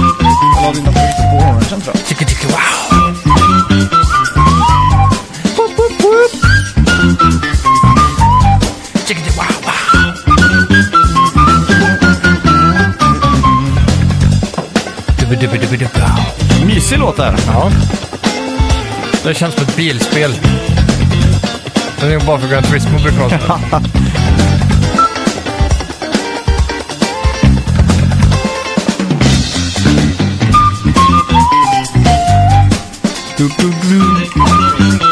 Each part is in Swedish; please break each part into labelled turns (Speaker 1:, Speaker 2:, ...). Speaker 1: var dina politiska år sedan tror jag.
Speaker 2: Tycker, tycker, wow.
Speaker 1: Boop, boop, boop.
Speaker 2: Tycker, tycker, wow, wow. Dubbe, dubbe, dubbe, dubbe, wow.
Speaker 1: Mysig låt där.
Speaker 2: Ja. Det känns som ett bilspel. Det är bara för Gran Turismo brukar vara så.
Speaker 1: Du, du, du.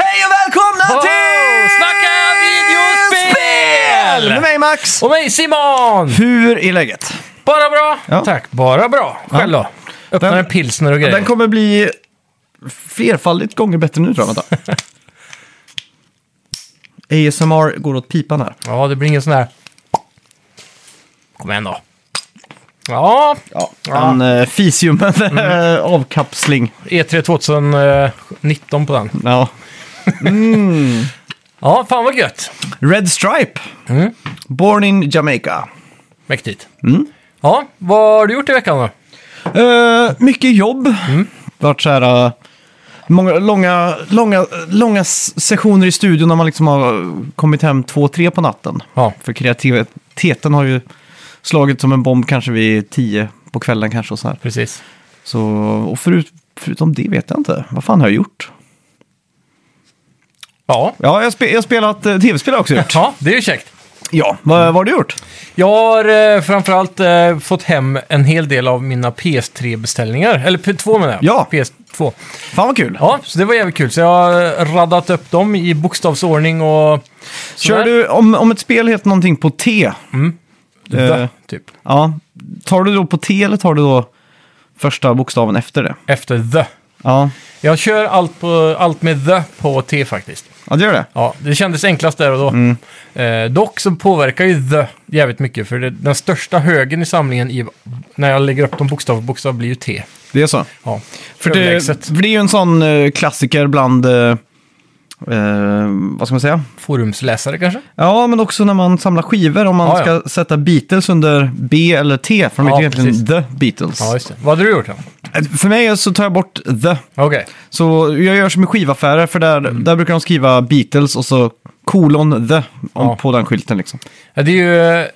Speaker 1: Hej och välkomna
Speaker 2: Wow,
Speaker 1: till
Speaker 2: snacka videospel!
Speaker 1: Med mig Max.
Speaker 2: Och mig Simon!
Speaker 1: Hur är läget?
Speaker 2: Bara bra.
Speaker 1: Ja.
Speaker 2: Tack, bara bra. Själv då? Öppnar
Speaker 1: Den-
Speaker 2: en pilsner och grejer.
Speaker 1: Den kommer bli flerfaldigt gånger bättre nu tror jag. Vänta. ASMR går åt pipan här.
Speaker 2: Ja, det blir ingen sån här... Kom igen då. Ja,
Speaker 1: Ja. En eh, fisium, en eh, avkapsling.
Speaker 2: E3 2019 på den.
Speaker 1: Ja.
Speaker 2: Ja, fan vad gött.
Speaker 1: Red Stripe.
Speaker 2: Mm.
Speaker 1: Born in Jamaica.
Speaker 2: Mäktigt.
Speaker 1: Mm.
Speaker 2: Ja, vad har du gjort i veckan då?
Speaker 1: Eh, mycket jobb.
Speaker 2: Mm.
Speaker 1: Varit så här... eh, många, långa, långa, långa s- sessioner i studion när man liksom har kommit hem två, tre på natten.
Speaker 2: Ja,
Speaker 1: För kreativiteten har ju slagit som en bomb kanske vid tio på kvällen kanske och så här.
Speaker 2: precis.
Speaker 1: Så, och förut, förutom det vet jag inte. Vad fan har jag gjort?
Speaker 2: Ja,
Speaker 1: Ja, jag, spe, jag har spelat eh, tv-spel har jag också gjort.
Speaker 2: ja det är ju käckt.
Speaker 1: ja, vad, vad har du gjort?
Speaker 2: Jag har eh, framförallt eh, fått hem en hel del av mina PS3-beställningar. Eller P2 menar jag.
Speaker 1: Ja.
Speaker 2: PS2.
Speaker 1: Fan vad kul.
Speaker 2: Ja, så det var jävligt kul. Så jag har raddat upp dem i bokstavsordning och...
Speaker 1: Kör du, om, om ett spel heter någonting på T,
Speaker 2: Äh,
Speaker 1: eh,
Speaker 2: typ.
Speaker 1: ja, tar du då på T eller tar du då första bokstaven efter det?
Speaker 2: Efter the.
Speaker 1: Ja,
Speaker 2: Jag kör allt, på, allt med the på T faktiskt.
Speaker 1: ja det gör det.
Speaker 2: Ja, det kändes enklast där och då.
Speaker 1: Mm.
Speaker 2: Eh, dock så påverkar ju the jävligt mycket, för det, den största högen i samlingen i, när jag lägger upp dem bokstav för bokstav blir ju T.
Speaker 1: Det är så.
Speaker 2: Ja,
Speaker 1: För det,
Speaker 2: överlägset.
Speaker 1: för det är ju en sån eh, klassiker bland, eh, eh, vad ska man säga?
Speaker 2: Forumsläsare kanske?
Speaker 1: Ja, men också när man samlar skivor, om man
Speaker 2: Ja,
Speaker 1: ska
Speaker 2: ja.
Speaker 1: sätta Beatles under B eller T, för de
Speaker 2: Ja,
Speaker 1: heter egentligen
Speaker 2: precis.
Speaker 1: The Beatles.
Speaker 2: Ja, just det. Vad hade du gjort då?
Speaker 1: För mig så tar jag bort The.
Speaker 2: Okej.
Speaker 1: Så jag gör som i skivaffärer, för där,
Speaker 2: Mm.
Speaker 1: där brukar de skriva Beatles och så kolon The om,
Speaker 2: Ja.
Speaker 1: på den skylten liksom.
Speaker 2: Ja, det är ju... eh,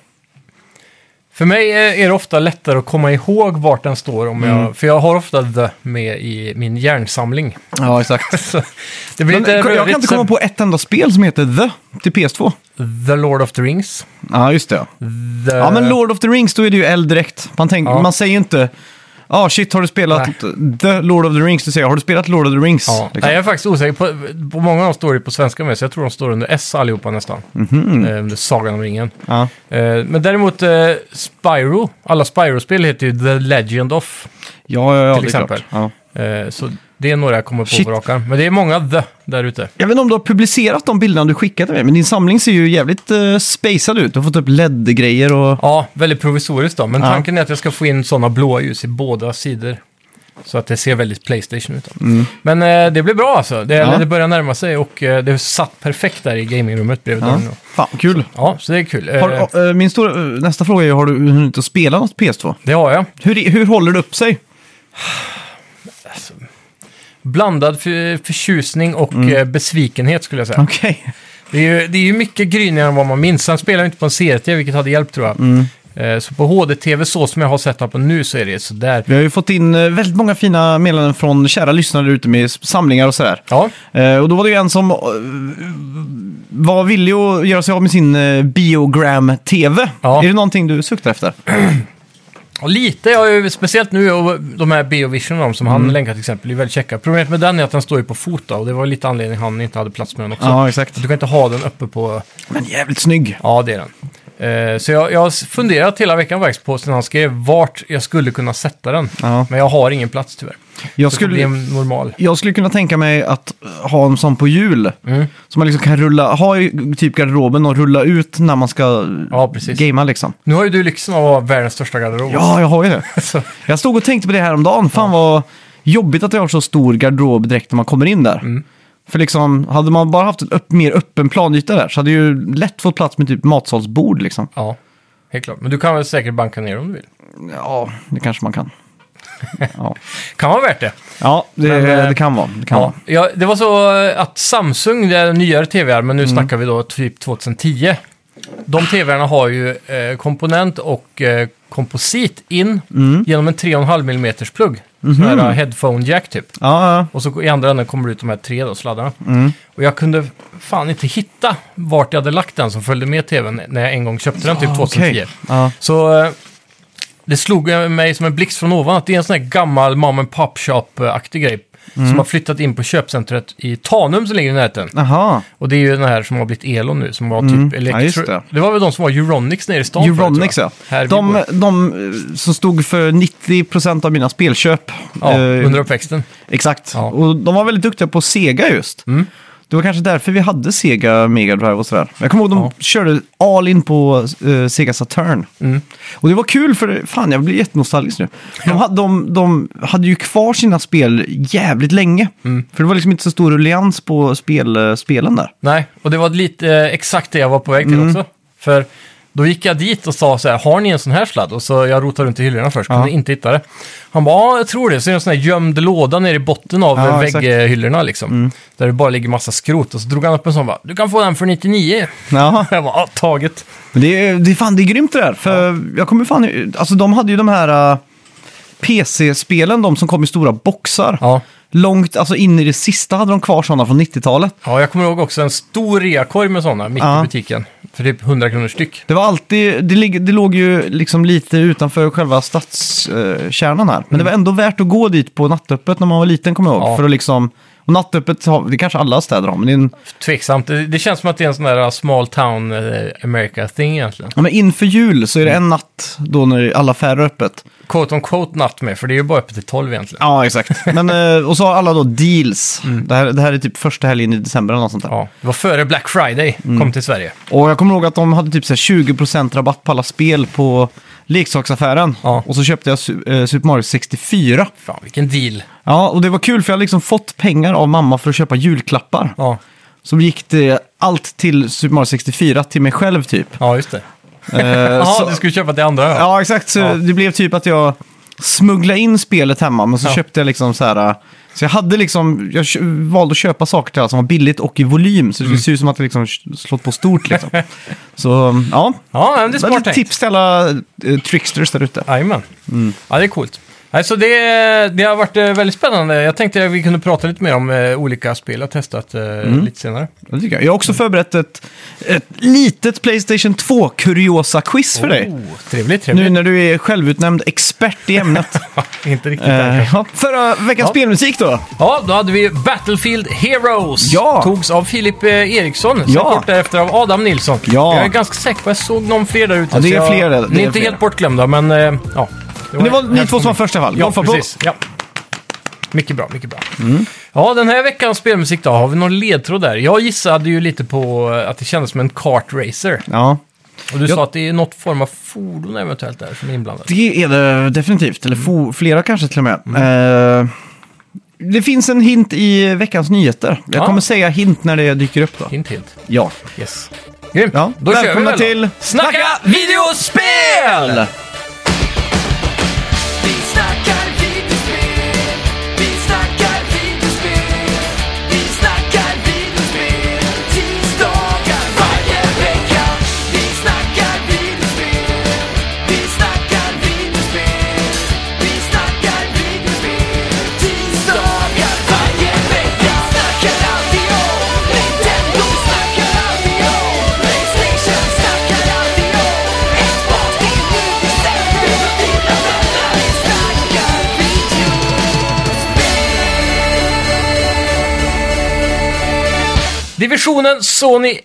Speaker 2: För mig eh, är det ofta lättare att komma ihåg vart den står, om
Speaker 1: Mm.
Speaker 2: jag, för jag har ofta the med i min hjärnsamling.
Speaker 1: Ja, exakt.
Speaker 2: Så det blir
Speaker 1: Men,
Speaker 2: lite
Speaker 1: jag kan
Speaker 2: rörigt
Speaker 1: inte
Speaker 2: sen.
Speaker 1: komma på ett enda spel som heter The till PS2.
Speaker 2: The Lord of the Rings.
Speaker 1: Ja, just det. Ja,
Speaker 2: The...
Speaker 1: ja men Lord of the Rings, då är det ju L direkt. Man, tänk,
Speaker 2: Ja.
Speaker 1: man säger ju inte, ja shit, har du spelat The Lord of the Rings? Du säger, har du spelat Lord of the Rings?
Speaker 2: Ja.
Speaker 1: Liksom.
Speaker 2: Nej, jag är faktiskt osäker. På, på många av dem står det på svenska med, så jag tror de står under S allihopa nästan.
Speaker 1: Mhm.
Speaker 2: Eh, under Sagan om ringen.
Speaker 1: Ja.
Speaker 2: Eh, men däremot eh, Spyro, alla Spyro-spel heter ju The Legend of.
Speaker 1: Ja, ja, ja,
Speaker 2: Till
Speaker 1: det är
Speaker 2: exempel.
Speaker 1: klart. Ja.
Speaker 2: Eh, så det är några jag kommer på
Speaker 1: Shit.
Speaker 2: på rak arm. Men det är många The där ute.
Speaker 1: Jag vet inte om du har publicerat de bilderna du skickade till mig, men din samling ser ju jävligt uh, spacad ut. Du har fått upp LED-grejer och...
Speaker 2: Ja, väldigt provisoriskt då. Men
Speaker 1: Ja.
Speaker 2: tanken är att jag ska få in sådana blåa ljus i båda sidor. Så att det ser väldigt Playstation ut. då. Men eh, det blev bra alltså. Det,
Speaker 1: Mm. Ja.
Speaker 2: det börjar närma sig och eh, det satt perfekt där i gamingrummet bredvid
Speaker 1: Ja.
Speaker 2: dörren. då.
Speaker 1: Fan, kul.
Speaker 2: Ja, så det är kul.
Speaker 1: Har,
Speaker 2: Mm. eh,
Speaker 1: eh, min stora, eh, nästa fråga är, ju, har du hunnit att spela något PS2?
Speaker 2: det har jag.
Speaker 1: Hur, i- hur håller det upp sig?
Speaker 2: Blandad för, förtjusning och
Speaker 1: Mm.
Speaker 2: eh, besvikenhet skulle jag säga.
Speaker 1: Okej.
Speaker 2: Det, är ju, det är ju mycket grynigare än vad man minns. Sen spelar jag inte på en CRT, vilket hade hjälpt tror jag.
Speaker 1: Mm.
Speaker 2: Eh, så på HD-TV så som jag har sett på nu så är det sådär.
Speaker 1: Vi har ju fått in eh, väldigt många fina meddelanden från kära lyssnare där ute med s- samlingar och sådär.
Speaker 2: Ja,
Speaker 1: Eh, och då var det ju en som eh, var villig att göra sig av med sin eh, Biogram-TV.
Speaker 2: Ja.
Speaker 1: Är det någonting du suktar efter?
Speaker 2: och lite. Jag har ju, speciellt nu, och de här Biovision och de som
Speaker 1: Mm.
Speaker 2: han länkar till exempel, är väldigt checka. Problemet med den är att den står ju på fot då, och det var lite anledning han inte hade plats med den också.
Speaker 1: Ja, exakt.
Speaker 2: Du kan inte ha den uppe på...
Speaker 1: Men jävligt snygg.
Speaker 2: Ja, det är den. Eh, så jag, jag har funderat hela veckan faktiskt på, sen han skrev, vart jag skulle kunna sätta den.
Speaker 1: Ja.
Speaker 2: Men jag har ingen plats tyvärr.
Speaker 1: Jag
Speaker 2: Så skulle... det blir
Speaker 1: skulle,
Speaker 2: en normal.
Speaker 1: jag skulle kunna tänka mig att ha en sån på jul.
Speaker 2: Mm.
Speaker 1: Som man liksom kan rulla, ha i typ garderoben och rulla ut när man ska
Speaker 2: Ja, precis.
Speaker 1: gamea liksom.
Speaker 2: Nu har ju du lyxen av att ha världens största garderob.
Speaker 1: Ja, jag har ju det.
Speaker 2: Så,
Speaker 1: Jag
Speaker 2: Mm.
Speaker 1: stod och tänkte på det här om dagen. Fan vad jobbigt att jag har så stor garderob direkt när man kommer in där. För liksom, hade man bara haft en upp, mer öppen planyta där så hade ju lätt fått plats med typ matsalsbord liksom.
Speaker 2: Ja, helt klart. Men du kan väl säkert banka ner om du vill.
Speaker 1: Ja, det kanske man kan. Ja,
Speaker 2: Kan vara värt det.
Speaker 1: ja det,
Speaker 2: Men, eh,
Speaker 1: det kan vara. Det kan vara.
Speaker 2: Ja. det var så eh, att Samsung, det är nyare tv men nu snackar vi då typ 2010. De tv-arna har ju eh, komponent och eh, komposit in genom en 3,5 mm plugg. Sån här headphone jack typ.
Speaker 1: Ja, ja.
Speaker 2: Och så i andra änden kommer det ut de här tre då, sladdarna.
Speaker 1: Mm.
Speaker 2: Och jag kunde fan inte hitta vart jag hade lagt den som följde med tvn när jag en gång köpte den typ 2010.
Speaker 1: Ah, okej. Ja.
Speaker 2: Så eh, det slog mig som en blixt från ovan att det är en sån här gammal mom and pop shop-aktig grej.
Speaker 1: Mm.
Speaker 2: Som har flyttat in på köpcentret i Tanum som ligger i närheten.
Speaker 1: Aha.
Speaker 2: Och det är ju den här som har blivit Elon nu som var typ
Speaker 1: Mm.
Speaker 2: elektro...
Speaker 1: Ja, just
Speaker 2: det.
Speaker 1: det.
Speaker 2: var väl de som var Euronics nere i stan förut,
Speaker 1: Euronics
Speaker 2: tror
Speaker 1: ja.
Speaker 2: jag. Här vi
Speaker 1: De,
Speaker 2: bor.
Speaker 1: de eh, som stod för 90% av mina spelköp.
Speaker 2: Ja,
Speaker 1: Eh,
Speaker 2: under uppväxten.
Speaker 1: Exakt.
Speaker 2: Ja. Mm.
Speaker 1: Och de var väldigt duktiga på Sega just. Det var kanske därför vi hade Sega Mega Drive och sådär. Jag kommer ihåg de
Speaker 2: Ja.
Speaker 1: körde all in på eh, Sega Saturn.
Speaker 2: Mm.
Speaker 1: Och det var kul för, fan jag blir jättenostalgisk nu. De, hade, de, de hade ju kvar sina spel jävligt länge.
Speaker 2: Mm.
Speaker 1: För det var liksom inte så stor ruljans på spel, eh, spelen där.
Speaker 2: Nej, och det var lite eh, exakt det jag var på väg till
Speaker 1: Mm.
Speaker 2: också. För då gick jag dit och sa så här, har ni en sån här sladd? Och så jag rotade runt i hyllorna först, kunde
Speaker 1: Ja.
Speaker 2: inte hitta det. Han bara, ja jag tror det. Så är det en sån här gömd låda nere i botten av
Speaker 1: Ja,
Speaker 2: ja,
Speaker 1: exakt. Mm.
Speaker 2: vägghyllorna liksom. Där det bara ligger massa skrot. Och så drog han upp en sån och bara, du kan få den för 99.
Speaker 1: Ja,
Speaker 2: Jag bara, ja taget.
Speaker 1: men det, är- det, är fan, det är grymt det där. För jag kommer fan, alltså de hade ju de här eh, PC-spelen, de som kom i stora boxar.
Speaker 2: Ja.
Speaker 1: Långt, alltså in i det sista hade de kvar sådana från 90-talet.
Speaker 2: ja, jag kommer ihåg också en stor reakorg med såna mitt
Speaker 1: Ja.
Speaker 2: i butiken. För typ 100 kronor styck.
Speaker 1: Det var alltid, det, lig- det låg ju liksom lite utanför själva stadskärnan här. Men det var ändå värt att gå dit på nattöppet när man var liten kommer jag ihåg.
Speaker 2: Ja.
Speaker 1: För att liksom, och nattöppet, har- det kanske alla städer har, men, det är en,
Speaker 2: Tveksamt, det, det känns som att det är en sån där uh, small town eh, America-thing egentligen.
Speaker 1: ja, men inför jul så är det en natt då när alla affärer är öppet.
Speaker 2: Quote on quote natt med, för det är ju bara öppet till 12 egentligen.
Speaker 1: Ja, exakt. men, eh, och så har alla då deals. Det, här, det här är typ första helgen i december eller något sånt där.
Speaker 2: Ja, det var före Black Friday
Speaker 1: Mm.
Speaker 2: kom till Sverige.
Speaker 1: Och jag kommer ihåg att de hade typ så här 20% rabatt på alla spel på leksaksaffären.
Speaker 2: Ja.
Speaker 1: Och så köpte jag Su- eh, Super Mario 64.
Speaker 2: Fan, vilken deal.
Speaker 1: Ja, och det var kul för jag hade liksom fått pengar av mamma för att köpa julklappar.
Speaker 2: Ja,
Speaker 1: Så gick det allt till Super Mario 64, till mig själv typ.
Speaker 2: ja just det.
Speaker 1: Eh,
Speaker 2: Jaha,
Speaker 1: så,
Speaker 2: du skulle köpa det andra. Ja.
Speaker 1: ja, exakt. Så
Speaker 2: Ja.
Speaker 1: det blev typ att jag smugglade in spelet hemma, men så
Speaker 2: Ja.
Speaker 1: köpte jag liksom så här... eh, Så jag hade liksom, jag kö- valde att köpa saker till alla som var billigt och i volym,
Speaker 2: Mm.
Speaker 1: så det ser ut som att jag liksom slått på stort liksom. så ja,
Speaker 2: Ja, men det är smart
Speaker 1: väldigt
Speaker 2: tänkt.
Speaker 1: tips till alla eh, tricksters där ute.
Speaker 2: Jajamän.
Speaker 1: Mm.
Speaker 2: Ja, det är coolt. Alltså det, det har varit eh, väldigt spännande. Jag tänkte att vi kunde prata lite mer om eh, olika spel jag testat eh,
Speaker 1: Mm.
Speaker 2: lite senare.
Speaker 1: Det tycker jag. jag har också förberett ett, ett litet Playstation 2-kuriosa-quiz för dig.
Speaker 2: Oh, trevligt,
Speaker 1: Nu
Speaker 2: trevligt.
Speaker 1: när du är självutnämnd expert i ämnet.
Speaker 2: Inte riktigt där
Speaker 1: Eh,
Speaker 2: kanske.
Speaker 1: ja, förra veckans
Speaker 2: Ja.
Speaker 1: spelmusik då.
Speaker 2: Ja, då hade vi Battlefield Heroes.
Speaker 1: Ja.
Speaker 2: Togs av Filip eh, Eriksson. Sen
Speaker 1: Ja.
Speaker 2: kort därefter av Adam Nilsson.
Speaker 1: Ja.
Speaker 2: Jag är ganska säker på att jag såg någon fler där ute.
Speaker 1: Ja, det
Speaker 2: så
Speaker 1: är
Speaker 2: jag-
Speaker 1: fler där.
Speaker 2: Ni
Speaker 1: Det
Speaker 2: är
Speaker 1: är
Speaker 2: inte
Speaker 1: fler.
Speaker 2: helt bortglömda, men... eh, Ja.
Speaker 1: Men det var ni två som var först i alla fall.
Speaker 2: Ja,
Speaker 1: Golfa på.
Speaker 2: precis. Ja. Mycket bra, mycket bra.
Speaker 1: Mm.
Speaker 2: Ja, den här veckans spelmusik då, har vi någon ledtråd där? Jag gissade ju lite på eh, att det kändes som en kartracer.
Speaker 1: Ja,
Speaker 2: Och du
Speaker 1: Jag-
Speaker 2: sa att det är något form av fordon eventuellt där som är inblandat.
Speaker 1: det är det definitivt. Eller fo- flera kanske till och med.
Speaker 2: Mm.
Speaker 1: Eh, det finns en hint i veckans nyheter. Jag
Speaker 2: Ja.
Speaker 1: kommer säga hint när det dyker upp då.
Speaker 2: Hint, hint.
Speaker 1: Ja.
Speaker 2: Yes. Grymt.
Speaker 1: Ja,
Speaker 2: Då kör vi
Speaker 1: välkomna
Speaker 2: väl då.
Speaker 1: till
Speaker 2: Snacka videospel!
Speaker 3: Vi snackar videospel, vi snackar videospel, vi snackar videospel, tisdagar varje vecka. Vi snackar videospel, vi snackar videospel, vi snackar videospel, tisdagar varje vecka. Snackar alltid om Nintendo, snackar alltid om Playstation, snackar alltid om Xbox, det är nu vi sätter upp dina vänner. Vi snackar videospel.
Speaker 2: Divisionen Sony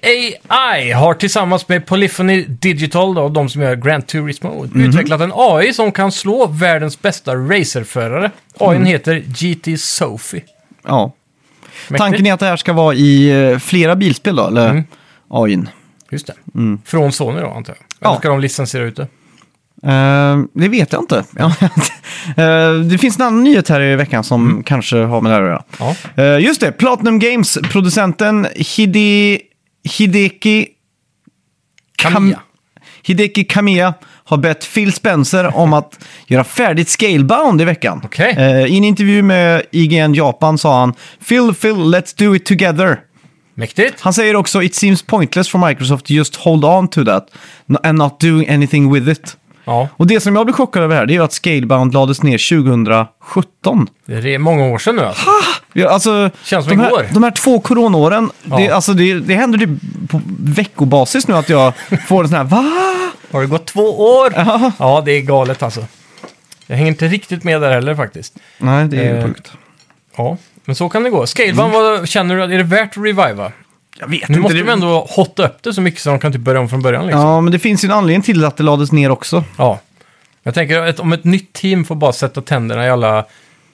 Speaker 2: AI har tillsammans med Polyphony Digital, då, de som gör Grand Turismo, utvecklat en AI som kan slå världens bästa racerförare. AI heter GT Sophie.
Speaker 1: Ja.
Speaker 2: Mäktigt. Mm.
Speaker 1: Tanken är att det här ska vara i eh, flera bilspel då, eller? AIn.
Speaker 2: Just det. Från Sony då, antar jag.
Speaker 1: Ja.
Speaker 2: Eller ska de licensiera ut det?
Speaker 1: Eh, det vet jag inte. Eh, det finns en annan nyhet här i veckan som kanske har med det här att göra.
Speaker 2: Mm. Ja.
Speaker 1: Eh, just det, Platinum Games, producenten Hide, Hideki... Kam-
Speaker 2: Kamiya.
Speaker 1: Hideki Kamiya har bett Phil Spencer om att göra färdigt Scalebound i veckan.
Speaker 2: Okej.
Speaker 1: Eh, I en intervju med IGN Japan sa han “Phil, Phil, let's do it together”.
Speaker 2: Mäktigt.
Speaker 1: Han säger också “It seems pointless for Microsoft to just hold on to that and not doing anything with it”.
Speaker 2: Ja,
Speaker 1: Och det som jag blev chockad över här, det är ju att Scalebound lades ner 2017.
Speaker 2: det är många år sedan nu alltså.
Speaker 1: Ja, alltså,
Speaker 2: Känns som
Speaker 1: de, här,
Speaker 2: igår.
Speaker 1: de här två coronaåren, det,
Speaker 2: Ja.
Speaker 1: alltså, det, det händer typ på veckobasis nu att jag får en sån här va?
Speaker 2: Har det gått två år? Ja, det är galet alltså. Jag hänger inte riktigt med där heller faktiskt.
Speaker 1: Nej, det är ju
Speaker 2: Eh,
Speaker 1: sjukt.
Speaker 2: Ja, men så kan det gå. Scalebound, vad känner du? att- Är det värt att reviva?
Speaker 1: Jag vet
Speaker 2: Nu
Speaker 1: inte.
Speaker 2: måste
Speaker 1: det-
Speaker 2: de ändå hotta upp det så mycket så de kan typ börja om från början liksom. Ja.
Speaker 1: Ja, men det finns ju en anledning till att det lades ner också.
Speaker 2: Jag tänker att om ett nytt team får bara sätta tänderna i alla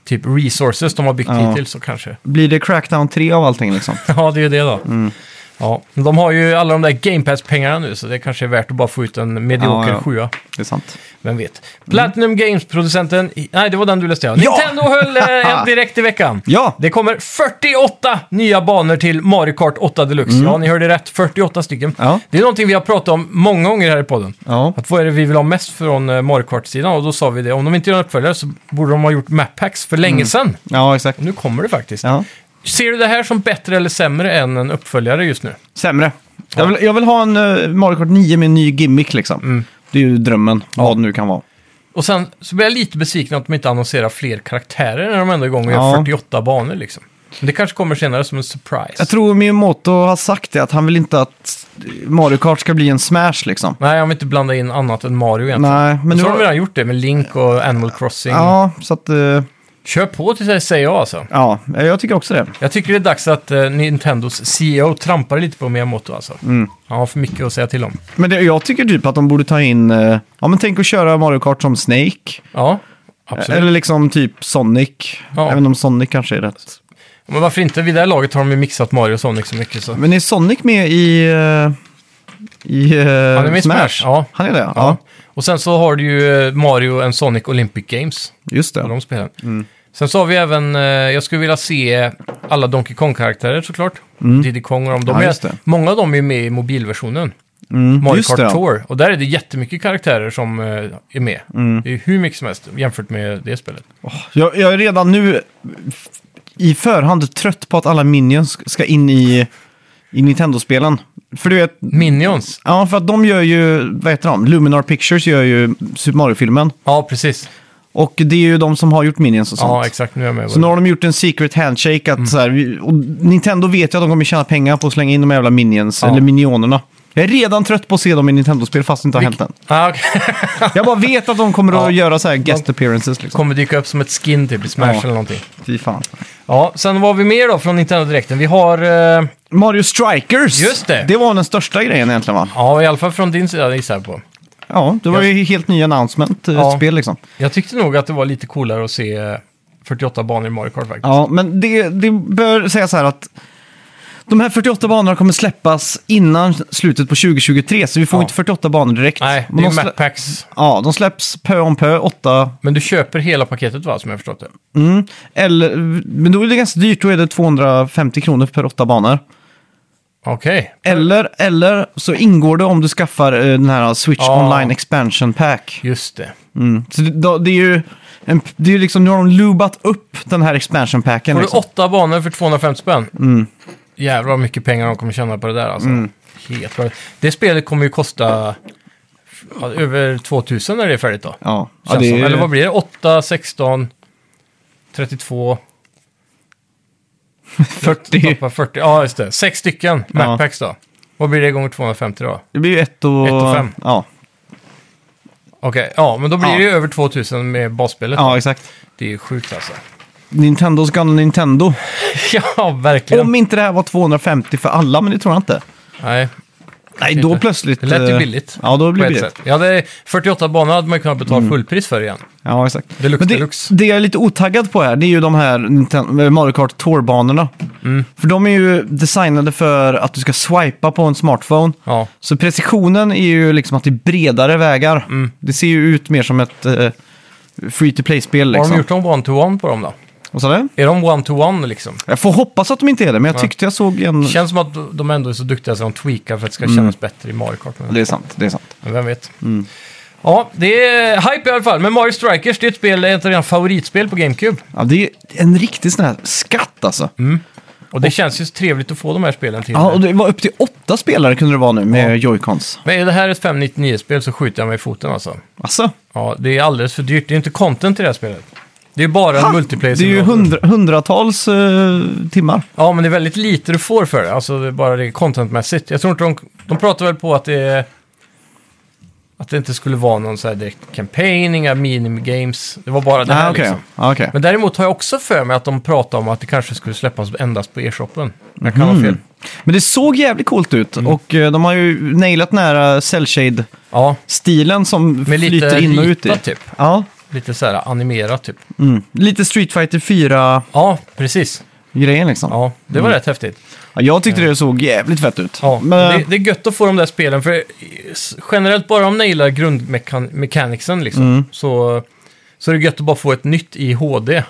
Speaker 2: typ resources de har byggt
Speaker 1: Ja.
Speaker 2: hittills så kanske.
Speaker 1: Blir det Crackdown 3 av allting liksom?
Speaker 2: Ja, det är ju det då.
Speaker 1: Mm.
Speaker 2: Ja, men de har ju alla de där Game Pass-pengarna nu så det kanske är värt att bara få ut en
Speaker 1: Ja,
Speaker 2: medioker
Speaker 1: ja.
Speaker 2: sjua.
Speaker 1: Det är sant.
Speaker 2: Vem vet? Platinum Games-producenten... i- Nej, det var den du läste, ja.
Speaker 1: Ja!
Speaker 2: Nintendo höll eh, en direkt i veckan.
Speaker 1: Ja!
Speaker 2: Det kommer 48 nya banor till Mario Kart 8 Deluxe. Ja, ni hörde rätt. 48 stycken.
Speaker 1: Mm. Ja.
Speaker 2: Det är någonting vi har pratat om många gånger här i podden.
Speaker 1: Ja.
Speaker 2: Att vad är det vi vill ha mest från eh, Mario Kart-sidan? Och då sa vi det, om de inte gör en uppföljare så borde de ha gjort map packs för länge sedan.
Speaker 1: ja, exakt.
Speaker 2: Och nu kommer det faktiskt.
Speaker 1: Mm. Ja.
Speaker 2: Ser du det här som bättre eller sämre än en uppföljare just nu?
Speaker 1: Sämre. Jag, vill, jag vill ha en eh, Mario Kart 9 med en ny gimmick liksom.
Speaker 2: Mm.
Speaker 1: Det är ju drömmen, vad det nu kan vara.
Speaker 2: Och sen så blir jag lite besviken att de inte annonserar fler karaktärer när de ändå är igång och
Speaker 1: Ja.
Speaker 2: gör 48 banor liksom. Men det kanske kommer senare som en surprise.
Speaker 1: Jag tror Miyamoto har sagt det, att han vill inte att Mario Kart ska bli en smash liksom.
Speaker 2: Nej, jag vill inte blanda in annat än Mario egentligen.
Speaker 1: Nej, men
Speaker 2: Men
Speaker 1: nu...
Speaker 2: så har de redan gjort det med Link och Animal Crossing.
Speaker 1: Ja, så att... eh,
Speaker 2: Kör på till sig, säger jag alltså.
Speaker 1: Ja, jag tycker också det.
Speaker 2: Jag tycker det är dags att eh, Nintendos CEO trampar lite på Miyamoto alltså.
Speaker 1: Mm.
Speaker 2: Han har för mycket att säga till om.
Speaker 1: Men det, jag tycker typ att de borde ta in... eh, Ja, men tänk att köra Mario Kart som Snake.
Speaker 2: Ja, absolut.
Speaker 1: Eller liksom typ Sonic.
Speaker 2: Ja.
Speaker 1: Även om Sonic kanske är rätt.
Speaker 2: Men varför inte? Vid det här laget har de ju mixat Mario och Sonic så mycket så.
Speaker 1: Men är Sonic med i... eh, I eh,
Speaker 2: är med i
Speaker 1: Smash?
Speaker 2: Smash, ja.
Speaker 1: Han är det? Ja.
Speaker 2: Ja. Och sen så har du ju eh, Mario and Sonic Olympic Games.
Speaker 1: Just
Speaker 2: Ja.
Speaker 1: det.
Speaker 2: De spelen.
Speaker 1: Mm.
Speaker 2: Sen så har vi även, eh, jag skulle vilja se alla Donkey Kong-karaktärer såklart. Diddy Kong och de. de
Speaker 1: Mm. Ja, just
Speaker 2: är,
Speaker 1: det.
Speaker 2: många av dem är med i mobilversionen.
Speaker 1: Mm,
Speaker 2: Mario
Speaker 1: just
Speaker 2: Kart
Speaker 1: det, ja.
Speaker 2: Tour. Och där är det jättemycket karaktärer som eh, är med.
Speaker 1: Mm.
Speaker 2: Det är ju hur mycket som helst jämfört med det spelet.
Speaker 1: Jag, jag är redan nu f- i förhand trött på att alla minions ska in i, i Nintendo-spelen. För du vet,
Speaker 2: Minions.
Speaker 1: ja för att de gör ju, vad heter de? Luminar Pictures gör ju Super Mario-filmen.
Speaker 2: Ja, precis.
Speaker 1: Och det är ju de som har gjort minions och sånt.
Speaker 2: Ja, exakt. Mm. Nu är jag med.
Speaker 1: Så nu har de gjort en secret handshake att så här, vi- och Nintendo vet ju att de kommer tjäna pengar på att slänga in de jävla minions,
Speaker 2: Ja.
Speaker 1: eller minionerna. Jag är redan trött på att se dem i Nintendo-spel fast det inte har hänt än.
Speaker 2: ah, okej.
Speaker 1: Jag bara vet att de kommer
Speaker 2: Ja.
Speaker 1: att göra så här guest appearances liksom.
Speaker 2: Kommer dyka upp som ett skin typ i Smash
Speaker 1: Ja.
Speaker 2: eller någonting.
Speaker 1: Fy fan.
Speaker 2: Ja, sen vad har vi mer då från Nintendo-direkten? Vi har, eh,
Speaker 1: Mario Strikers!
Speaker 2: Just det.
Speaker 1: Det var den största grejen egentligen va?
Speaker 2: ja i alla fall från din sida gissar jag på.
Speaker 1: Ja, det var ju helt ny announcement, eh,
Speaker 2: Ja.
Speaker 1: ett spel liksom.
Speaker 2: Jag tyckte nog att det var lite coolare att se eh, 48 banor i Mario Kart faktiskt.
Speaker 1: Ja, men det, det bör sägas här att de här 48 banorna kommer släppas innan slutet på 2023, så vi får
Speaker 2: Ja.
Speaker 1: inte 48 banor direkt.
Speaker 2: Nej,
Speaker 1: Men
Speaker 2: det är
Speaker 1: de
Speaker 2: ju
Speaker 1: slä-
Speaker 2: map packs.
Speaker 1: Ja, de släpps pö om pö, åtta
Speaker 2: Men du köper hela paketet va, som jag förstått det?
Speaker 1: Mm. Eller, men då är det ganska dyrt, då är det 250 kronor per åtta banor.
Speaker 2: Okej.
Speaker 1: Eller, eller så ingår det om du skaffar eh, den här Switch
Speaker 2: Ja.
Speaker 1: Online Expansion Pack.
Speaker 2: Just det.
Speaker 1: Mm. Så det, då, det är ju en, det är ju liksom, nu har de lubat upp den här expansion packen.
Speaker 2: Får du
Speaker 1: Liksom.
Speaker 2: åtta banor för 250 spänn? Jävlar vad mycket pengar de kommer tjäna på det där alltså. Helt bra. Det spelet kommer ju kosta ja, över 2000 när det är färdigt då.
Speaker 1: Ja, ja
Speaker 2: Känns
Speaker 1: det
Speaker 2: som.
Speaker 1: är,
Speaker 2: Eller vad blir det? 8, 16, 32,
Speaker 1: 40,
Speaker 2: tappar 40. Ja, just det. Sex stycken
Speaker 1: Ja.
Speaker 2: Macpacks då. Vad blir det gånger 250 då?
Speaker 1: det blir ju ett och,
Speaker 2: Ett och fem.
Speaker 1: Ja,
Speaker 2: Okej, ja, men då blir
Speaker 1: Ja.
Speaker 2: det ju över 2000 med basspelet.
Speaker 1: ja, exakt.
Speaker 2: Det är ju sjukt alltså.
Speaker 1: Nintendos gamla Nintendo.
Speaker 2: ja, verkligen.
Speaker 1: Om inte det här var 250 för alla, men det tror jag inte.
Speaker 2: Nej.
Speaker 1: Nej, då
Speaker 2: Inte.
Speaker 1: plötsligt...
Speaker 2: Det lät ju
Speaker 1: eh,
Speaker 2: billigt.
Speaker 1: Ja, då blir
Speaker 2: på
Speaker 1: det
Speaker 2: ett
Speaker 1: billigt. Mm.
Speaker 2: sätt. Ja, det är 48 banor hade man kunnat betala fullpris för igen.
Speaker 1: Ja, exakt.
Speaker 2: Deluxe,
Speaker 1: Men det,
Speaker 2: deluxe.
Speaker 1: det jag är lite otaggad på här, det är ju de här Ninten- eh, Mario Kart Tour-banorna.
Speaker 2: Mm.
Speaker 1: För de är ju designade för att du ska swipa på en smartphone.
Speaker 2: Ja,
Speaker 1: Så precisionen är ju liksom att det är bredare vägar.
Speaker 2: Mm.
Speaker 1: Det ser ju ut mer som ett eh, free to play-spel
Speaker 2: har de
Speaker 1: liksom.
Speaker 2: gjort dem one-to-one på dem då?
Speaker 1: Vad sa du?
Speaker 2: Är de one-to-one liksom?
Speaker 1: Jag får hoppas att de inte är det, men jag tyckte jag såg en...
Speaker 2: Känns som att de ändå är så duktiga så de tweakar för att det ska kännas bättre i Mario Kart. Men
Speaker 1: Mm. Det Mm. är sant, det är sant.
Speaker 2: men vem vet. Ja, det är hype i alla fall. Men Mario Strikers, det är ett spel, ett av mina favoritspel på GameCube.
Speaker 1: Ja, det är en riktig sån här skatt alltså.
Speaker 2: Mm. Och det känns ju så trevligt att få de här spelen till.
Speaker 1: Ja, och det var upp till åtta spelare kunde det vara nu med joycons.
Speaker 2: Men är det här ett 599-spel så skjuter jag mig i foten alltså.
Speaker 1: Alltså,
Speaker 2: Ja, det är alldeles för dyrt. Det är inte content i det här spelet. Det är bara en
Speaker 1: ha!
Speaker 2: multiplayer.
Speaker 1: det är ju
Speaker 2: simulator.
Speaker 1: hundra, hundratals eh, timmar.
Speaker 2: Ja, men det är väldigt lite du får för det. Alltså det är bara det är contentmässigt. Jag tror inte de... De pratar väl på att det är... Att det inte skulle vara någon så här direkt campaign, inga minigames. Det var bara det här
Speaker 1: Ah, okej.
Speaker 2: liksom.
Speaker 1: Ah, okej.
Speaker 2: Men däremot har jag också för mig att de pratar om att det kanske skulle släppas endast på e-shoppen. Jag kan
Speaker 1: Mhm.
Speaker 2: ha fel.
Speaker 1: Mm. Men det såg jävligt coolt ut
Speaker 2: Mm.
Speaker 1: och eh, de har ju nailat eh, nära cellshade-stilen
Speaker 2: Ja,
Speaker 1: som
Speaker 2: med lite
Speaker 1: flyter in och ut i.
Speaker 2: ritat typ.
Speaker 1: Ja,
Speaker 2: Lite så här animerat typ.
Speaker 1: mm. Lite Street Fighter 4-grejen
Speaker 2: Ja, precis.
Speaker 1: liksom. Ja.
Speaker 2: Ja, det var rätt häftigt.
Speaker 1: Jag tyckte det såg jävligt fett ut.
Speaker 2: Ja,
Speaker 1: Men,
Speaker 2: det, det är gött att få de där spelen, för generellt bara om de nailar grundmechanicsen liksom,
Speaker 1: Mm.
Speaker 2: så, så är det gött att bara få ett nytt i HD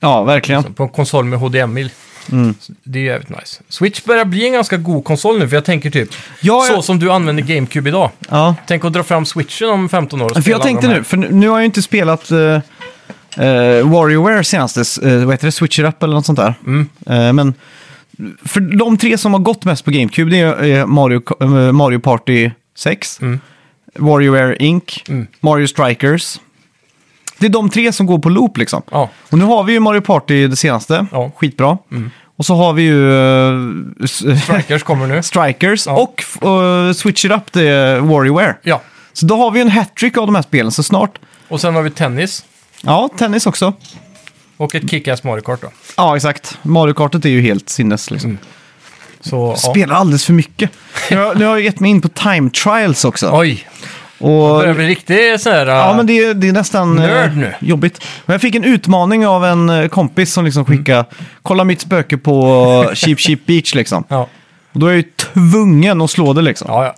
Speaker 1: ja verkligen.
Speaker 2: på en konsol med HDMI.
Speaker 1: Mm.
Speaker 2: Så Det är jävligt nice. Switch börjar bli en ganska god konsol nu, för jag tänker typ
Speaker 1: Ja,
Speaker 2: så
Speaker 1: jag,
Speaker 2: som du använder GameCube idag.
Speaker 1: ja.
Speaker 2: Tänk att dra fram Switchen om 15 år och
Speaker 1: För
Speaker 2: spela
Speaker 1: jag
Speaker 2: alla
Speaker 1: tänkte
Speaker 2: de
Speaker 1: nu,
Speaker 2: här.
Speaker 1: för nu- nu har jag ju inte spelat uh, WarioWare senaste, eh, vad heter det, Switcher Up eller något sånt där.
Speaker 2: Mm.
Speaker 1: Eh, men för de tre som har gått mest på GameCube, det är eh, Mario, eh, Mario Party 6,
Speaker 2: Mm.
Speaker 1: WarioWare Inc, Mario Strikers. Det är de tre som går på loop liksom.
Speaker 2: Ja,
Speaker 1: Och nu har vi ju Mario Party det senaste,
Speaker 2: Ja. Mm.
Speaker 1: skitbra. Och så har vi ju eh, s-
Speaker 2: Strikers kommer nu.
Speaker 1: Strikers
Speaker 2: Ja.
Speaker 1: och uh, Switch It Up, det är WarioWare.
Speaker 2: Ja,
Speaker 1: Så då har vi en hattrick av de här spelen, så snart
Speaker 2: och sen har vi tennis
Speaker 1: Ja, tennis också.
Speaker 2: och ett kick-ass Mario Kart då.
Speaker 1: Ja, exakt. Mario Kartet är ju helt sinnes. Liksom.
Speaker 2: Så, Mm. ja.
Speaker 1: Spelar alldeles för mycket. Nu har, nu har jag gett mig in på time trials också.
Speaker 2: Oj,
Speaker 1: och,
Speaker 2: börjar bli riktigt så här...
Speaker 1: ja, men det är, det är nästan eh,
Speaker 2: Nörd nu.
Speaker 1: jobbigt. Men jag fick en utmaning av en eh, kompis som liksom skickade
Speaker 2: Mm.
Speaker 1: “Kolla mitt spöke på Cheap Cheap Beach” liksom.
Speaker 2: ja.
Speaker 1: Och då är jag ju tvungen att slå det liksom.
Speaker 2: Ja, ja.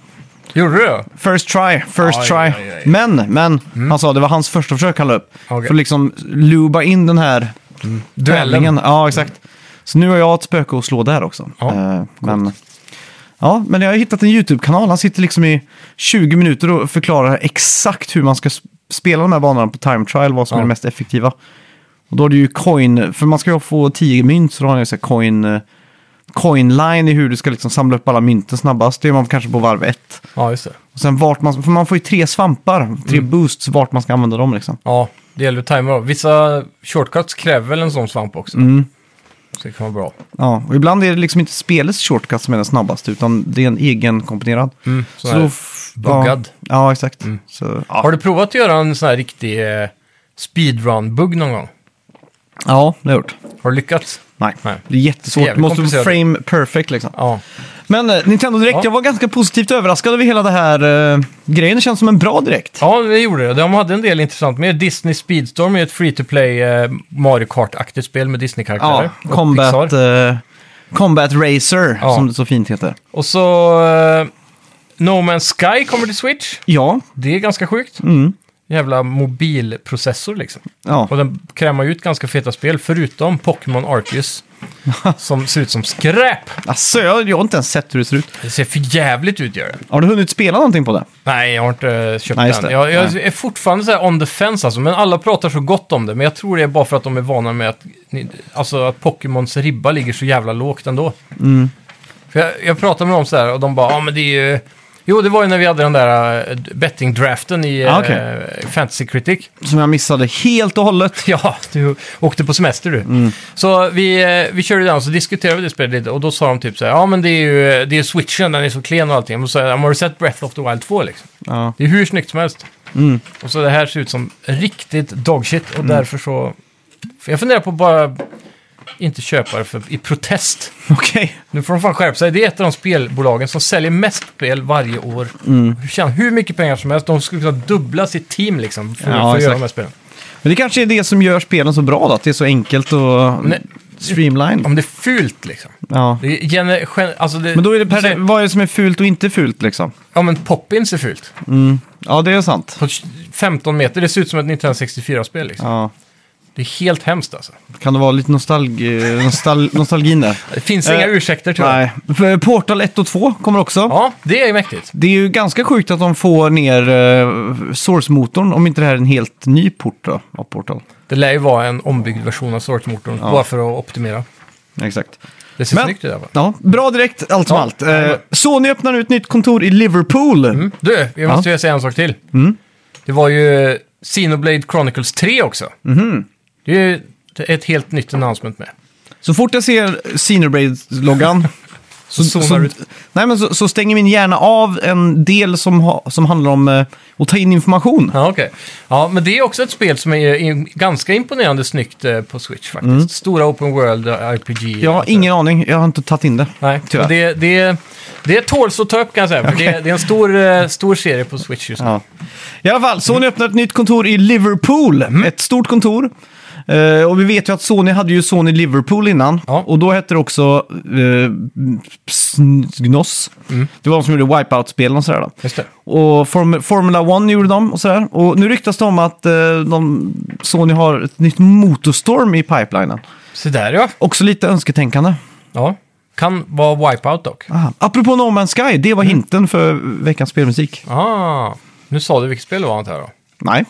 Speaker 2: Gjorde du det?
Speaker 1: First try, first
Speaker 2: Aj,
Speaker 1: try.
Speaker 2: aj, aj. Mm.
Speaker 1: Men, men, han sa det var hans första försök han la upp.
Speaker 2: Okej. Mm.
Speaker 1: För att liksom luba in den här Duellen. Ja, exakt. Så nu har jag ett spöke att slå där också.
Speaker 2: Ja,
Speaker 1: Eh, men, ja, men jag har hittat en YouTube-kanal. Han sitter liksom i 20 minuter och förklarar exakt hur man ska s- spela de här banorna på time trial, vad som
Speaker 2: Ja.
Speaker 1: är det mest effektiva. Och då har du ju coin, för man ska ju få 10 mynt, så då har han ju så här coin, eh, coin line i hur du ska liksom samla upp alla mynten snabbast. Det gör man kanske på varv ett.
Speaker 2: Ja, just det.
Speaker 1: Och sen vart man, för man får ju tre svampar, tre
Speaker 2: Mm.
Speaker 1: boosts, vart man ska använda dem liksom.
Speaker 2: Ja, det gäller att tajma av. Vissa shortcuts kräver väl en sån svamp också.
Speaker 1: Mm.
Speaker 2: Så det kan vara bra.
Speaker 1: Ja, och ibland är det liksom inte spelets shortcut som är den snabbaste, utan det är en egen komponerad.
Speaker 2: sån här
Speaker 1: f-
Speaker 2: buggad. Mm.
Speaker 1: Ja, ja exakt. Så, ja.
Speaker 2: Har du provat att göra en sån här riktig eh, speedrun-bugg någon gång?
Speaker 1: ja, det har jag gjort.
Speaker 2: Har du lyckats?
Speaker 1: Nej.
Speaker 2: Nej.
Speaker 1: det är jättesvårt.
Speaker 2: Jävligt
Speaker 1: Du måste
Speaker 2: komplicerat.
Speaker 1: frame perfect liksom.
Speaker 2: Ja.
Speaker 1: Men eh, Nintendo Direkt,
Speaker 2: Ja.
Speaker 1: jag var ganska positivt överraskad över hela det här eh, grejen. Det känns som en bra direkt.
Speaker 2: ja, det gjorde det. De hade en del intressant med. Disney Speedstorm är ett free-to-play eh, Mario Kart-aktigt spel med Disney-karaktärer. och Pixar.
Speaker 1: combat, eh, combat Racer,
Speaker 2: Ja.
Speaker 1: som det så fint heter.
Speaker 2: Och så eh, No Man's Sky kommer till Switch.
Speaker 1: Ja,
Speaker 2: Det är ganska sjukt.
Speaker 1: mm.
Speaker 2: Jävla mobilprocessor liksom.
Speaker 1: ja.
Speaker 2: Och den krämar ju ut ganska feta spel, förutom Pokémon Arceus. som ser ut som skräp!
Speaker 1: Alltså, jag, jag har inte ens sett hur det ser ut.
Speaker 2: Det ser för jävligt ut gör det.
Speaker 1: Har du hunnit spela någonting på det?
Speaker 2: Nej, jag har inte eh, köpt
Speaker 1: Nej, just
Speaker 2: den.
Speaker 1: det.
Speaker 2: Jag, jag är fortfarande så här on the fence alltså, men alla pratar så gott om det. Men jag tror det är bara för att de är vana med att, ni- alltså, att Pokémons ribba ligger så jävla lågt ändå.
Speaker 1: Mm.
Speaker 2: För jag, jag pratade med dem så här och de bara, ja men det är ju... Jo, det var ju när vi hade den där eh, betting-draften i
Speaker 1: Ah, okej.
Speaker 2: eh, Fantasy Critic.
Speaker 1: Som jag missade helt och hållet.
Speaker 2: Ja, du åkte på semester du.
Speaker 1: Mm.
Speaker 2: Så vi, eh, vi körde den och så diskuterade vi det spelet lite och då sa de typ så här, ja men det är ju det är switchen, den är så klen och allting. Och så sa jag, har du sett Breath of the Wild 2 liksom?
Speaker 1: Ja.
Speaker 2: Det är hur snyggt som helst.
Speaker 1: Mm.
Speaker 2: Och så det här ser ut som riktigt dogshit och därför så... för Jag funderar på att bara inte köpa det för, i protest.
Speaker 1: Okej.
Speaker 2: Nu får de fan skärpa sig. Det är ett av de spelbolagen som säljer mest spel varje år.
Speaker 1: Mm.
Speaker 2: De tjänar hur mycket pengar som helst. De skulle kunna dubbla sitt team liksom för,
Speaker 1: Ja,
Speaker 2: för att göra
Speaker 1: exakt.
Speaker 2: de här spelen.
Speaker 1: Men det kanske är det som gör spelen så bra då, att det är så enkelt och
Speaker 2: Nej.
Speaker 1: streamline.
Speaker 2: Om det är fult liksom.
Speaker 1: Ja.
Speaker 2: Det är gener- gen- alltså det,
Speaker 1: Men då är det per,
Speaker 2: Så-
Speaker 1: vad är det som är fult och inte fult liksom?
Speaker 2: Ja men Poppins är fult.
Speaker 1: Ja, det är sant.
Speaker 2: På 15 meter, det ser ut som ett 1964-spel liksom.
Speaker 1: Ja.
Speaker 2: Det är helt hemskt alltså.
Speaker 1: Kan det vara lite nostalgi, nostal, nostalgin där?
Speaker 2: Det finns
Speaker 1: Eh,
Speaker 2: inga ursäkter tyvärr.
Speaker 1: Nej. För Portal 1 och 2 kommer också.
Speaker 2: Ja, det är mäktigt.
Speaker 1: Det är ju ganska sjukt att de får ner eh, Source-motorn om inte det här är en helt ny port då, av Portal.
Speaker 2: Det lär ju vara en ombyggd version av Source-motorn, bara för att optimera.
Speaker 1: Exakt.
Speaker 2: Det ser
Speaker 1: Men-
Speaker 2: snyggt ut i alla fall.
Speaker 1: Ja, bra direkt, allt som
Speaker 2: Ja.
Speaker 1: allt. Eh, Sony öppnar nu ett nytt kontor i Liverpool.
Speaker 2: Mm. Du, jag måste ju säga en sak till.
Speaker 1: Mm.
Speaker 2: Det var ju Xenoblade Chronicles 3 också.
Speaker 1: Mhm.
Speaker 2: Det är ju ett helt nytt announcement med.
Speaker 1: Så fort jag ser Xenoblade-loggan så,
Speaker 2: zonar
Speaker 1: så,
Speaker 2: du
Speaker 1: nej, men så, så stänger min hjärna av en del som, ha, som handlar om eh, att ta in information.
Speaker 2: Ja, okej. Ja, men det är också ett spel som är in, ganska imponerande snyggt eh, på Switch faktiskt. Stora Open World eh, RPG.
Speaker 1: Jag har Mm. ingen aning, jag har inte tagit in det.
Speaker 2: Nej,
Speaker 1: tyvärr.
Speaker 2: tyvärr. Det, det, det tåls att ta upp kan jag säga. För det, det är en stor, eh, stor serie på Switch just nu.
Speaker 1: Ja. I alla fall, Sony öppnar ett nytt kontor i Liverpool.
Speaker 2: Mm.
Speaker 1: Ett stort kontor. Eh, och vi vet ju att Sony hade ju Sony Liverpool innan.
Speaker 2: Ja.
Speaker 1: Och då hette det också uh, Gnos.
Speaker 2: Mm.
Speaker 1: Det var de som gjorde Wipeout-spelen och sådär. Då.
Speaker 2: Just det.
Speaker 1: Och Form- Formula 1 gjorde de och sådär. Och nu ryktas det om att eh, de, Sony har ett nytt Motorstorm i pipelinen.
Speaker 2: Så där ja.
Speaker 1: Också lite önsketänkande.
Speaker 2: ja. Kan vara Wipeout dock.
Speaker 1: Aha. Apropå No Man's Sky, det var
Speaker 2: Mm.
Speaker 1: hinten för veckans spelmusik.
Speaker 2: Ah, nu sa du vilket spel det var antar jag då.
Speaker 1: Nej.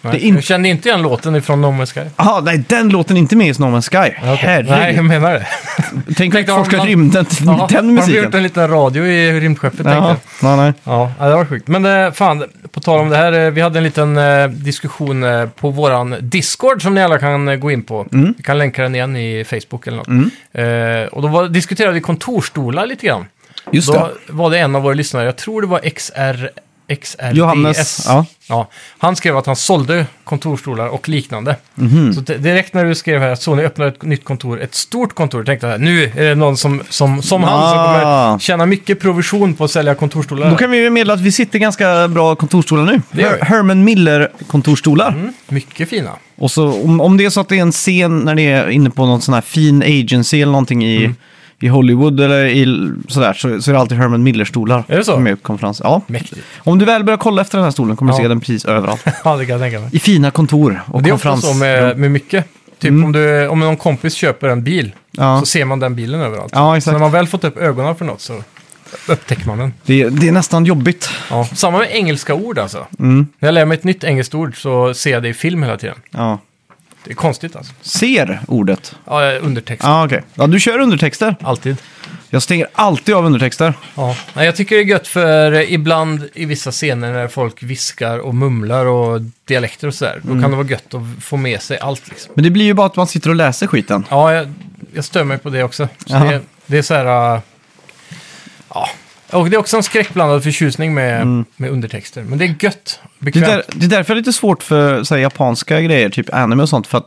Speaker 2: Nej,
Speaker 1: Det är inte-
Speaker 2: Jag kände inte igen låten ifrån No Man's Sky.
Speaker 1: Aha, nej, den låten är inte med i No Man's Sky.
Speaker 2: Ja, okej.
Speaker 1: Herregud.
Speaker 2: Nej, jag menar det.
Speaker 1: Tänk att
Speaker 2: Tänkte om
Speaker 1: utforska
Speaker 2: man-
Speaker 1: rymden till
Speaker 2: Ja,
Speaker 1: den
Speaker 2: Har de
Speaker 1: musiken.
Speaker 2: gjort en liten radio i rymdskeppet tänkte
Speaker 1: Ja, nej,
Speaker 2: jag.
Speaker 1: nej.
Speaker 2: Ja, ja, det var sjukt. Men eh, fan, på tal om det här, eh, vi hade en liten eh, diskussion eh, på våran Discord som ni alla kan eh, gå in på.
Speaker 1: Mm.
Speaker 2: Vi kan länka den igen i Facebook eller något. Eh, och då var, diskuterade vi kontorstolar lite grann.
Speaker 1: Just
Speaker 2: Då
Speaker 1: det.
Speaker 2: var det en av våra lyssnare, jag tror det var XR, XRDS.
Speaker 1: Johannes, ja.
Speaker 2: Ja, han skrev att han sålde kontorstolar och liknande.
Speaker 1: Mhm.
Speaker 2: Så di- direkt när du skrev här att Sony öppnar ett nytt kontor, ett stort kontor, tänkte jag här, nu är det någon som, som, som han som kommer
Speaker 1: Ah.
Speaker 2: tjäna mycket provision på att sälja kontorstolar.
Speaker 1: Då kan vi ju meddela att vi sitter i ganska bra kontorsstolar nu.
Speaker 2: Det gör vi.
Speaker 1: Her- Herman Miller-kontorsstolar.
Speaker 2: Mm, mycket fina.
Speaker 1: Och så om, om det är så att det är en scen när det är inne på någon sån här fin agency eller någonting i,
Speaker 2: Mm.
Speaker 1: i Hollywood eller i, l- sådär så, så är det alltid Herman Miller-stolar.
Speaker 2: Är det så?
Speaker 1: som Med på konferens. Ja.
Speaker 2: Mäktigt.
Speaker 1: Om du väl börjar kolla efter den här stolen kommer du
Speaker 2: Ja.
Speaker 1: se den precis överallt.
Speaker 2: Ja, det kan jag tänka mig.
Speaker 1: I fina kontor och
Speaker 2: Det är ofta
Speaker 1: konferens. Mm.
Speaker 2: så med, med mycket. Typ om, du, om någon kompis köper en bil
Speaker 1: Ja.
Speaker 2: så ser man den bilen överallt.
Speaker 1: Ja,
Speaker 2: så
Speaker 1: exakt.
Speaker 2: när man väl fått upp ögonen för något så upptäcker man den.
Speaker 1: Det, det är nästan jobbigt.
Speaker 2: Ja. Samma med engelska ord alltså.
Speaker 1: Mm.
Speaker 2: När jag lär mig ett nytt engelskt ord så ser jag det i film hela tiden.
Speaker 1: Ja.
Speaker 2: Det är konstigt alltså.
Speaker 1: Ser ordet.
Speaker 2: Ja, undertext.
Speaker 1: Ja, okej. Ja, du kör undertexter.
Speaker 2: Alltid.
Speaker 1: Jag stänger alltid av undertexter.
Speaker 2: Ja. Nej, jag tycker det är gött för eh, ibland i vissa scener när folk viskar och mumlar och dialekter och sådär.
Speaker 1: Mm.
Speaker 2: Då kan det vara gött att få med sig allt liksom.
Speaker 1: Men det blir ju bara att man sitter och läser skiten.
Speaker 2: Ja, jag, jag stör mig på det också. Så
Speaker 1: Jaha.
Speaker 2: det, det är så här... äh, ja. Och det är också en skräckblandad förtjusning med, med undertexter. Men det är gött.
Speaker 1: Mm. Det är,
Speaker 2: Bekvämt.
Speaker 1: där, det är därför det är lite svårt för så här, japanska grejer, typ anime och sånt. För att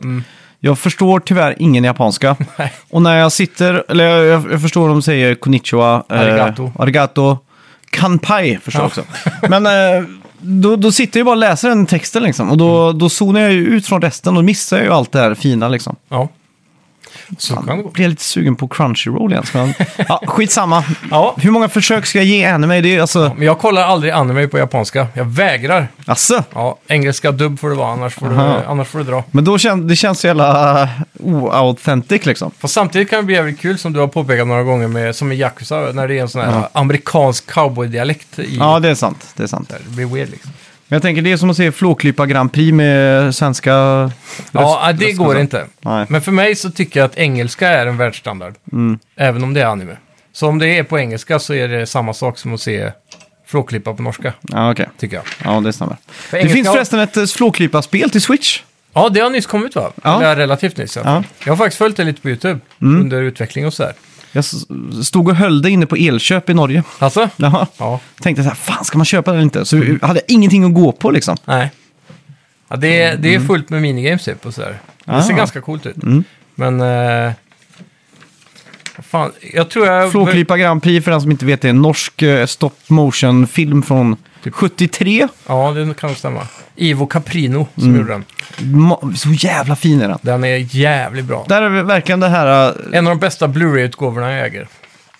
Speaker 1: jag förstår tyvärr ingen japanska.
Speaker 2: Mm. Nej.
Speaker 1: och när jag sitter, eller jag, jag, jag förstår de säger konnichiwa,
Speaker 2: Arigato.
Speaker 1: Eh, arigato kanpai förstår jag
Speaker 2: Ja.
Speaker 1: också. Men eh, då, då sitter jag ju bara och läser den texten liksom. Och då,
Speaker 2: Mm.
Speaker 1: då zonar jag ju ut från resten och missar ju allt det här fina liksom.
Speaker 2: Ja. Så kan det
Speaker 1: Fan,
Speaker 2: gå.
Speaker 1: blir jag lite sugen på crunchyroll igen. så Men, ja, skitsamma.
Speaker 2: Ja.
Speaker 1: Hur många försök ska jag ge anime? Det är alltså...
Speaker 2: Men jag kollar aldrig anime på japanska. Jag vägrar.
Speaker 1: Asså?
Speaker 2: Ja, engelska dubb får det vara, annars får, du,
Speaker 1: Aha.
Speaker 2: annars får du dra.
Speaker 1: Men då kän, det känns så jävla uh, oauthentic liksom.
Speaker 2: Fast samtidigt kan det bli jävligt kul, som du har påpekat några gånger, med, som i Yakuza, när det är en sån här amerikansk cowboy-dialekt i...
Speaker 1: Ja, det är sant. Det är sant.
Speaker 2: Det blir weird liksom.
Speaker 1: Men jag tänker det är som att se Flåklypa Grand Prix med svenska...
Speaker 2: Ja, ah,
Speaker 1: röst-
Speaker 2: det
Speaker 1: röst-
Speaker 2: går inte.
Speaker 1: Nej. Mm.
Speaker 2: Men för mig så tycker jag att engelska är en världsstandard. Även om det är anime. Så om det är på engelska så är det samma sak som att se flåklippa på norska,
Speaker 1: Ja, okej.
Speaker 2: tycker jag.
Speaker 1: Ja, det stämmer. Det
Speaker 2: engelska-
Speaker 1: finns förresten ett eh, Flåklypa-spel till Switch.
Speaker 2: Ja, det har nyss kommit va?
Speaker 1: Ja. Mm.
Speaker 2: Eller relativt nyss. i alla fall. Jag har faktiskt följt det lite på YouTube under utveckling och sådär.
Speaker 1: Jag s- stod och höll det inne på Elköp i Norge.
Speaker 2: Alltså?
Speaker 1: Jaha.
Speaker 2: Ja.
Speaker 1: Tänkte så här, fan ska man köpa det eller inte? Så
Speaker 2: Mm.
Speaker 1: jag hade ingenting att gå på liksom.
Speaker 2: Nej. Ja, det, är, det är fullt med minigames typ och sådär. Det ser
Speaker 1: Mm. Ah.
Speaker 2: ganska coolt ut. Men... Eh, vad fan, jag tror jag...
Speaker 1: Flåklypa Grand Prix, för den som inte vet, det är en norsk eh, stop motion-film från
Speaker 2: Typ.
Speaker 1: 73.
Speaker 2: Ja, det kan nog stämma. Ivo Caprino som
Speaker 1: Mm.
Speaker 2: gjorde den.
Speaker 1: Ma- Så jävla fin är den.
Speaker 2: Den är jävligt bra.
Speaker 1: Där är vi verkligen det här... eh,
Speaker 2: En av de bästa Blu-ray-utgåvorna jag äger.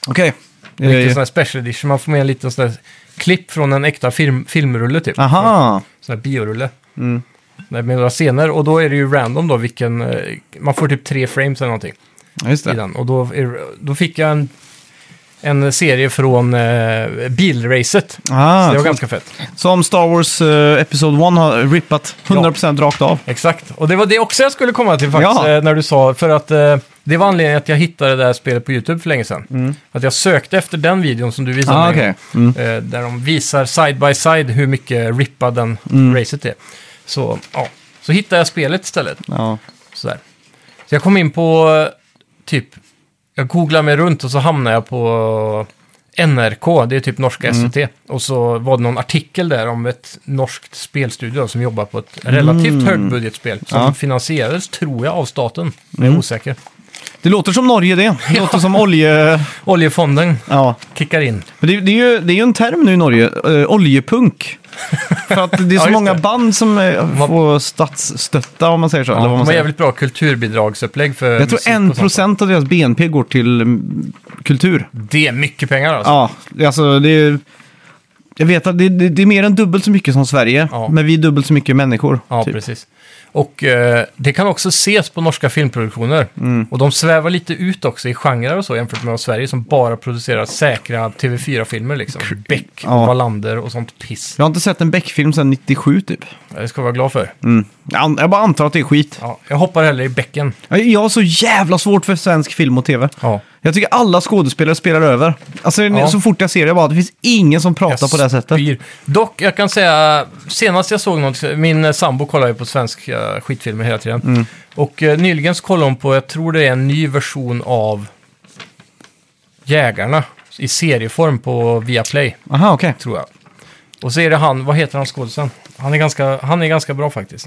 Speaker 1: Okej.
Speaker 2: Riktigt
Speaker 1: Eh,
Speaker 2: sån här special edition. Man får med en liten sån här klipp från en äkta film, filmrulle typ.
Speaker 1: Aha. Mm.
Speaker 2: Sån här biorulle. Med några scener. Och då är det ju random då vilken... eh, Man får typ tre frames eller någonting
Speaker 1: Ja, Just
Speaker 2: i
Speaker 1: det.
Speaker 2: den. Och då, är, då fick jag en, en serie från eh, bilracet. Så
Speaker 1: Ah,
Speaker 2: det var
Speaker 1: så-
Speaker 2: ganska fett.
Speaker 1: Som Star Wars eh, Episod 1 har rippat 100% rakt av.
Speaker 2: Exakt, och det var det också jag skulle komma till faktiskt
Speaker 1: Ja.
Speaker 2: eh, när du sa, för att eh, det var anledningen att jag hittade det här spelet på YouTube för länge sedan. Att jag sökte efter den videon som du visade
Speaker 1: Mm. Ah,
Speaker 2: mig,
Speaker 1: okej. Mm.
Speaker 2: eh, där de visar side by side hur mycket rippad den
Speaker 1: Mm.
Speaker 2: racet är. Så, ja. så hittade jag spelet istället.
Speaker 1: Ja.
Speaker 2: Sådär. Så jag kom in på, eh, typ, jag googlade mig runt och så hamnade jag på NRK, det är typ norska
Speaker 1: Mm.
Speaker 2: SVT. Och så var det någon artikel där om ett norskt spelstudio som jobbar på ett relativt högbudgetspel. Som
Speaker 1: Mm. Ja. Mm.
Speaker 2: finansierades, tror jag, av staten. Jag är osäker.
Speaker 1: Det låter som Norge det. Det låter som olje...
Speaker 2: Oljefonden
Speaker 1: Ja.
Speaker 2: kickar in.
Speaker 1: Men det, det, är ju, det är ju en term nu i Norge, eh, oljepunk. För att det är så
Speaker 2: just
Speaker 1: många
Speaker 2: det.
Speaker 1: band som eh,
Speaker 2: Man-
Speaker 1: får statsstøtta om man säger så. eller
Speaker 2: de
Speaker 1: vad man
Speaker 2: har
Speaker 1: säger.
Speaker 2: jävligt bra kulturbidragsupplägg för
Speaker 1: Jag tror
Speaker 2: musik och
Speaker 1: en
Speaker 2: sånt.
Speaker 1: procent av deras BNP går till mm, kultur.
Speaker 2: Det är mycket pengar alltså.
Speaker 1: Ja, alltså det är... Jag vet att det, det, det är mer än dubbelt så mycket som Sverige,
Speaker 2: Ja.
Speaker 1: men vi är dubbelt så mycket människor.
Speaker 2: Ja,
Speaker 1: typ.
Speaker 2: precis. Och eh, det kan också ses på norska filmproduktioner.
Speaker 1: Mm.
Speaker 2: Och de svävar lite ut också i genrer och så jämfört med Sverige som bara producerar säkra TV4-filmer liksom. Beck,
Speaker 1: Ja.
Speaker 2: Wallander och sånt piss.
Speaker 1: Jag har inte sett en Beck-film sedan 97 typ.
Speaker 2: Det ska jag vara glad för.
Speaker 1: Mm. Jag an- Jag bara antar att det är skit.
Speaker 2: Ja, jag hoppar hellre i bäcken.
Speaker 1: Jag- Jag har så jävla svårt för svensk film och tv.
Speaker 2: Ja.
Speaker 1: Jag tycker alla skådespelare spelar över. Alltså
Speaker 2: Ja.
Speaker 1: så fort jag ser det, jag bara, det finns ingen som pratar på det här sättet.
Speaker 2: Spyr. Dock, jag kan säga, senast jag såg något, min eh, sambo kollar ju på svenska eh, skitfilmer hela tiden.
Speaker 1: Mm.
Speaker 2: Och eh, nyligen så kollade hon på, jag tror det är en ny version av Jägarna i serieform på Viaplay.
Speaker 1: Aha, okej.
Speaker 2: tror jag. Och så är det han, vad heter han skådisen? Han är ganska, han är ganska bra faktiskt.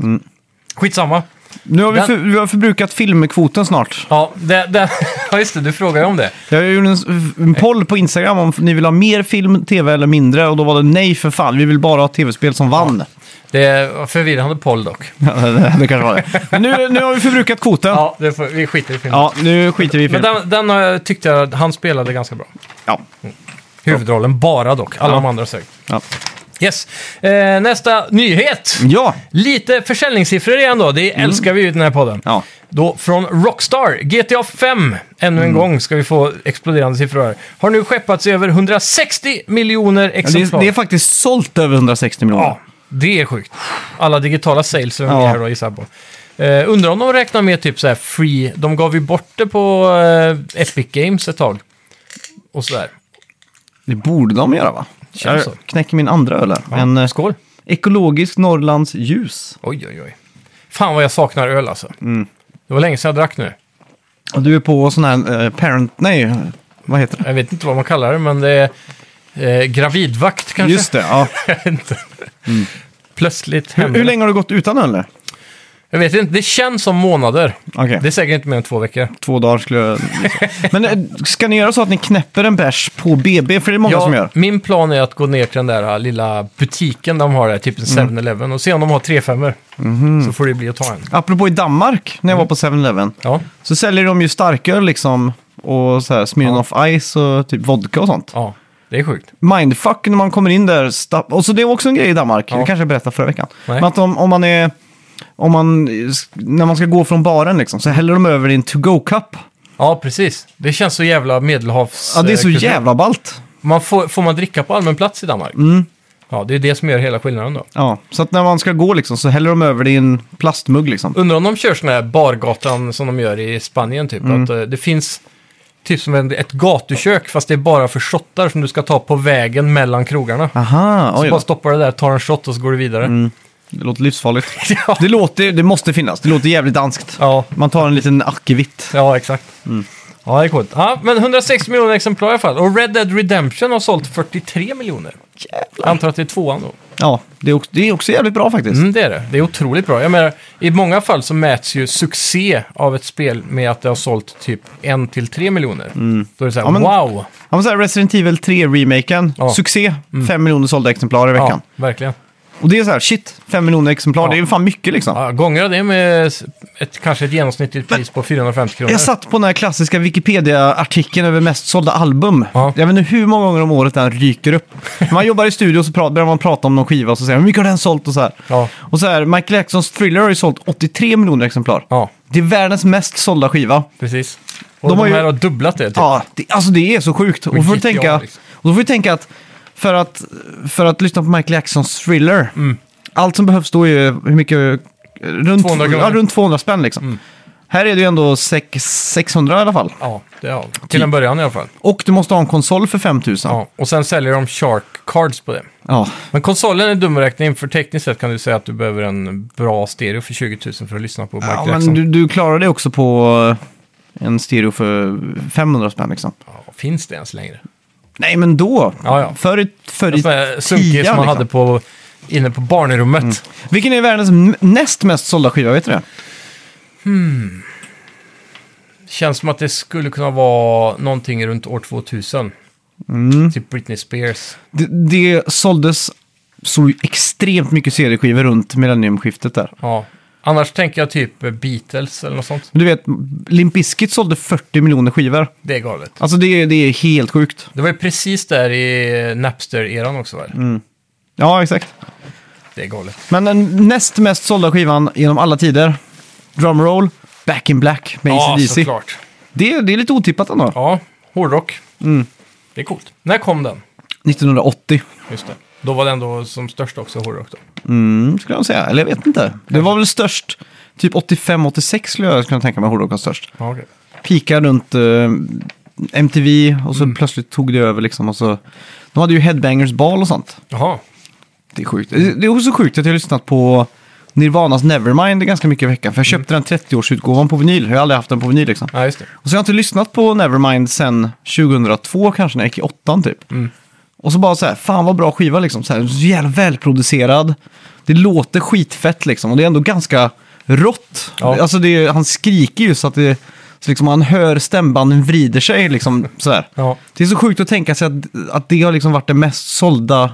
Speaker 2: Skitsamma.
Speaker 1: Nu har vi,
Speaker 2: Den-
Speaker 1: för, vi har förbrukat filmkvoten snart.
Speaker 2: Ja, det, det, ja, just det, du frågar ju om det.
Speaker 1: Jag gjorde en, s- en poll på Instagram om ni vill ha mer film, tv eller mindre. Och då var det nej för fan, vi vill bara ha tv-spel som vann.
Speaker 2: Det var förvirrande poll dock.
Speaker 1: det kanske var det. Men nu, nu har vi förbrukat kvoten. Ja,
Speaker 2: Ja, det får, vi skiter i filmen.
Speaker 1: nu skiter vi i
Speaker 2: Men
Speaker 1: film.
Speaker 2: den, den eh, tyckte jag, att han spelade ganska bra.
Speaker 1: Ja.
Speaker 2: Huvudrollen bara dock, alla
Speaker 1: Ja.
Speaker 2: de andra sög.
Speaker 1: Ja.
Speaker 2: Yes, eh, nästa nyhet.
Speaker 1: ja,
Speaker 2: Lite försäljningssiffror igen då, det älskar vi ju i den här podden.
Speaker 1: Mm. ja.
Speaker 2: Då från Rockstar, GTA 5, ännu
Speaker 1: Mm.
Speaker 2: en gång ska vi få exploderande siffror här, har nu skeppats i över 160 miljoner
Speaker 1: Det, är,
Speaker 2: exemplar.
Speaker 1: det är faktiskt sålt över 160 miljoner.
Speaker 2: ja, det är sjukt. Alla digitala sales som är
Speaker 1: Ja.
Speaker 2: med här då, gissar jag på. Eh, undrar om de räknar med typ så här free, de gav ju bort det på eh, Epic Games ett tag. Och sådär.
Speaker 1: Det borde de göra va?
Speaker 2: Känns
Speaker 1: jag
Speaker 2: så.
Speaker 1: knäcker min andra öl här.
Speaker 2: Ja.
Speaker 1: En eh,
Speaker 2: Skål.
Speaker 1: ekologisk Norrlands ljus.
Speaker 2: Oj, oj, oj. Fan vad jag saknar öl alltså.
Speaker 1: Mm.
Speaker 2: Det var länge sedan jag drack nu.
Speaker 1: Och du är på sån här eh, parent... Nej, vad heter det?
Speaker 2: Jag vet inte vad man kallar det, men det är eh, gravidvakt kanske.
Speaker 1: Just det, ja.
Speaker 2: Jag vet inte. Plötsligt
Speaker 1: Hur,
Speaker 2: händer
Speaker 1: hur
Speaker 2: det.
Speaker 1: länge har du gått utan öl nu?
Speaker 2: Jag vet inte, det känns som månader.
Speaker 1: Okej,
Speaker 2: Det är säkert inte mer än två veckor.
Speaker 1: två dagar skulle jag... Men eh, ska ni göra så att ni knäpper en bärs på BB? För det är många som gör.
Speaker 2: min plan är att gå ner till den där ah, lilla butiken de har där, typ
Speaker 1: Mm.
Speaker 2: en 7-Eleven, och se om de har 3 5
Speaker 1: Mhm.
Speaker 2: Så får det bli att ta en.
Speaker 1: Apropå i Danmark, när jag
Speaker 2: Mm.
Speaker 1: var på 7-Eleven,
Speaker 2: Ja,
Speaker 1: så säljer de ju starköl liksom. Och så här Smirnoff Ice och typ vodka och sånt.
Speaker 2: ja, det är sjukt.
Speaker 1: mindfuck när man kommer in där. sta- Och så det är också en grej i Danmark,
Speaker 2: Ja.
Speaker 1: det kanske jag berättade förra veckan.
Speaker 2: Nej.
Speaker 1: Men att om, om man är... Om man, när man ska gå från baren liksom, så häller de över i en to-go-cup.
Speaker 2: Ja, precis. Det känns så jävla medelhavs...
Speaker 1: Ja, det är så
Speaker 2: eh, kultur.
Speaker 1: jävla Mm. ballt.
Speaker 2: Man får, får man dricka på allmän plats i Danmark? Ja, det är det som gör hela skillnaden då.
Speaker 1: Ja, så att när man ska gå liksom, så häller de över det i en plastmugg liksom.
Speaker 2: Undrar om de kör sån här bargatan som de gör i Spanien typ.
Speaker 1: Mm.
Speaker 2: Att eh, det finns typ som en- ett gatukök fast det är bara för shottar som du ska ta på vägen mellan krogarna.
Speaker 1: Aha, Ah, oj
Speaker 2: Så bara
Speaker 1: då. Mm.
Speaker 2: stoppar det där, tar en shot och så går du vidare.
Speaker 1: Det låter livsfarligt.
Speaker 2: Ja.
Speaker 1: Det låter, det måste finnas, det låter jävligt danskt.
Speaker 2: Ja,
Speaker 1: Man tar en liten akkevitt.
Speaker 2: ja exakt.
Speaker 1: Mm.
Speaker 2: Ja, det är coolt. Ja, men 160 miljoner exemplar i alla fall. Och Red Dead Redemption har sålt 43 miljoner. Jag antar att det är tvåan då.
Speaker 1: Ja, det är också, det är också jävligt bra faktiskt.
Speaker 2: Mm, det är det. Det är otroligt bra. Jag menar, i många fall så mäts ju succé av ett spel med att det har sålt typ 1-3 miljoner. Då är det så här,
Speaker 1: Mm. Ja, men-
Speaker 2: wow!
Speaker 1: Ja, men så här, Resident Evil 3-remaken,
Speaker 2: Ja. Mm.
Speaker 1: succé, 5 miljoner sålda exemplar i veckan.
Speaker 2: Ja, verkligen.
Speaker 1: Och det är så här, shit, 5 miljoner exemplar,
Speaker 2: Ja.
Speaker 1: det är ju fan mycket liksom.
Speaker 2: Ja, gånger av det med s- ett, kanske ett genomsnittligt pris på 450 kronor.
Speaker 1: Jag satt på den här klassiska Wikipedia-artikeln över mest sålda album.
Speaker 2: Ja.
Speaker 1: Jag vet inte hur många gånger om året den ryker upp. När man jobbar i studio och så pra- börjar man prata om någon skiva och så säger man hur mycket har den sålt och så här.
Speaker 2: Ja.
Speaker 1: Och så här, Michael Jacksons Thriller har ju sålt 83 miljoner exemplar.
Speaker 2: ja,
Speaker 1: Det är världens mest sålda skiva.
Speaker 2: precis. Och de,
Speaker 1: De har ju-
Speaker 2: här har dubblat det. Typ.
Speaker 1: Ja, det, alltså det är så sjukt. Och, då får du
Speaker 2: Vilket jag,
Speaker 1: tänka,
Speaker 2: liksom.
Speaker 1: och då får du tänka att för, att för att lyssna på Michael Jacksons Thriller,
Speaker 2: Mm.
Speaker 1: allt som behövs då är ju hur mycket... Runt
Speaker 2: 200
Speaker 1: 200,
Speaker 2: kronor. Mm.
Speaker 1: ja, runt 200 spänn liksom. Här är det ju ändå sex- 600 i alla fall.
Speaker 2: Ja, det, ja. till en början i alla fall.
Speaker 1: Och du måste ha en konsol för 5000. Ja.
Speaker 2: Ja. Och sen säljer de shark cards på det.
Speaker 1: ja.
Speaker 2: Men konsolen är dum att räkna in, för tekniskt sett kan du säga att du behöver en bra stereo för 20 000 för att lyssna på Michael
Speaker 1: men
Speaker 2: Jackson.
Speaker 1: du, du klarar det också på eh, en stereo för 500 spänn liksom.
Speaker 2: Ja, finns det ens längre?
Speaker 1: Nej, men då.
Speaker 2: Ja, ja.
Speaker 1: Förr i, förr
Speaker 2: En
Speaker 1: i
Speaker 2: sån här sunkig som
Speaker 1: tian,
Speaker 2: man
Speaker 1: liksom. Mm.
Speaker 2: hade på, inne på barnrummet.
Speaker 1: Vilken är världens m- näst mest sålda skiva, vet du det?
Speaker 2: Känns som att det skulle kunna vara någonting runt år 2000.
Speaker 1: Mm.
Speaker 2: Typ Britney Spears.
Speaker 1: det? Det såldes så extremt mycket CD-skivor runt millenniumskiftet där.
Speaker 2: Ja. Annars tänker jag typ Beatles eller något sånt.
Speaker 1: Men Du vet, Limp Bizkit sålde 40 miljoner skivor.
Speaker 2: Det är galet.
Speaker 1: Alltså det, är- det är helt sjukt.
Speaker 2: Det var ju precis där i Napster-eran också va?
Speaker 1: Ja, exakt.
Speaker 2: Det är galet.
Speaker 1: Men den näst mest sålda skivan genom alla tider, drumroll, Back in Black med
Speaker 2: Ja,
Speaker 1: AC/DC.
Speaker 2: såklart.
Speaker 1: Det, det är lite otippat ändå.
Speaker 2: Ja, hårdrock. Det är coolt. När kom den?
Speaker 1: 1980,
Speaker 2: Just det. Då var den då som störst också, hårdrock då.
Speaker 1: mm, skulle jag säga. Eller jag vet inte. Det var väl störst, typ 85-86 skulle jag kunna tänka mig hårdrock var störst.
Speaker 2: Ja, okej.
Speaker 1: Pika runt eh, MTV och så plötsligt tog det över liksom. Och så, de hade ju Headbangers bal och sånt.
Speaker 2: Jaha.
Speaker 1: Det är sjukt. Det det är också sjukt att jag har lyssnat på Nirvanas Nevermind ganska mycket i veckan. För jag köpte den 30-årsutgåvan på vinyl. Jag har aldrig haft den på vinyl liksom.
Speaker 2: Ja, just det.
Speaker 1: Och så har jag inte lyssnat på Nevermind sen 2002 kanske, när jag gick i åttan typ.
Speaker 2: Mm.
Speaker 1: Och så bara så här, fan vad bra skiva liksom. Så, här, så jävla välproducerad. Det låter skitfett liksom. Och det är ändå ganska rått.
Speaker 2: Ja.
Speaker 1: Alltså det är, han skriker ju så att det... Så liksom man hör stämbanden vrider sig liksom så här.
Speaker 2: Ja.
Speaker 1: Det är så sjukt att tänka sig att, att det har liksom varit den mest sålda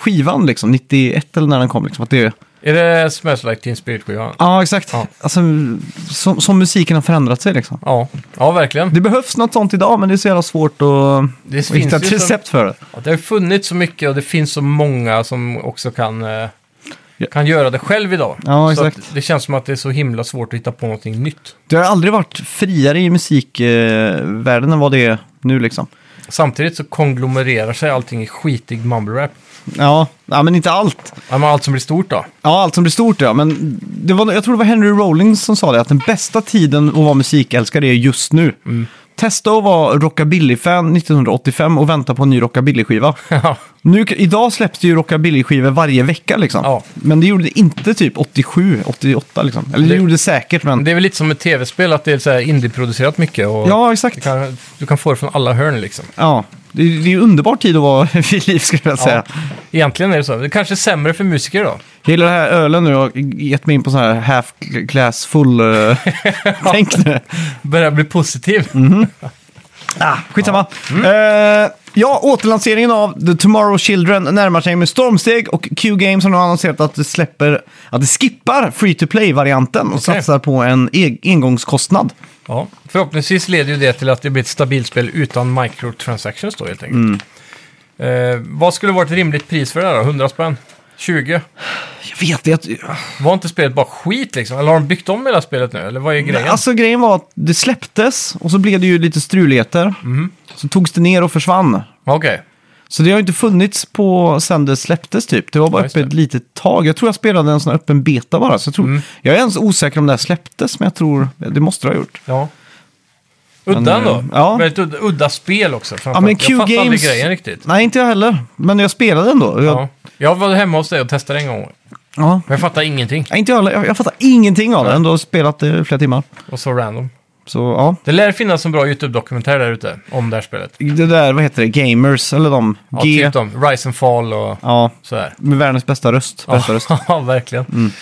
Speaker 1: skivan liksom, 91 eller när den kom liksom. Att det,
Speaker 2: Är det Smells Like Teen Spirit-skivan?
Speaker 1: ja, exakt.
Speaker 2: Ja.
Speaker 1: Alltså, som, som musiken har förändrat sig liksom.
Speaker 2: Ja. ja, verkligen.
Speaker 1: Det behövs något sånt idag, men det är så jävla svårt att,
Speaker 2: Det
Speaker 1: att
Speaker 2: finns
Speaker 1: hitta
Speaker 2: ju
Speaker 1: ett
Speaker 2: som-
Speaker 1: recept för det.
Speaker 2: Ja, det har funnits så mycket och det finns så många som också kan, eh,
Speaker 1: Ja.
Speaker 2: kan göra det själv idag.
Speaker 1: Ja,
Speaker 2: så
Speaker 1: exakt.
Speaker 2: Att det känns som att det är så himla svårt att hitta på någonting nytt.
Speaker 1: Det har aldrig varit friare i musikvärlden än vad det är nu liksom.
Speaker 2: Samtidigt så konglomererar sig allting i skitig mumble-rap.
Speaker 1: Ja, ja men inte allt.
Speaker 2: Ja, men allt som blir stort då.
Speaker 1: Ja, allt som blir stort ja. Men det var, jag tror det var Henry Rollins som sa det, att den bästa tiden att vara musikälskare är just nu.
Speaker 2: Mm.
Speaker 1: Testa att vara rockabilly-fan 1985 och vänta på en ny rockabilly-skiva. Nu, idag släpps det ju rockabilly-skivor varje vecka liksom.
Speaker 2: Ja.
Speaker 1: Men det gjorde det inte typ 87, 88 liksom. Eller det,
Speaker 2: Det-
Speaker 1: gjorde det säkert, men...
Speaker 2: det är väl lite som ett tv-spel, att det är så här indieproducerat mycket. Och
Speaker 1: ja,
Speaker 2: du,
Speaker 1: exakt.
Speaker 2: kan, du kan få det från alla hörn liksom.
Speaker 1: Ja, det, det är ju underbar tid att vara vid liv skulle jag säga.
Speaker 2: Egentligen är det så. Det kanske är sämre för musiker då.
Speaker 1: Jag gillar det här ölen nu, jag har gett mig in på sån här half class full eh, tänk nu.
Speaker 2: Börjar bli positiv.
Speaker 1: Mm. Ah, skitsamma.
Speaker 2: Mm.
Speaker 1: Eh, ja, återlanseringen av The Tomorrow Children närmar sig med stormsteg och Q Games har nu annonserat att det släpper, att det skippar free to play-varianten och
Speaker 2: Okej.
Speaker 1: satsar på en e- engångskostnad.
Speaker 2: Ja. Förhoppningsvis leder ju det till att det blir ett stabilt spel utan microtransactions då helt
Speaker 1: Mm.
Speaker 2: enkelt. Eh, vad skulle vara ett rimligt pris för det här då? 100 spänn? 20?
Speaker 1: Jag vet det.
Speaker 2: Var inte spelet bara skit liksom? Eller har de byggt om hela spelet nu? Eller vad är grejen?
Speaker 1: Alltså grejen var att det släpptes och så blev det ju lite struligheter.
Speaker 2: Mhm.
Speaker 1: Så togs det ner och försvann.
Speaker 2: Okej.
Speaker 1: Så det har ju inte funnits på sen det släpptes typ. Det var bara
Speaker 2: Ja, just det. Mm.
Speaker 1: öppet ett litet tag. Jag tror jag spelade en sån här öppen beta bara. Så jag, tror, jag är ens osäker om det här släpptes, men jag tror det måste det ha gjort.
Speaker 2: Ja. Udda
Speaker 1: Men,
Speaker 2: ändå.
Speaker 1: eh, ja.
Speaker 2: Väldigt udda, udda spel också.
Speaker 1: Ja,
Speaker 2: framförallt.
Speaker 1: men Q
Speaker 2: jag fattar aldrig
Speaker 1: Games...
Speaker 2: grejen riktigt.
Speaker 1: Nej, inte jag heller. Men jag spelade ändå. Jag, ja.
Speaker 2: Ja. Jag var hemma hos dig och testade en gång.
Speaker 1: Ja.
Speaker 2: Men jag fattar ingenting.
Speaker 1: Nej, inte jag heller. Jag, jag fattar ingenting av det. Ändå spelat det i flera timmar.
Speaker 2: Och så random.
Speaker 1: Så ja,
Speaker 2: Det lär finnas en bra YouTube-dokumentär där ute om det här spelet.
Speaker 1: det där, vad heter det, gamers eller de?
Speaker 2: Ja, typ de. Rise and Fall och
Speaker 1: Ja,
Speaker 2: sådär.
Speaker 1: med världens bästa röst. Bästa röst.
Speaker 2: ja, verkligen.
Speaker 1: Mm.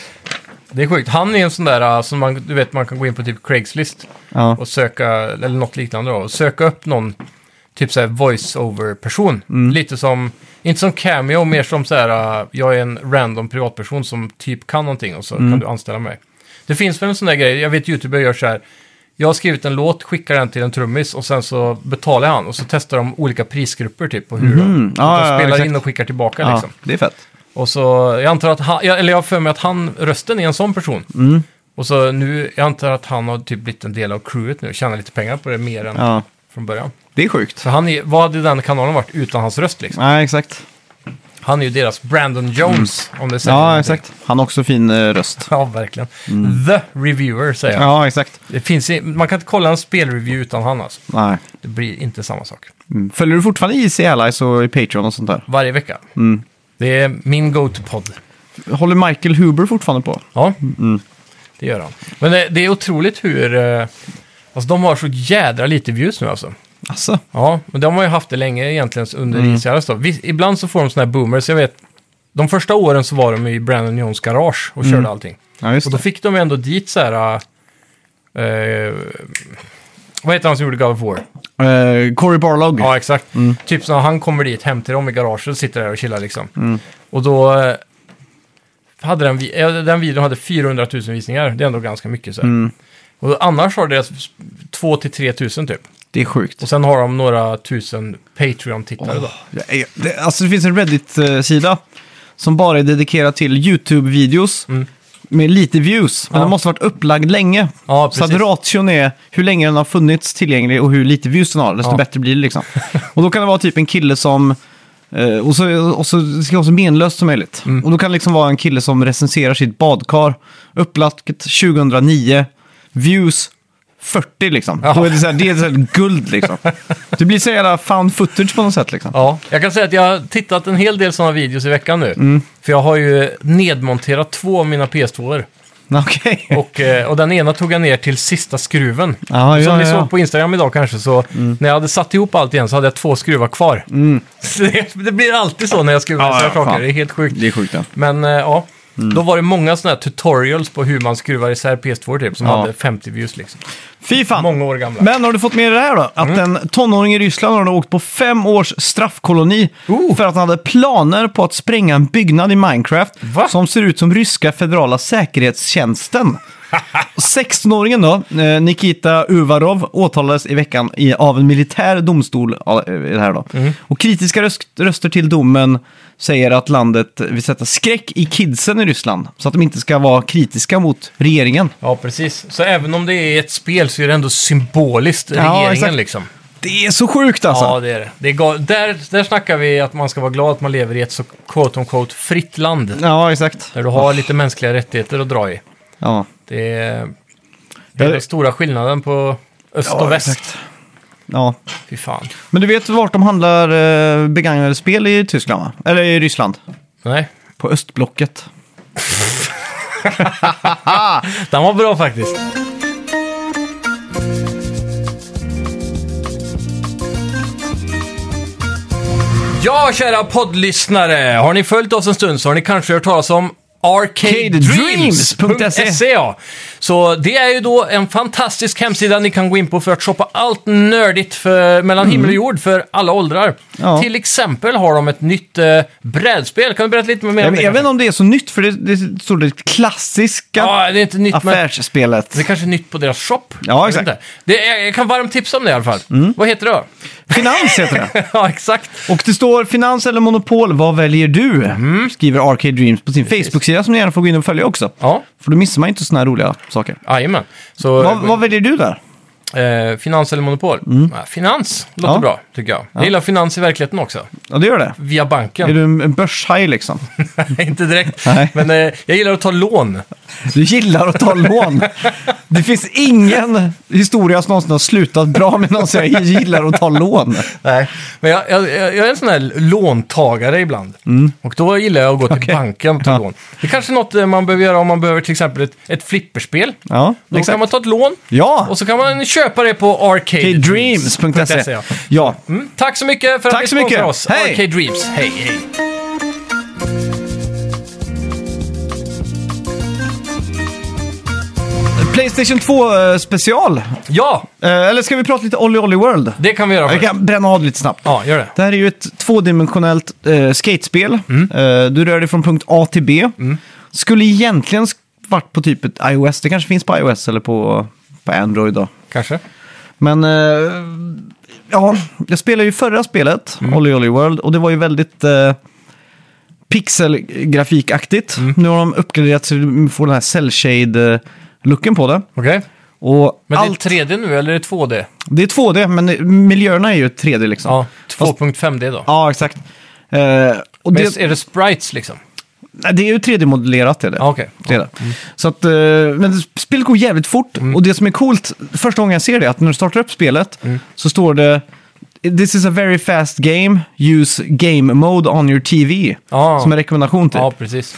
Speaker 2: Det är sjukt. Han är en sån där eh, som man, du vet, man kan gå in på typ Craigslist
Speaker 1: Ja.
Speaker 2: och söka, eller något liknande då, och söka upp någon typ såhär voice-over-person.
Speaker 1: Mm.
Speaker 2: Lite som, inte som cameo, mer som såhär, eh, jag är en random privatperson som typ kan någonting och så
Speaker 1: Mm.
Speaker 2: kan du anställa mig. Det finns väl en sån där grej, jag vet YouTuber gör så här, jag har skrivit en låt, skickar den till en trummis och sen så betalar jag han och så testar de olika prisgrupper typ på hur de,
Speaker 1: Mm. Ja,
Speaker 2: de
Speaker 1: ja,
Speaker 2: spelar
Speaker 1: exakt.
Speaker 2: in och skickar tillbaka
Speaker 1: Ja,
Speaker 2: liksom.
Speaker 1: det är fett.
Speaker 2: Och så, jag antar att han, jag- eller jag har för mig att han, rösten är en sån person.
Speaker 1: Mm.
Speaker 2: Och så nu, jag antar att han har typ blivit en del av crewet nu och tjänar lite pengar på det mer än
Speaker 1: Ja.
Speaker 2: från början.
Speaker 1: Det är sjukt.
Speaker 2: Så han är, vad hade den kanalen varit utan hans röst liksom?
Speaker 1: Nej, exakt.
Speaker 2: Han är ju deras Brandon Jones, om det säger
Speaker 1: Mm. Ja,
Speaker 2: någonting.
Speaker 1: exakt. Han har också fin eh, röst.
Speaker 2: Ja, verkligen. The Reviewer säger jag.
Speaker 1: Ja, exakt.
Speaker 2: Det finns, i- man kan inte kolla en spelreview utan han alltså.
Speaker 1: Nej.
Speaker 2: Det blir inte samma sak.
Speaker 1: Mm. Följer du fortfarande IC Allies och i Patreon och sånt där?
Speaker 2: Varje vecka.
Speaker 1: Mm.
Speaker 2: Det är min go-to-podd.
Speaker 1: Håller Michael Huber fortfarande på?
Speaker 2: Ja, det gör han. Men eh, det, det är otroligt hur... Eh, alltså de har så jädra lite views nu alltså.
Speaker 1: Alltså.
Speaker 2: Ja, men de har ju haft det länge egentligen under mm. då. Vis- ibland så får de såna här boomers. Jag vet, de första åren så var de i Brandon Jones garage och körde allting.
Speaker 1: Ja,
Speaker 2: Och
Speaker 1: just
Speaker 2: då
Speaker 1: det.
Speaker 2: fick de ändå dit så här... eh, Eh, vad heter han som gjorde God of War?
Speaker 1: Eh, Corey Barlog.
Speaker 2: Ja, exakt.
Speaker 1: Mm.
Speaker 2: Typ så när han kommer dit hem till dem i garaget och sitter där och chillar liksom.
Speaker 1: Mm.
Speaker 2: Och då eh, hade den, vi- eh, den videon hade 400 000 visningar. Det är ändå ganska mycket så här.
Speaker 1: Mm.
Speaker 2: Och annars har deras 2 till 3 000 typ.
Speaker 1: Det är sjukt.
Speaker 2: Och sen har de några tusen Patreon-tittare då.
Speaker 1: Åh, jag är- det, alltså det finns en Reddit-sida som bara är dedikerad till YouTube-videos med lite views. Men
Speaker 2: Mm. Ja.
Speaker 1: den måste ha varit upplagd länge.
Speaker 2: Ja,
Speaker 1: så att
Speaker 2: precis.
Speaker 1: ration är hur länge den har funnits tillgänglig och hur lite views den har, desto
Speaker 2: Ja.
Speaker 1: bättre blir det liksom. och då kan det vara typ en kille som eh, och så, och så det ska vara så menlöst som möjligt. Och då kan det liksom vara en kille som recenserar sitt badkar, upplagt 2009, views 40 liksom.
Speaker 2: Ja.
Speaker 1: Då är det så här, det är så här guld liksom. Det blir så jävla fan footage på något sätt liksom.
Speaker 2: Ja, jag kan säga att jag har tittat en hel del sådana videos i veckan nu.
Speaker 1: Mm.
Speaker 2: För jag har ju nedmonterat två av mina PS2-er.
Speaker 1: Okej.
Speaker 2: Och, eh, och den ena tog jag ner till sista skruven.
Speaker 1: Ja,
Speaker 2: Och som
Speaker 1: ja,
Speaker 2: ni
Speaker 1: ja. Mm.
Speaker 2: såg på Instagram idag kanske, så när jag hade satt ihop allt igen så hade jag två skruvar kvar. Så det, det blir alltid så när jag skruvar
Speaker 1: Ja,
Speaker 2: isär
Speaker 1: ja,
Speaker 2: saker,
Speaker 1: fan. Mm.
Speaker 2: det är helt sjukt.
Speaker 1: Det är sjukt ja.
Speaker 2: Men eh, ja, då var det många sådana här tutorials på hur man skruvar isär PS2 typ, som
Speaker 1: Ja.
Speaker 2: hade 50 views liksom.
Speaker 1: Fy fan.
Speaker 2: Många år gamla.
Speaker 1: Men har du fått med det här då? Att en tonåring i Ryssland har då åkt på fem års straffkoloni
Speaker 2: Oh.
Speaker 1: för att han hade planer på att spränga en byggnad i Minecraft
Speaker 2: Va?
Speaker 1: som ser ut som ryska federala säkerhetstjänsten. 16-åringen då, eh, Nikita Uvarov, åtalades i veckan i, av en militär domstol. ja, eh, i det här då. Och kritiska röst, röster till domen säger att landet vill sätta skräck i kidsen i Ryssland så att de inte ska vara kritiska mot regeringen.
Speaker 2: Ja, precis. Så även om det är ett spel så är det ändå symboliskt regeringen
Speaker 1: exakt.
Speaker 2: liksom.
Speaker 1: Det är så sjukt alltså!
Speaker 2: Ja, det är det. det är gal- där, där snackar vi att man ska vara glad att man lever i ett så quote on quote fritt land.
Speaker 1: Ja, exakt.
Speaker 2: Där du har lite mänskliga rättigheter att dra i.
Speaker 1: Ja,
Speaker 2: Det är, det
Speaker 1: Ja,
Speaker 2: är
Speaker 1: det-
Speaker 2: den stora skillnaden på öst och väst.
Speaker 1: ja.
Speaker 2: Fy fan.
Speaker 1: Men du vet vart de handlar eh, begagnade spel i Tyskland, va? Eller i Ryssland?
Speaker 2: Nej,
Speaker 1: På östblocket.
Speaker 2: den var bra faktiskt. Ja, kära poddlyssnare. Har ni följt oss en stund så har ni kanske hört talas om
Speaker 1: E.
Speaker 2: arcadedreams.se. E, ja. Så det är ju då en fantastisk hemsida ni kan gå in på för att shoppa allt nördigt för, mellan himmel och jord för alla åldrar.
Speaker 1: Mm. Ja.
Speaker 2: Till exempel har de ett nytt eh, brädspel. Kan du berätta lite mer om
Speaker 1: Jag,
Speaker 2: det?
Speaker 1: vet- jag vet
Speaker 2: kanske?
Speaker 1: inte om det är så nytt, för det, det står det klassiska
Speaker 2: Ja, det är inte nytt, men
Speaker 1: affärsspelet.
Speaker 2: det är kanske är nytt på deras shop.
Speaker 1: Ja,
Speaker 2: Jag vet
Speaker 1: exakt. Mm.
Speaker 2: inte. Det är, jag kan varmt tipsa om det i alla fall. Vad heter det då?
Speaker 1: Finans heter det.
Speaker 2: ja, exakt.
Speaker 1: Och det står finans eller monopol, vad väljer du?
Speaker 2: Mm.
Speaker 1: Skriver Arcade Dreams på sin Facebook-sida som ni gärna får gå in och följa också.
Speaker 2: Ja,
Speaker 1: För då missar man inte sådana här roliga saker.
Speaker 2: jajamän. Så,
Speaker 1: Vad, vad väljer du där?
Speaker 2: eh, finans eller monopol? Ja, finans låter
Speaker 1: Ja.
Speaker 2: bra, tycker jag. Jag gillar finans i verkligheten också.
Speaker 1: Ja, det gör det.
Speaker 2: Via banken.
Speaker 1: Är du en en börshaj liksom?
Speaker 2: Nej, inte direkt.
Speaker 1: Nej.
Speaker 2: Men eh, jag gillar att ta lån.
Speaker 1: Du gillar att ta lån. Det finns ingen historia som någonsin har slutat bra med någon som jag gillar att ta lån.
Speaker 2: Nej, men jag, jag, jag är en sån här låntagare ibland. Och då gillar jag att gå till banken och ta
Speaker 1: Mm. Ja.
Speaker 2: lån. Det är kanske något eh, man behöver göra om man behöver till exempel ett, ett flipperspel.
Speaker 1: Ja,
Speaker 2: Då
Speaker 1: exakt.
Speaker 2: kan man ta ett lån
Speaker 1: Ja,
Speaker 2: och så kan man köpa det på arcadedreams.se.
Speaker 1: dreams.se.
Speaker 2: ja.
Speaker 1: Ja,
Speaker 2: Mm, tack så mycket för att
Speaker 1: Tack
Speaker 2: ni
Speaker 1: så
Speaker 2: sponsrar
Speaker 1: mycket.
Speaker 2: oss.
Speaker 1: Hej.
Speaker 2: Arcade Dreams. Hej, hej.
Speaker 1: Playstation 2-special.
Speaker 2: Ja,
Speaker 1: Eh, Eller ska vi prata lite Olly Olly World?
Speaker 2: det kan vi göra
Speaker 1: Jag
Speaker 2: först.
Speaker 1: kan bränna av lite snabbt.
Speaker 2: Ja, gör det.
Speaker 1: Det här är ju ett tvådimensionellt eh, skatespel.
Speaker 2: Mm.
Speaker 1: Eh, du rör dig från punkt A till B. Skulle egentligen sk- varit på typ ett iOS. Det kanske finns på iOS eller på, på Android då.
Speaker 2: Kanske.
Speaker 1: Men eh, ja, jag spelade ju förra spelet,
Speaker 2: Mm.
Speaker 1: Olly Olly World, och det var ju väldigt eh, pixelgrafikaktigt.
Speaker 2: Mm.
Speaker 1: Nu har de uppgraderat så du får den här cell shade eh, looken på det.
Speaker 2: Okej.
Speaker 1: Och
Speaker 2: Men
Speaker 1: allt,
Speaker 2: det är 3D nu, eller är det 2D?
Speaker 1: det är 2D, men miljöerna är ju 3D liksom.
Speaker 2: Ja,
Speaker 1: Ja,
Speaker 2: 2.5D då.
Speaker 1: exakt. Eh, och
Speaker 2: Men
Speaker 1: det, Typ.
Speaker 2: är det sprites liksom?
Speaker 1: Nej, det är ju 3D-modellerat. Är det.
Speaker 2: Ja, Ah, Mm. Okej.
Speaker 1: Det är det. Så att, eh, men spelet går jävligt fort. Och det som är coolt, första gången jag ser det, är att när du startar upp spelet
Speaker 2: Mm.
Speaker 1: så står det This is a very fast game, use game mode on your TV.
Speaker 2: Ja.
Speaker 1: Som en rekommendation typ.
Speaker 2: Ah. Ja,
Speaker 1: Ja,
Speaker 2: precis.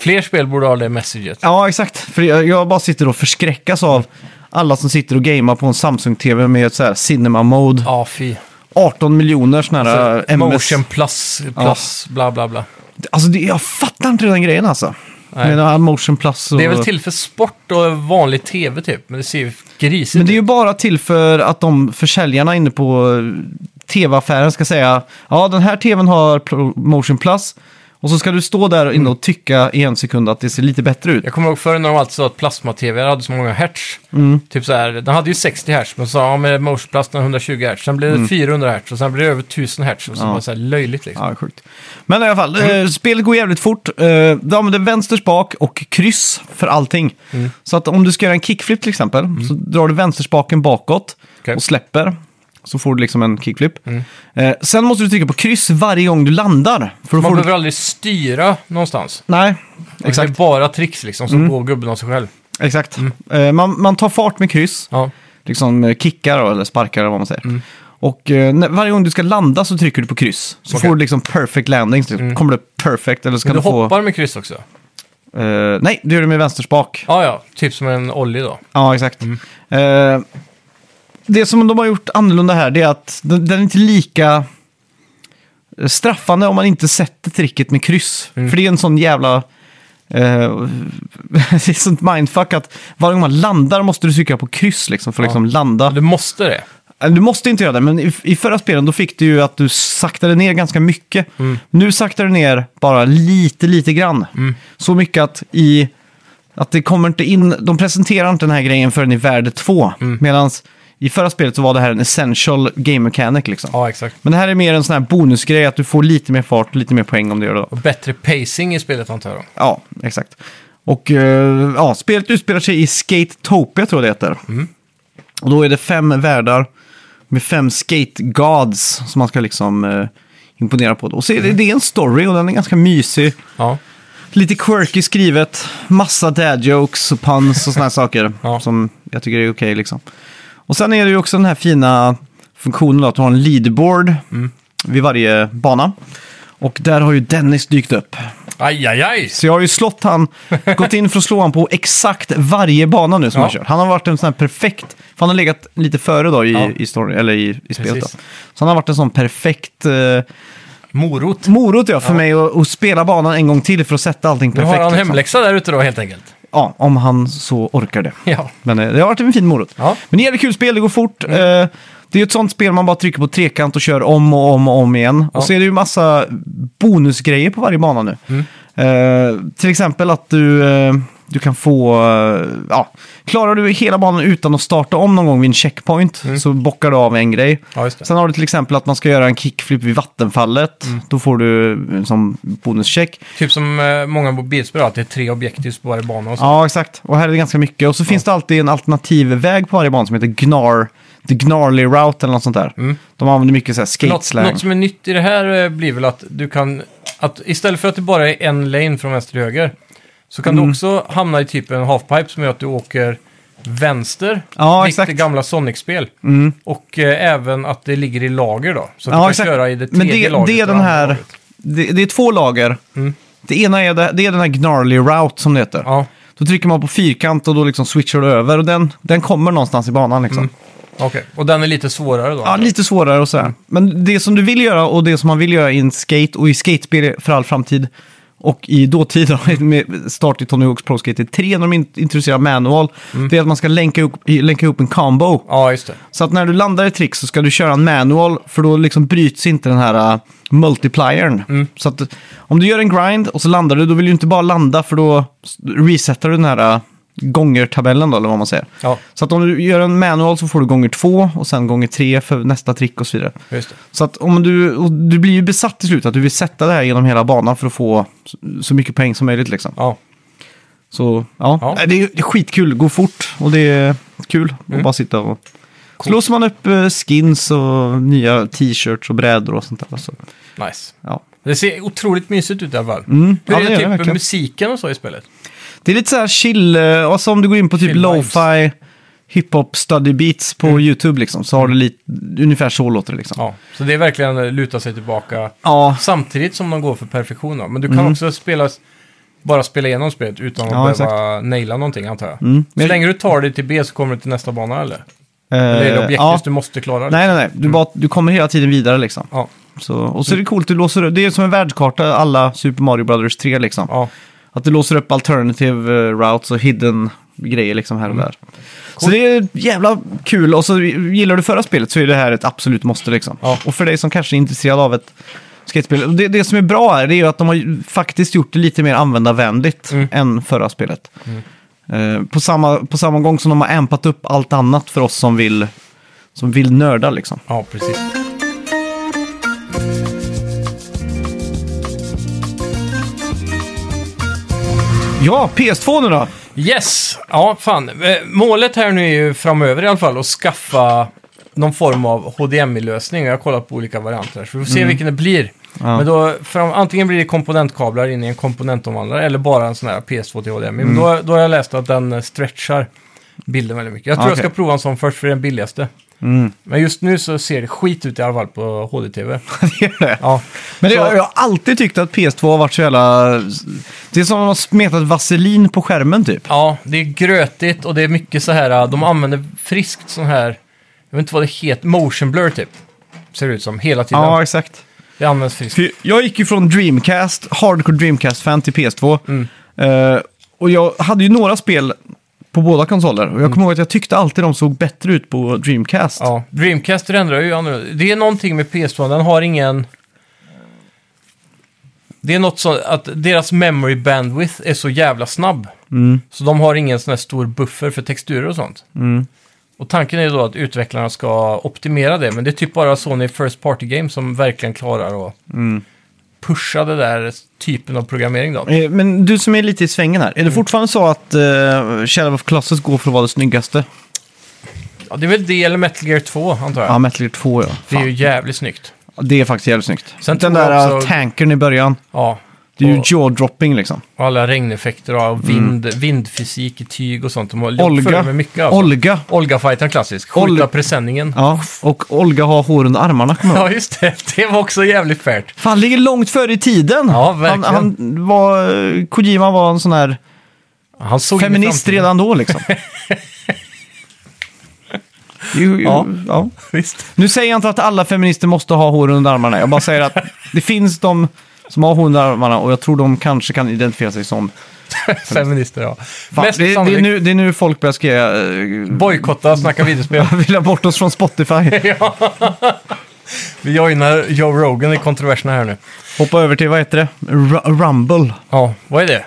Speaker 2: Fler spel borde ha det messaget.
Speaker 1: ja exakt. För jag, jag bara sitter och förskräckas av alla som sitter och gamear på en Samsung-TV med ett så här cinema mode.
Speaker 2: Ja, fy.
Speaker 1: 18 miljoner sådana här
Speaker 2: Så,
Speaker 1: eh, MS.
Speaker 2: Motion plus, plus, bla bla bla.
Speaker 1: Alltså det, jag fattar inte den grejen alltså.
Speaker 2: Nej.
Speaker 1: Med den här motion plus och...
Speaker 2: Det är väl till för sport och vanlig tv typ, men det ser ju grisigt
Speaker 1: Men det är ju
Speaker 2: ut.
Speaker 1: bara till för att de försäljarna inne på eh, tv-affären ska säga ja den här tvn har Pro- motion plus och så ska du stå där inne och tycka i en sekund att det ser lite bättre ut.
Speaker 2: Jag kommer ihåg förr när de alltid sa att plasma-tv hade så många hertz.
Speaker 1: Mm.
Speaker 2: Typ så här, den hade ju 60 hertz, men så sa ja, med motionplasten 120 hertz. Sen blev det 400 hertz och sen blev det över 1000 hertz. Och så var det så här löjligt liksom.
Speaker 1: Mm. Ja, sjukt. Men i alla fall,
Speaker 2: Mm.
Speaker 1: eh, spelet går jävligt fort. Eh, du använder vänster spak och kryss för allting.
Speaker 2: Mm.
Speaker 1: Så att om du ska göra en kickflip till exempel, så drar du vänsterspaken bakåt
Speaker 2: Okej. Mm.
Speaker 1: och släpper. Så får du liksom en kickflip. Eh, sen måste du trycka på kryss varje gång du landar. För då
Speaker 2: Man
Speaker 1: får du...
Speaker 2: behöver aldrig styra någonstans.
Speaker 1: Nej,
Speaker 2: Det
Speaker 1: exakt. Mm.
Speaker 2: är bara tricks liksom, som går gubben av sig själv.
Speaker 1: Exakt.
Speaker 2: Mm.
Speaker 1: Eh, man, man tar fart med kryss,
Speaker 2: Ja,
Speaker 1: liksom eh, kickar då, eller sparkar eller vad man säger.
Speaker 2: Mm.
Speaker 1: Och eh, när, varje gång du ska landa så trycker du på kryss. Så
Speaker 2: Okej. Mm.
Speaker 1: får du liksom perfect landing, så kommer det perfect eller så
Speaker 2: men
Speaker 1: kan
Speaker 2: du
Speaker 1: du, få...
Speaker 2: hoppar med kryss också.
Speaker 1: eh, nej, du gör det med vänsterspak.
Speaker 2: Ja, ja, typ som en ollie då.
Speaker 1: Ja, exakt. Eh, det som de har gjort annorlunda här det är att den, den är inte lika straffande om man inte sätter tricket med kryss. För det är en sån jävla... eh, det är sånt mindfuck att varje gång man landar måste du trycka på kryss liksom, för att liksom landa.
Speaker 2: Du måste det.
Speaker 1: Eller, Du måste inte göra det, men i, i förra spelen då fick du ju att du saktade ner ganska mycket. Nu saktar du ner bara lite, lite grann. Så mycket att i... Att det kommer inte in, de presenterar inte den här grejen förrän i värde 2. Medan i förra spelet så var det här en essential game mechanic liksom.
Speaker 2: Ja, exakt.
Speaker 1: Men det här är mer en sån här bonusgrej, att du får lite mer fart, lite mer poäng om du gör det. Då.
Speaker 2: Och bättre pacing i spelet antar jag.
Speaker 1: Ja, exakt. Och eh, ja, spelet utspelar sig i Skate-topia tror jag det heter. Och då är det fem världar med fem skate-gods som man ska liksom eh, imponera på. Och så är det, det är en story och den är ganska mysig.
Speaker 2: Ja.
Speaker 1: Lite quirky skrivet, massa dad-jokes och puns och såna här saker
Speaker 2: Ja.
Speaker 1: som jag tycker är okej liksom. Och sen är det ju också den här fina funktionen då, att du har en leaderboard vid varje bana. Och där har ju Dennis dykt upp.
Speaker 2: Aj, aj, aj!
Speaker 1: Så jag har ju slått han, gått in för att slå han på exakt varje bana nu som
Speaker 2: Ja.
Speaker 1: han kör. Han har varit en sån här perfekt, för han har legat lite före då i,
Speaker 2: Ja.
Speaker 1: i, story, eller i, i spelet. Då.
Speaker 2: Precis.
Speaker 1: Så han har varit en sån perfekt eh,
Speaker 2: Morot.
Speaker 1: morot ja, för mig att, att spela banan en gång till för att sätta allting
Speaker 2: Nu
Speaker 1: perfekt.
Speaker 2: har han
Speaker 1: liksom.
Speaker 2: hemläxa där ute då helt enkelt.
Speaker 1: Ja, om han så orkar det.
Speaker 2: Ja.
Speaker 1: Men eh, det har varit en fin morot.
Speaker 2: Ja. Mm.
Speaker 1: Men det är jävligt kul spel, det går fort. Eh, det är ju ett sånt spel man bara trycker på trekant och kör om och om och om igen.
Speaker 2: Ja.
Speaker 1: Och så är det ju massa bonusgrejer på varje bana nu.
Speaker 2: Mm.
Speaker 1: Eh, till exempel att du, eh, du kan få... Eh, ja, klarar du hela banan utan att starta om någon gång vid en checkpoint så bockar du av en grej.
Speaker 2: Mm. Ja, just det. Mm.
Speaker 1: Sen har du till exempel att man ska göra en kickflip vid vattenfallet. Då får du eh, som bonuscheck.
Speaker 2: Typ som eh, många mobilspel, att det är tre objekt just på varje bana och så.
Speaker 1: Ja, exakt. Och här är det ganska mycket. Och så finns det alltid en alternativ väg på varje bana som heter Gnar. The Gnarly Route eller något sånt där. De använder mycket så här skate
Speaker 2: Mm. något,
Speaker 1: slang.
Speaker 2: något som är nytt i det här eh, blir väl att du kan... Att istället för att det bara är en lane från vänster till höger, Så kan
Speaker 1: Mm.
Speaker 2: du också hamna i typ en halfpipe som gör att du åker vänster,
Speaker 1: Ja,
Speaker 2: likt
Speaker 1: exakt. Mm.
Speaker 2: det gamla Sonic-spel. Och eh, även att det ligger i lager då. Så att du
Speaker 1: Ja,
Speaker 2: kan
Speaker 1: exakt.
Speaker 2: köra i det
Speaker 1: Men
Speaker 2: tredje
Speaker 1: det,
Speaker 2: lagret.
Speaker 1: det är
Speaker 2: och
Speaker 1: den
Speaker 2: andra
Speaker 1: här...
Speaker 2: lagret. Mm.
Speaker 1: Det, det är två lager. Det ena är, det, det är den här gnarly route som det heter.
Speaker 2: Ja,
Speaker 1: Då trycker man på fyrkant och då liksom switchar du över och den, den kommer någonstans i banan
Speaker 2: Mm.
Speaker 1: liksom.
Speaker 2: okej. Och den är lite svårare då?
Speaker 1: Ja, lite svårare och så här. Men det som du vill göra och det som man vill göra i en skate och i skatespel för all framtid och i dåtid, då, med start i Tony Hawk's Pro Skater 3 när de in- introducerar manual, det är att man ska länka ihop, i- länka ihop en combo.
Speaker 2: Ja, just det.
Speaker 1: Så att när du landar i trick så ska du köra en manual för då liksom bryts inte den här uh, multipliern. Så att om du gör en grind och så landar du, då vill du inte bara landa för då s- resetar du den här uh, gångertabellen då, eller vad man säger.
Speaker 2: Ja,
Speaker 1: Så att om du gör en manual så får du gånger två och sen gånger tre för nästa trick och så vidare.
Speaker 2: just det.
Speaker 1: Så att om du, och du blir ju besatt till slut att du vill sätta det här genom hela banan för att få s- så mycket poäng som möjligt liksom.
Speaker 2: Ja.
Speaker 1: Så ja,
Speaker 2: Ja.
Speaker 1: Nej, Det, är, ju- det är skitkul, gå fort och det är kul
Speaker 2: Mm.
Speaker 1: att bara sitta och... Så låser man upp eh, skins och nya t-shirts och brädor och sånt där. Så,
Speaker 2: Nice.
Speaker 1: ja.
Speaker 2: Det ser otroligt mysigt ut i alla fall. Hur
Speaker 1: Mm. Ja,
Speaker 2: är
Speaker 1: det
Speaker 2: det,
Speaker 1: gör det
Speaker 2: typ
Speaker 1: verkligen.
Speaker 2: musiken och så i spelet?
Speaker 1: Det är lite så här chill, eh, alltså om du går in på typ
Speaker 2: Chill vibes. Mm.
Speaker 1: lo-fi hiphop study beats på YouTube liksom, så har du lite, ungefär så låter det liksom.
Speaker 2: Ja, så det är verkligen eh, luta sig tillbaka
Speaker 1: Ja,
Speaker 2: samtidigt som de går för perfektion. Då. Men du kan också spela, bara spela igenom spelet utan att
Speaker 1: Mm. Ja,
Speaker 2: behöva
Speaker 1: exakt. Mm.
Speaker 2: naila någonting antar jag. Så
Speaker 1: Men-
Speaker 2: länge du tar dig till B så kommer du till nästa bana eller? Eller är det Mm.
Speaker 1: Eh,
Speaker 2: objektet
Speaker 1: ja.
Speaker 2: du måste klara?
Speaker 1: Nej, nej, nej. Du, bara, du kommer hela tiden vidare liksom.
Speaker 2: Ja,
Speaker 1: Så, och
Speaker 2: Mm.
Speaker 1: så är det coolt, du låser, upp- det är som en världskarta, alla Super Mario Brothers 3 liksom.
Speaker 2: ja.
Speaker 1: Att du låser upp alternative eh, routes och hidden grejer liksom här och där. Så det är jävla kul och så gillar du förra spelet så är det här ett absolut måste liksom.
Speaker 2: Ja.
Speaker 1: Och för dig som kanske är intresserad av ett skatespel, och det, det som är bra här det är ju att de har ju faktiskt gjort det lite mer användarvänligt
Speaker 2: Mm.
Speaker 1: än förra spelet. Eh, på, samma, på samma gång som de har ampat upp allt annat för oss som vill, som vill nörda liksom.
Speaker 2: ja precis.
Speaker 1: Ja, PS2 nu då!
Speaker 2: Yes! Ja, fan. Eh, Målet här nu är ju framöver i alla fall att skaffa någon form av HDMI-lösning. Jag har kollat på olika varianter här, så vi får se vilken det blir.
Speaker 1: Mm. Ja.
Speaker 2: Men då, fram, antingen blir det komponentkablar in i en komponentomvandlare eller bara en sån här PS2 till HDMI.
Speaker 1: Mm.
Speaker 2: Men då, då har jag läst att den eh, stretchar bilden väldigt mycket. Jag tror jag
Speaker 1: Okej.
Speaker 2: ska prova en sån först för det är den billigaste.
Speaker 1: Mm.
Speaker 2: Men just nu så ser det skit ut i alla fall på HD-TV.
Speaker 1: det är det.
Speaker 2: Ja.
Speaker 1: Men det,
Speaker 2: Så-
Speaker 1: jag har alltid tyckt att PS2 har varit så jävla... Det är som om de har smetat vaselin på skärmen typ.
Speaker 2: Ja, det är grötigt och det är mycket så här, de använder friskt sån här, jag vet inte vad det heter, motion blur typ. Ser det ut som, hela tiden.
Speaker 1: Ja, exakt.
Speaker 2: Det används friskt.
Speaker 1: För jag gick ju från Dreamcast, hardcore Dreamcast-fan till PS2.
Speaker 2: Mm.
Speaker 1: Eh, och jag hade ju några spel på båda konsoler. Och jag kommer ihåg att jag tyckte alltid de såg bättre ut på Dreamcast.
Speaker 2: Mm. Ja, Dreamcast ändrar ju annorlunda. Det är någonting med PS2, den har ingen... Det är något så att deras memory bandwidth är så jävla snabb.
Speaker 1: Mm.
Speaker 2: Så de har ingen sån här stor buffer för texturer och sånt.
Speaker 1: Mm.
Speaker 2: Och tanken är ju då att utvecklarna ska optimera det, men det är typ bara Sony First Party Game som verkligen klarar att pusha den där typen av programmering då.
Speaker 1: Eh, Mm. Men du som är lite i svängen här, är
Speaker 2: Mm.
Speaker 1: det fortfarande så att uh, Shadow of Colossus går för att vara det snyggaste?
Speaker 2: Ja, det är väl det eller Metal Gear 2 antar jag.
Speaker 1: Ja, Metal Gear 2 ja.
Speaker 2: det är ju
Speaker 1: Fan.
Speaker 2: jävligt snyggt.
Speaker 1: Det är faktiskt jävligt snyggt.
Speaker 2: Sen
Speaker 1: Den
Speaker 2: tror jag
Speaker 1: där
Speaker 2: också-
Speaker 1: också... tankern i början,
Speaker 2: Ja.
Speaker 1: det är ju
Speaker 2: Och-
Speaker 1: jaw-dropping liksom.
Speaker 2: Och alla regneffekter och vind, vindfysik i tyg och sånt. De har
Speaker 1: Mm. Olga.
Speaker 2: Olga. Med mycket, alltså.
Speaker 1: Olga.
Speaker 2: Olga fighten klassisk. Skjuta
Speaker 1: Olga.
Speaker 2: presenningen. Ja.
Speaker 1: Ja, och Olga har hår under armarna kommer jag ihåg.
Speaker 2: just det. Det var också jävligt färt.
Speaker 1: Fan, ligger långt före i tiden.
Speaker 2: Ja, verkligen.
Speaker 1: Han, han var, Kojima var en sån här
Speaker 2: Han såg in i
Speaker 1: feminist
Speaker 2: framtiden.
Speaker 1: redan då liksom. jo, jo,
Speaker 2: Ja.
Speaker 1: ja.
Speaker 2: Visst.
Speaker 1: Nu säger jag inte att alla feminister måste ha hår under armarna. Jag bara säger att det finns de som har hår under armarna och jag tror de kanske kan identifiera sig som.
Speaker 2: Feminister, ja.
Speaker 1: Fan,
Speaker 2: Mest
Speaker 1: det, det, är
Speaker 2: sannolikt
Speaker 1: nu, det är nu folk börjar skriva, eh,
Speaker 2: bojkotta Snacka videospel.
Speaker 1: vill ha bort oss från Spotify.
Speaker 2: Vi joinar Joe Rogan i kontroverserna här nu.
Speaker 1: Hoppa över till, vad heter det? Ru- Rumble.
Speaker 2: Ja, vad är det?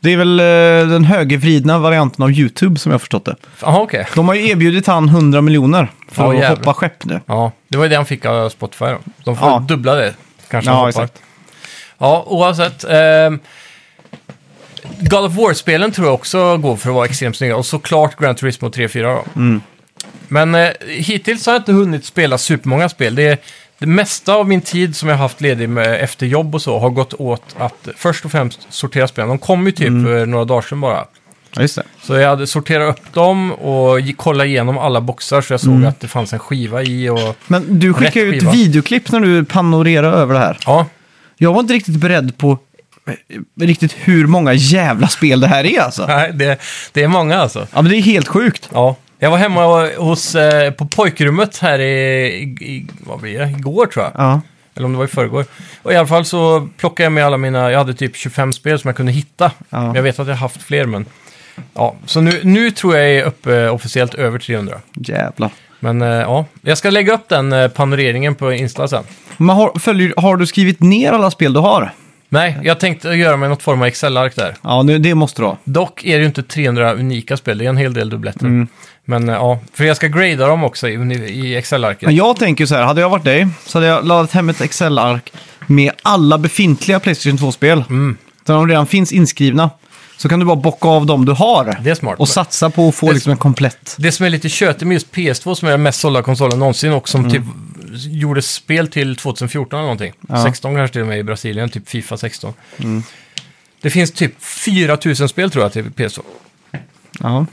Speaker 1: Det är väl eh, den högervridna varianten av YouTube som jag har förstått det.
Speaker 2: Jaha, okej.
Speaker 1: De har ju erbjudit han 100 miljoner för
Speaker 2: Ja,
Speaker 1: att
Speaker 2: jävlar.
Speaker 1: hoppa skepp nu.
Speaker 2: Ja, det var ju det han fick av Spotify då. De får
Speaker 1: Ja.
Speaker 2: dubbla det. Kanske
Speaker 1: Ja,
Speaker 2: han hoppar.
Speaker 1: exakt.
Speaker 2: Ja, oavsett. ehm, God of War-spelen tror jag också går för att vara extremt snygga. Och såklart Gran Turismo 3-4 då. Men eh, hittills har jag inte hunnit spela supermånga spel. Det är det mesta av min tid som jag haft ledig med efter jobb och så har gått åt att först och främst sortera spelen. De kom ju typ för några dagar sedan bara.
Speaker 1: Ja, just det.
Speaker 2: Så jag hade sorterat upp dem och gi- kollat igenom alla boxar så jag såg att det fanns en skiva i och...
Speaker 1: Men du skickar ju
Speaker 2: Rätt
Speaker 1: ut
Speaker 2: skiva.
Speaker 1: videoklipp när du panorerar över det här.
Speaker 2: Ja,
Speaker 1: Jag var inte riktigt beredd på eh, riktigt hur många jävla spel det här är alltså.
Speaker 2: nej, det, det är många alltså.
Speaker 1: Ja, men det är helt sjukt.
Speaker 2: Ja. Jag var hemma hos, eh, på pojkrummet här i, i- i, vad blir det, igår tror jag.
Speaker 1: Ja.
Speaker 2: Eller om det var i förrgår. Och i alla fall så plockade jag med alla mina, jag hade typ 25 spel som jag kunde hitta.
Speaker 1: Ja.
Speaker 2: Jag vet att jag har haft fler men... Ja, så nu, nu tror jag är uppe officiellt över 300.
Speaker 1: Jävlar.
Speaker 2: Men eh, ja, jag ska lägga upp den eh, panoreringen på Insta sen.
Speaker 1: Men har, följer, har du skrivit ner alla spel du har?
Speaker 2: Nej, jag tänkte göra mig något form av Excel-ark där.
Speaker 1: Ja, nu, det måste du ha.
Speaker 2: Dock är det ju inte 300 unika spel, det är en hel del dubbletter.
Speaker 1: Mm.
Speaker 2: Men eh, ja, för jag ska grada dem också i, i Excel-arket.
Speaker 1: Men jag tänker så här, hade jag varit dig så hade jag laddat hem ett Excel-ark med alla befintliga Playstation 2-spel.
Speaker 2: Mm.
Speaker 1: Där de redan finns inskrivna. Så kan du bara bocka av dem du har.
Speaker 2: Det är smart.
Speaker 1: Och satsa på att få
Speaker 2: Det-
Speaker 1: liksom en komplett.
Speaker 2: Det som är lite tjötigt med just PS2 som är den mest sålda konsolen någonsin och som typ gjorde spel till 2014 eller någonting.
Speaker 1: Ja.
Speaker 2: 16 kanske till och med i Brasilien, typ Fifa 16. Det finns typ 4000 spel tror jag till PS2.
Speaker 1: Ja.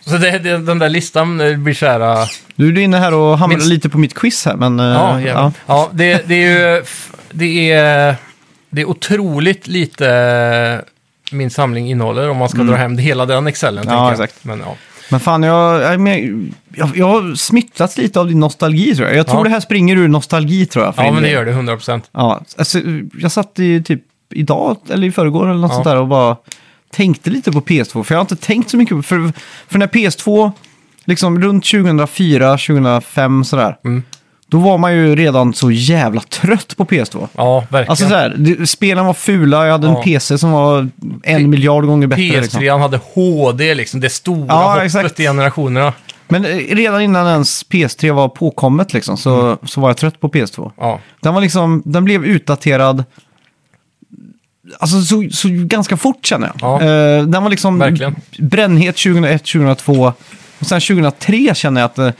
Speaker 2: Så det, det, den där listan eh, blir så här... eh,
Speaker 1: Nu är du inne här och hamnar
Speaker 2: Minst-
Speaker 1: lite på mitt quiz här, men... eh,
Speaker 2: Ja,
Speaker 1: ja.
Speaker 2: ja. ja det, det är ju... f- Det är, det är otroligt lite eh, min samling innehåller om man ska dra hem hela den excellen. tänker jag.
Speaker 1: exakt.
Speaker 2: Men, ja.
Speaker 1: Men fan, jag, jag, men- jag, jag har smittats lite av din nostalgi tror jag. Jag tror
Speaker 2: Ja.
Speaker 1: det här springer ur nostalgi tror jag. för
Speaker 2: ja,
Speaker 1: min
Speaker 2: men det
Speaker 1: del.
Speaker 2: gör det 100%.
Speaker 1: Ja, alltså, jag satt i typ idag eller i förrgår eller något
Speaker 2: Ja.
Speaker 1: sånt där och bara tänkte lite på PS2. För jag har inte tänkt så mycket på för, för när PS2, liksom runt 2004, 2005 sådär.
Speaker 2: Mm.
Speaker 1: Då var man ju redan så jävla trött på PS2.
Speaker 2: Ja, verkligen.
Speaker 1: Alltså såhär, det- spelen var fula, jag hade en
Speaker 2: Ja.
Speaker 1: PC som var en miljard gånger bättre.
Speaker 2: PS3
Speaker 1: Liksom.
Speaker 2: hade HD, liksom, det stora
Speaker 1: Ja,
Speaker 2: hoppet
Speaker 1: exakt.
Speaker 2: i generationerna.
Speaker 1: Men eh, redan innan ens PS3 var påkommet liksom, så, så var jag trött på PS2.
Speaker 2: Ja.
Speaker 1: Den var liksom, den blev utdaterad. Alltså så, så ganska fort känner jag.
Speaker 2: Ja.
Speaker 1: Eh, den var liksom
Speaker 2: Verkligen.
Speaker 1: brännhet 2001, 2002. Och sen 2003 känner jag att eh,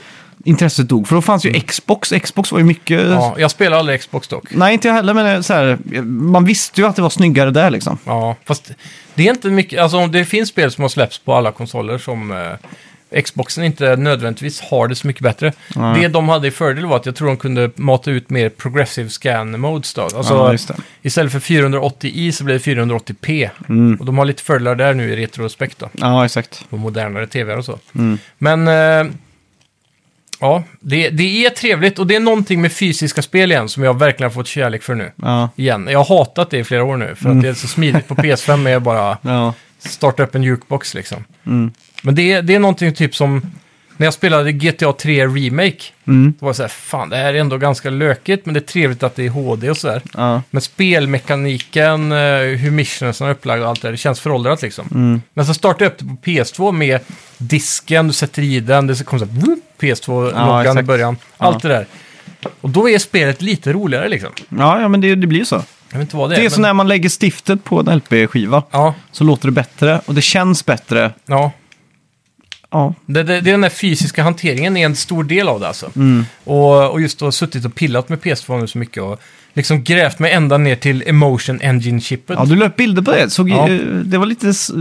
Speaker 1: intresset dog. För då fanns ju Xbox. Xbox var ju mycket...
Speaker 2: Mm. Ja, jag spelar aldrig Xbox dock.
Speaker 1: Nej, inte jag heller, men eh, så här, eh, man visste ju att det var snyggare där liksom.
Speaker 2: Ja, fast det är inte mycket, alltså om det finns spel som har släppts på alla konsoler som eh, Xboxen inte nödvändigtvis har det så mycket bättre.
Speaker 1: Nej.
Speaker 2: Det de hade i fördel var att jag tror de kunde mata ut mer progressive scan modes då. Alltså,
Speaker 1: Ja, just det.
Speaker 2: istället för 480i så blev det 480p.
Speaker 1: Mm.
Speaker 2: Och de har lite fördelar där nu i retrospekt då,
Speaker 1: Ja, exakt.
Speaker 2: på modernare tvr och så. Men eh, ja, det, det är trevligt och det är någonting med fysiska spel igen som jag verkligen har fått kärlek för nu.
Speaker 1: Ja.
Speaker 2: Igen. Jag har hatat det i flera år nu för att det är så smidigt på PS5 med bara
Speaker 1: Ja.
Speaker 2: starta upp en jukebox liksom. Men det är, det är någonting typ som när jag spelade GTA 3 Remake.
Speaker 1: Mm.
Speaker 2: Då var det så här, fan det här är ändå ganska lökigt men det är trevligt att det är HD och sådär.
Speaker 1: Ja.
Speaker 2: Men spelmekaniken, eh, hur missionsen är upplagda och allt det där, det känns föråldrat liksom.
Speaker 1: Mm.
Speaker 2: Men så startade jag upp det på PS2 med disken, du sätter i den, det kom så här, whoop,
Speaker 1: Ja,
Speaker 2: PS2-loggan i
Speaker 1: exakt.
Speaker 2: början. Allt det där. Och då är spelet lite roligare liksom.
Speaker 1: Ja, ja, men det, det blir ju så.
Speaker 2: Jag vet inte vad det är.
Speaker 1: Det är som
Speaker 2: men...
Speaker 1: när man lägger stiftet på en LP-skiva.
Speaker 2: Ja,
Speaker 1: Så låter det bättre och det känns bättre.
Speaker 2: ja.
Speaker 1: Ja,
Speaker 2: Det, det, det är den där fysiska hanteringen är en stor del av det alltså.
Speaker 1: Mm.
Speaker 2: Och, och just att ha suttit och pillat med PS2 nu så mycket och liksom grävt mig ända ner till Emotion Engine-chippet.
Speaker 1: Ja,
Speaker 2: Ja,
Speaker 1: du la upp bilder på det. Såg,
Speaker 2: Ja.
Speaker 1: eh, Det var lite eh,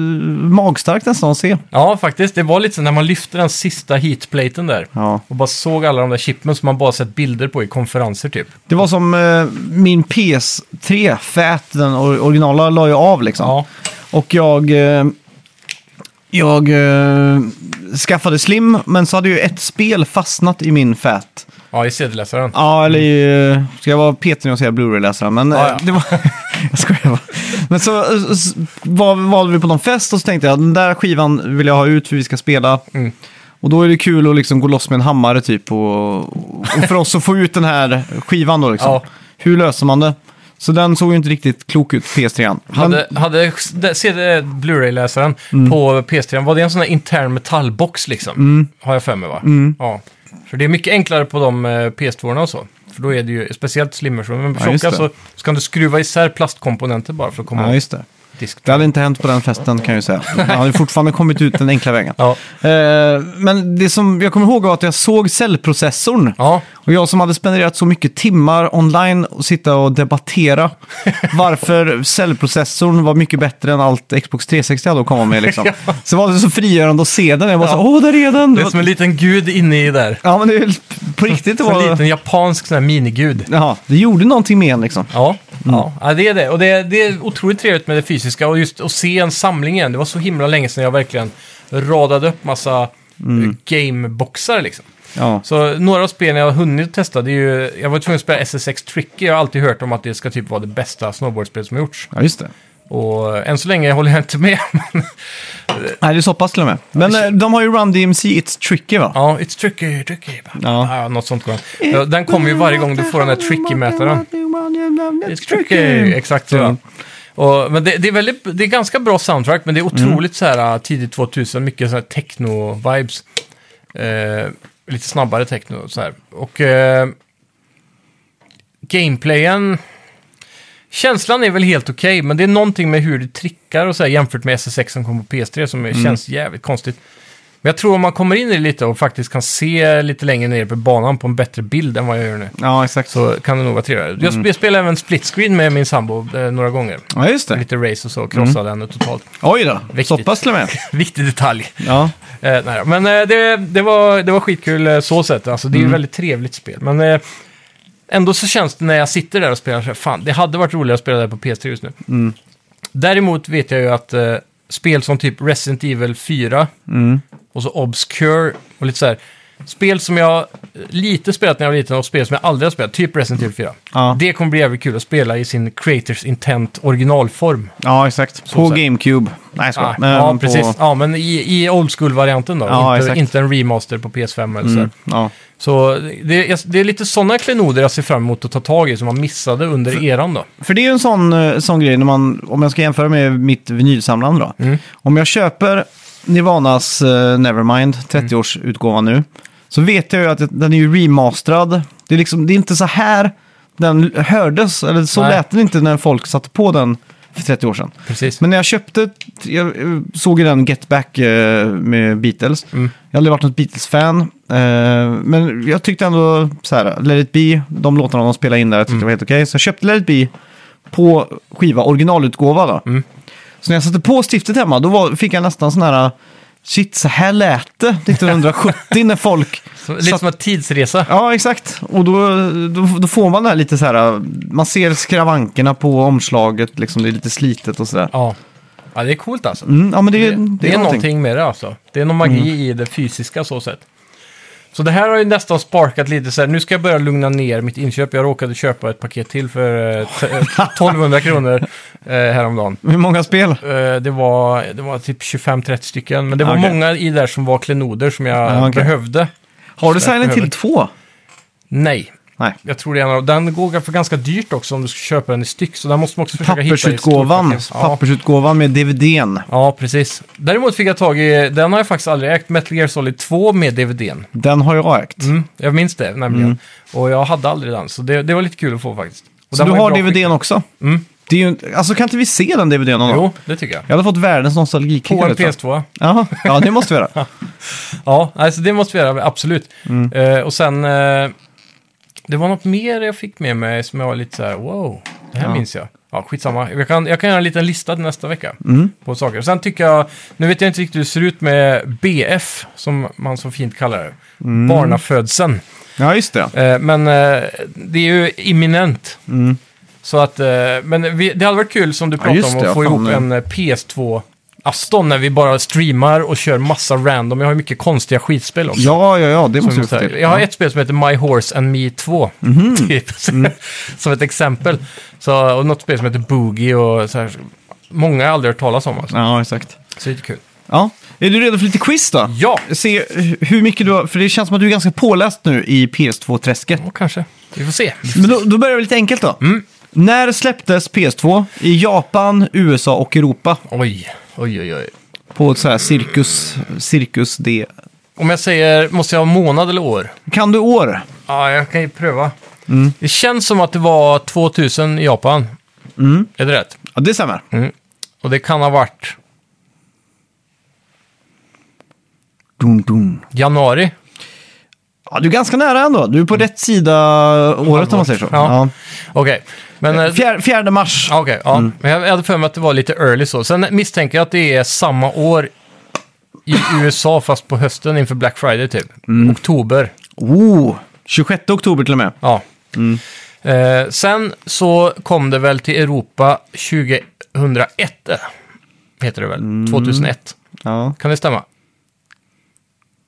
Speaker 1: magstarkt nästan att se.
Speaker 2: faktiskt. Det var lite så när man lyfte den sista heatplaten där
Speaker 1: Ja.
Speaker 2: och bara såg alla de där chippen som man bara sett bilder på i konferenser typ.
Speaker 1: Det var som eh, min PS3 Fat, den or- originala, la jag av liksom.
Speaker 2: Ja,
Speaker 1: Och jag, eh, jag eh, skaffade Slim, men så hade ju ett spel fastnat i min Fat.
Speaker 2: ja i CD-läsaren.
Speaker 1: Ja, eller i, eh, ska jag vara petig och säga Blu-ray-läsaren, men
Speaker 2: Mm. Ja,
Speaker 1: eh,
Speaker 2: ja.
Speaker 1: det var... jag skojar bara. Men så eh, s- var, valde vi på någon fest och så tänkte jag den där skivan vill jag ha ut för vi ska spela.
Speaker 2: Mm.
Speaker 1: Och då är det kul att liksom gå loss med en hammare typ och, och för oss att få ut den här skivan då liksom.
Speaker 2: Ja.
Speaker 1: Hur löser man det? Så den såg ju inte riktigt klok ut, PS3. Men,
Speaker 2: Hade, hade CD Blu-ray-läsaren
Speaker 1: Mm.
Speaker 2: på PS3, var det en sån här intern metallbox liksom? Har jag för mig va?
Speaker 1: Mm.
Speaker 2: Ja. För det är mycket enklare på de eh, PS2-orna och så. För då är det ju, speciellt slimmers, men
Speaker 1: Ja, just
Speaker 2: tjocka
Speaker 1: det.
Speaker 2: så, så kan du skruva isär plastkomponenter bara för att komma
Speaker 1: Ja,
Speaker 2: åt.
Speaker 1: just det.
Speaker 2: disk.
Speaker 1: Det hade inte hänt på den festen kan jag ju säga. Han hade fortfarande kommit ut den enkla vägen.
Speaker 2: Ja.
Speaker 1: Eh, men det som jag kommer ihåg var att jag såg cellprocessorn.
Speaker 2: Ja.
Speaker 1: Och jag som hade spenderat så mycket timmar online och sitta och debattera varför cellprocessorn var mycket bättre än allt Xbox 360 hade att komma med. Liksom. Så var det så frigörande att se den. Jag bara så, åh, där är den!
Speaker 2: Det är som en liten gud inne i där.
Speaker 1: Ja, men det är på riktigt. Det,
Speaker 2: Som en
Speaker 1: var...
Speaker 2: liten japansk sån här minigud.
Speaker 1: Jaha, det gjorde någonting med en liksom.
Speaker 2: Ja, ja. ja, det är det. Och det är, det är otroligt trevligt med det fysiska och just att se en samling igen. Det var så himla länge sedan jag verkligen radade upp massa eh, gameboxar liksom.
Speaker 1: Ja.
Speaker 2: Så några av spelen jag har hunnit testa, det är ju, jag var tvungen att spela SSX Tricky. Jag har alltid hört om att det ska typ vara det bästa snowboardspel som har gjorts.
Speaker 1: ja, just det.
Speaker 2: Och eh, än så länge håller jag inte med. men-
Speaker 1: Nej, det är så pass till och med. Men eh, de har ju Run DMC, It's Tricky va?
Speaker 2: ja, it's tricky, tricky.
Speaker 1: Ja.
Speaker 2: Ja. något sånt. går den. Ja, Den kommer ju varje gång du får den där tricky-mätaren. It's tricky. Exakt så.
Speaker 1: Ja.
Speaker 2: Och, men det, det, är väldigt, det är ganska bra soundtrack, men det är otroligt så här uh, tidigt 2000, mycket så här techno-vibes. Eh, lite snabbare techno och så här. Och eh, gameplayen... Känslan är väl helt okej, men det är någonting med hur det trickar och så här jämfört med SS6 som kom på PS3 som känns jävligt konstigt. Men jag tror om man kommer in i det lite och faktiskt kan se lite längre ner på banan på en bättre bild än vad jag gör nu
Speaker 1: ja, exakt. Så.
Speaker 2: så kan det nog vara trevligare. Jag sp- Jag spelade även split screen med min sambo eh, några gånger.
Speaker 1: Ja, just det.
Speaker 2: Lite race och så, krossade henne totalt.
Speaker 1: Oj då,
Speaker 2: Viktigt.
Speaker 1: så pass till och med.
Speaker 2: Viktig detalj.
Speaker 1: Ja.
Speaker 2: Eh, nej, då. men eh, det, det, var, det var skitkul eh, så sett. Alltså, det är ju ett väldigt trevligt spel. Men eh, ändå så känns det när jag sitter där och spelar så här, fan, det hade varit roligare att spela där på PS3 just nu. Däremot vet jag ju att eh, spel som typ Resident Evil 4 och så Obscure och lite så här. Spel som jag eh, lite spelat när jag var liten och spel som jag aldrig har spelat, typ Resident Evil 4.
Speaker 1: Ja.
Speaker 2: Det kommer bli jävligt kul att spela i sin Creators Intent originalform.
Speaker 1: ja, exakt. På
Speaker 2: sätt.
Speaker 1: GameCube. Nej, jag skojar. Eh,
Speaker 2: Ah, ja,
Speaker 1: på...
Speaker 2: precis. Ja, men i, i old school-varianten då.
Speaker 1: Ja,
Speaker 2: inte,
Speaker 1: exakt.
Speaker 2: inte en remaster på PS5 eller
Speaker 1: Mm,
Speaker 2: så.
Speaker 1: ja.
Speaker 2: Så det, är- det är lite sådana klenoder jag ser fram emot att ta tag i som man missade under eran då.
Speaker 1: För det är ju en sån, eh, sån grej, när man, om jag ska jämföra med mitt vinylsamlande då.
Speaker 2: Mm.
Speaker 1: Om jag köper Nirvanas eh, Nevermind,
Speaker 2: Mm.
Speaker 1: 30-årsutgåvan nu, så vet jag ju att den är ju remasterad. Det är, liksom, det är inte så här den hördes, eller så
Speaker 2: Nej.
Speaker 1: lät den inte när folk satte på den för 30 år sedan.
Speaker 2: Precis.
Speaker 1: Men när jag köpte, jag eh, såg ju den Get Back eh, med Beatles.
Speaker 2: Mm.
Speaker 1: Jag har aldrig varit något Beatles-fan. eh, Men jag tyckte ändå så här, Let It Be, de låtarna de spelade in där,
Speaker 2: Mm.
Speaker 1: jag tyckte det var helt okej. Så jag köpte Let It Be på skiva, originalutgåva då.
Speaker 2: Mm.
Speaker 1: Så när jag satte på stiftet hemma, då var, fick jag nästan sån här, shit, så här lät det 1970 när folk...
Speaker 2: Så, lite
Speaker 1: satt-
Speaker 2: som en tidsresa.
Speaker 1: Ja, exakt. Och då, då, då får man det här lite så här, man ser skravankerna på omslaget, liksom, det är lite slitet och sådär.
Speaker 2: Ja. ja, det är coolt alltså.
Speaker 1: Mm, ja, men det,
Speaker 2: Det,
Speaker 1: det, Mm.
Speaker 2: det, är, någonting. med det alltså. Det är någon magi i det fysiska så sett. Så det här har ju nästan sparkat lite så här, nu ska jag börja lugna ner mitt inköp. Jag råkade köpa ett paket till för eh, t- eh, 1200 kronor eh, häromdagen.
Speaker 1: Hur många spel?
Speaker 2: Eh, Det var, det var typ 25-30 stycken, men det var
Speaker 1: Okej.
Speaker 2: många i där som var klenoder som jag
Speaker 1: Ja, okej.
Speaker 2: behövde.
Speaker 1: Har du
Speaker 2: Så jag
Speaker 1: Silent
Speaker 2: behöver-
Speaker 1: Hill 2?
Speaker 2: Nej,
Speaker 1: Nej.
Speaker 2: jag tror det är en av Den går för ganska dyrt också om du ska köpa den i styck, så där måste man också försöka hitta i ett stort
Speaker 1: Pappersutgåvan,
Speaker 2: paket. Ja.
Speaker 1: pappersutgåvan med DVDn.
Speaker 2: ja, precis. Däremot fick jag tag i, den har jag faktiskt aldrig ägt, Metal Gear Solid 2 med DVDn.
Speaker 1: Den har jag ägt.
Speaker 2: Mm, jag minns det nämligen.
Speaker 1: Mm.
Speaker 2: Och jag hade aldrig den, så det, det var lite kul att få faktiskt. Och
Speaker 1: Så
Speaker 2: den
Speaker 1: du
Speaker 2: var i
Speaker 1: har
Speaker 2: bra
Speaker 1: DVDn också?
Speaker 2: Mm.
Speaker 1: Det är ju, alltså kan inte vi se den DVDn någon gång?
Speaker 2: Jo, det tycker jag.
Speaker 1: Jag hade fått världens nostalgikick.
Speaker 2: På
Speaker 1: av
Speaker 2: en
Speaker 1: det, tror jag.
Speaker 2: PS2.
Speaker 1: Jaha, ja, det måste vi göra.
Speaker 2: Ja, alltså det måste vi göra, absolut. Eh, och sen, eh, det var något mer jag fick med mig som jag var lite så här, wow, det här
Speaker 1: Ja.
Speaker 2: minns jag. Ja, skitsamma. Jag kan, jag kan göra en liten lista till nästa vecka på saker. Sen tycker jag, nu vet jag inte riktigt hur det ser ut med BF, som man så fint kallar det. Barnafödseln.
Speaker 1: Ja, just det.
Speaker 2: Eh, men eh, det är ju imminent.
Speaker 1: Mm.
Speaker 2: Så att, eh, men vi, det hade varit kul som du pratade
Speaker 1: just
Speaker 2: om
Speaker 1: det,
Speaker 2: att
Speaker 1: ja,
Speaker 2: få
Speaker 1: fan,
Speaker 2: ihop
Speaker 1: eh.
Speaker 2: en eh, PS2 afton när vi bara streamar och kör massa random. Jag har ju mycket konstiga skitspel också.
Speaker 1: Ja, ja, ja, Mhm. det måste
Speaker 2: Som
Speaker 1: vi
Speaker 2: så
Speaker 1: få
Speaker 2: här,
Speaker 1: till.
Speaker 2: jag har ett spel som heter My Horse and Me 2. Typ.
Speaker 1: Mm.
Speaker 2: som ett exempel. Så, och något spel som heter Boogie och så här. Många har aldrig hört talas om. Alltså.
Speaker 1: Ja, exakt.
Speaker 2: Så det är lite kul.
Speaker 1: Ja. Är du redo för lite quiz då?
Speaker 2: Ja,
Speaker 1: Se hur mycket du har, för det känns som att du är ganska påläst nu i PS2-träsket.
Speaker 2: och kanske. Vi får se.
Speaker 1: Men då, då börjar vi lite enkelt då.
Speaker 2: Mm.
Speaker 1: När släpptes PS2 i Japan, USA och Europa?
Speaker 2: Oj, oj, oj, oj.
Speaker 1: På ett så här cirkus, cirkus D.
Speaker 2: Om jag säger, måste jag ha månad eller år?
Speaker 1: Kan du år?
Speaker 2: Ja, jag kan ju pröva. Det känns som att det var 2000 i Japan. Är det rätt?
Speaker 1: Ja, det stämmer.
Speaker 2: Mm. Och det kan ha varit
Speaker 1: Dum, dum.
Speaker 2: januari.
Speaker 1: Ja, du är ganska nära ändå. Du är på rätt sida året om man säger så.
Speaker 2: Ja. Okej, men... eh, Mm.
Speaker 1: Ja. Fjär, fjärde mars.
Speaker 2: Ja, Okej, ja. Men jag jag hade för mig att det var lite early så. Sen misstänker jag att det är samma år i USA, fast på hösten inför Black Friday typ. Oktober.
Speaker 1: Oh, 26 oktober till och med.
Speaker 2: Ja. Eh, sen så kom det väl till Europa 2001. eh, Heter det väl? 2001.
Speaker 1: Ja.
Speaker 2: Kan det stämma?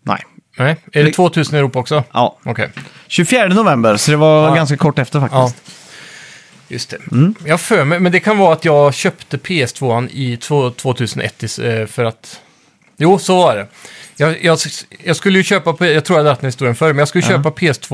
Speaker 1: Nej.
Speaker 2: Nej. Är det
Speaker 1: Nej.
Speaker 2: 2000 i Europa också?
Speaker 1: Ja.
Speaker 2: Okej.
Speaker 1: 24 november, så det var
Speaker 2: Ja.
Speaker 1: ganska kort efter faktiskt.
Speaker 2: Ja. Just det.
Speaker 1: Mm.
Speaker 2: Jag har för mig, men det kan vara att jag köpte PS2 i två- 2001 is- eh, för att... Jo, så var det. Jag, jag, jag skulle ju köpa, på- jag tror jag hade haft den historien förr, men jag skulle köpa PS2,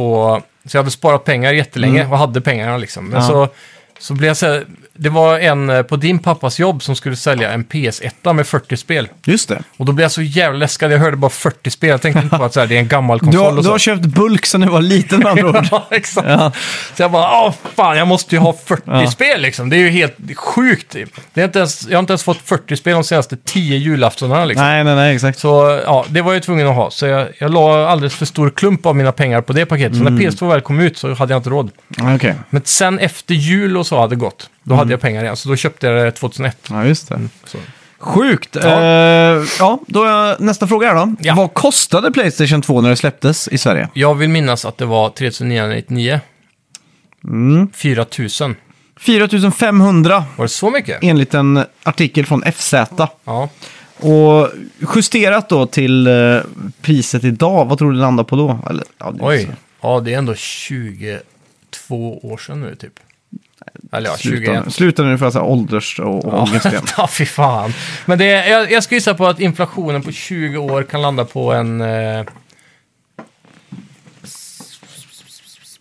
Speaker 2: så jag hade sparat pengar jättelänge och hade pengarna liksom. Men
Speaker 1: Mm. Ja.
Speaker 2: så, så blev jag så här, det var en eh, på din pappas jobb som skulle sälja en PS1 med 40 spel.
Speaker 1: Just det.
Speaker 2: Och då blev jag så jävla läskad, jag hörde bara 40 spel, jag tänkte inte på att så här, det är en gammal konsol
Speaker 1: Du har,
Speaker 2: och
Speaker 1: du
Speaker 2: så.
Speaker 1: har köpt bulk sen du var liten med andra ord.
Speaker 2: Ja, exakt.
Speaker 1: Ja.
Speaker 2: Så jag bara, åh fan, jag måste ju ha 40
Speaker 1: Ja.
Speaker 2: spel liksom. Det är ju helt sjukt. Det är inte ens, jag har inte ens fått 40 spel de senaste 10 julaftonarna liksom.
Speaker 1: Nej, nej, nej, exakt.
Speaker 2: Så ja, det var jag ju tvungen att ha. Så jag, jag la alldeles för stor klump av mina pengar på det paketet.
Speaker 1: Mm.
Speaker 2: Så när PS2 väl kom ut så hade jag inte råd.
Speaker 1: Okej,
Speaker 2: Men sen efter jul och så hade det gått. Då
Speaker 1: Mm.
Speaker 2: hade jag pengar igen, så då köpte jag det 2001.
Speaker 1: ja just det.
Speaker 2: Så.
Speaker 1: Sjukt!
Speaker 2: Ja.
Speaker 1: Ja. ja, då är nästa fråga här då.
Speaker 2: Ja.
Speaker 1: Vad kostade Playstation 2 när det släpptes i Sverige?
Speaker 2: Jag vill minnas att det var 3999.
Speaker 1: Mm.
Speaker 2: 4000.
Speaker 1: 4500
Speaker 2: Var det så mycket?
Speaker 1: enligt en artikel från FZ.
Speaker 2: Ja.
Speaker 1: Och justerat då till eh, priset idag, vad tror du det landar på då? Eller, ja, det är
Speaker 2: Oj,
Speaker 1: så-
Speaker 2: ja det är ändå 22 år sedan nu typ. Eller ja,
Speaker 1: Sluta,
Speaker 2: 21.
Speaker 1: nu- sluta nu för att säga ålders och och ångest igen.
Speaker 2: ja, fy fan. Men det är, jag, jag ska gissa på att inflationen på 20 år kan landa på en... Eh,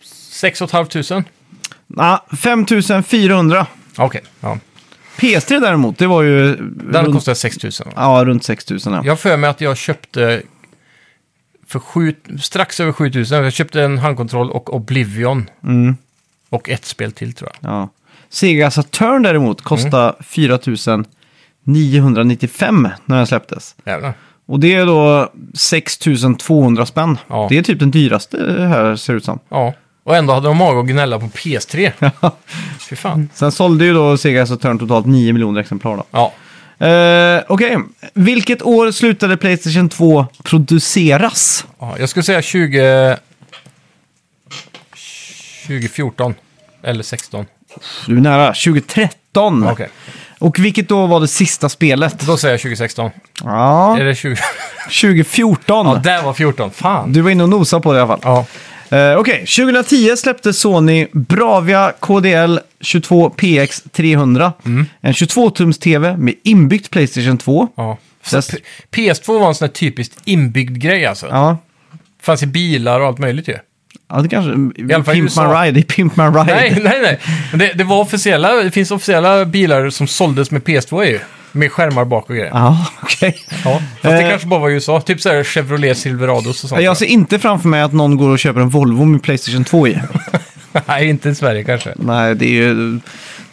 Speaker 2: 6 500?
Speaker 1: Nej, 5400.
Speaker 2: Okej, ja.
Speaker 1: PS3 däremot, det var ju
Speaker 2: Den
Speaker 1: runt,
Speaker 2: kostar 6 000. va?
Speaker 1: ja, runt 6000. Ja.
Speaker 2: Jag har för mig att jag köpte för sju, strax över 7 000. Jag köpte en handkontroll och Oblivion.
Speaker 1: Mm.
Speaker 2: Och ett spel till tror jag.
Speaker 1: Ja. Sega Saturn däremot kostade
Speaker 2: Mm.
Speaker 1: 4995 när den släpptes.
Speaker 2: Jävlar.
Speaker 1: Och det är då 6200 spänn.
Speaker 2: Ja.
Speaker 1: Det är typ den dyraste här ser det ut som.
Speaker 2: Ja, och ändå hade de mage att gnälla på PS3. Fy fan.
Speaker 1: Sen sålde ju då Sega Saturn totalt 9 miljoner exemplar då.
Speaker 2: Ja.
Speaker 1: Eh, Okej, vilket år slutade Playstation 2 produceras?
Speaker 2: ja, jag skulle säga 20... 2014. Eller 16.
Speaker 1: Du är nära, 2013.
Speaker 2: Okej,
Speaker 1: Och vilket då var det sista spelet?
Speaker 2: då säger jag 2016.
Speaker 1: Ja,
Speaker 2: Är det 20?
Speaker 1: 2014.
Speaker 2: Ja, där var 14. Fan.
Speaker 1: Du var inne och nosade på det i alla fall.
Speaker 2: Ja,
Speaker 1: Eh, Okej, 2010 släppte Sony Bravia KDL 22PX300.
Speaker 2: Mm.
Speaker 1: En 22-tums-TV med inbyggt Playstation 2.
Speaker 2: ja.
Speaker 1: Så-
Speaker 2: P- PS2 var en sån här typiskt inbyggd grej alltså.
Speaker 1: Ja.
Speaker 2: Fanns i bilar och allt möjligt ju.
Speaker 1: ja, det kanske...
Speaker 2: alla fall i
Speaker 1: Pimp My
Speaker 2: USA.
Speaker 1: Ride, det är Pimp My Ride.
Speaker 2: Nej, nej, nej. Men Det, det var officiella, det finns officiella bilar som såldes med PS2 ju. Med skärmar bak och grejer.
Speaker 1: Ja, okej.
Speaker 2: Ja, fast det
Speaker 1: Eh.
Speaker 2: kanske bara var i USA. Typ så här Chevrolet Silverados och sånt.
Speaker 1: Jag ser inte framför mig att någon går och köper en Volvo med Playstation 2 i.
Speaker 2: Nej, inte i Sverige kanske.
Speaker 1: Nej, det är ju...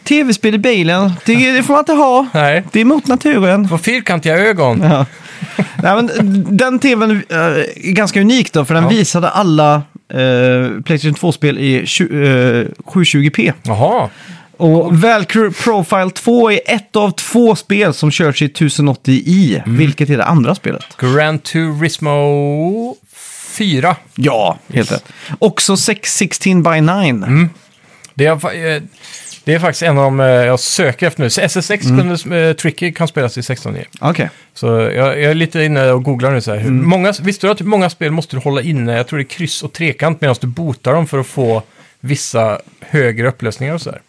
Speaker 1: Tv-spel i bilen, det, det får man inte ha.
Speaker 2: Nej.
Speaker 1: Det är mot naturen.
Speaker 2: Får fyrkantiga ögon.
Speaker 1: Ja. Nej, men den tvn eh, är ganska unik då, för den
Speaker 2: Ja.
Speaker 1: visade alla eh, Playstation 2-spel i tju- eh, 720p.
Speaker 2: Jaha.
Speaker 1: Och Valkyrie Profile 2 är ett av två spel som körs i 1080i, vilket är det andra spelet.
Speaker 2: Gran Turismo 4.
Speaker 1: Ja, Mm. helt rätt. Också 616 by 9.
Speaker 2: Det är, fa- eh, det är faktiskt en av de eh, jag söker efter nu. Så SSX
Speaker 1: Mm.
Speaker 2: kunde, eh, Tricky kan spelas i 16 g
Speaker 1: Okej.
Speaker 2: Så jag, jag är lite inne och googlar nu så här. Hur-
Speaker 1: Mm.
Speaker 2: Många, visste du att typ många spel måste du hålla inne, jag tror det är kryss och trekant medan du botar dem för att få vissa högre upplösningar och så här.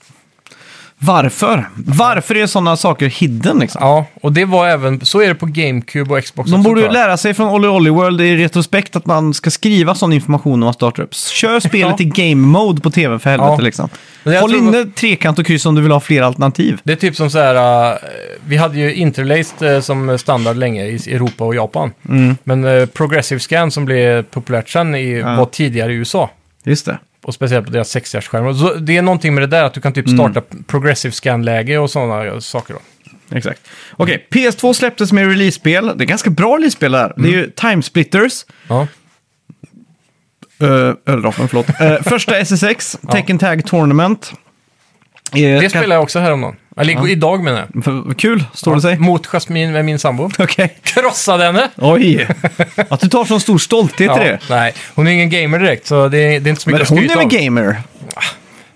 Speaker 1: Varför? Varför är sådana saker hidden liksom?
Speaker 2: Ja, och det var även, så är det på GameCube och Xbox.
Speaker 1: De
Speaker 2: också,
Speaker 1: borde ju
Speaker 2: tror jag.
Speaker 1: lära sig från Olly Olly World i retrospekt att man ska skriva sån information när man startar upp. Kör spelet i
Speaker 2: Ja.
Speaker 1: game mode på tvn för helvete
Speaker 2: Ja.
Speaker 1: liksom.
Speaker 2: Men jag
Speaker 1: Håll
Speaker 2: tror-
Speaker 1: inne trekant och kryss om du vill ha fler alternativ.
Speaker 2: Det är typ som så här, eh, vi hade ju interlaced eh, som standard länge i Europa och Japan.
Speaker 1: Mm.
Speaker 2: Men eh, progressive scan som blev populärt sen i, var tidigare i USA.
Speaker 1: Just det.
Speaker 2: Och speciellt på deras
Speaker 1: Mm.
Speaker 2: 6-hjärtsskärmar. Så Det är någonting med det där att du kan typ starta progressive scan-läge och sådana saker då.
Speaker 1: Exakt. Okej, PS2 släpptes med release-spel. Det är ganska bra release-spel där. Det är
Speaker 2: Mm.
Speaker 1: ju Time Splitters,
Speaker 2: Ja.
Speaker 1: uh, Ölraffen, förlåt. Eh, första SSX, Tekken Tag Tournament. Eh,
Speaker 2: Det spelade jag också häromdagen. Eller igår- idag menar jag.
Speaker 1: jag. Kul, står det sig.
Speaker 2: Mot Jasmine med min sambo.
Speaker 1: Okej.
Speaker 2: Krossade henne!
Speaker 1: Oj! Att du tar sån stor stolthet i det.
Speaker 2: nej, hon är ingen gamer direkt så det är, det är inte så
Speaker 1: Men
Speaker 2: mycket
Speaker 1: hon
Speaker 2: att skryta
Speaker 1: är
Speaker 2: om.
Speaker 1: väl gamer?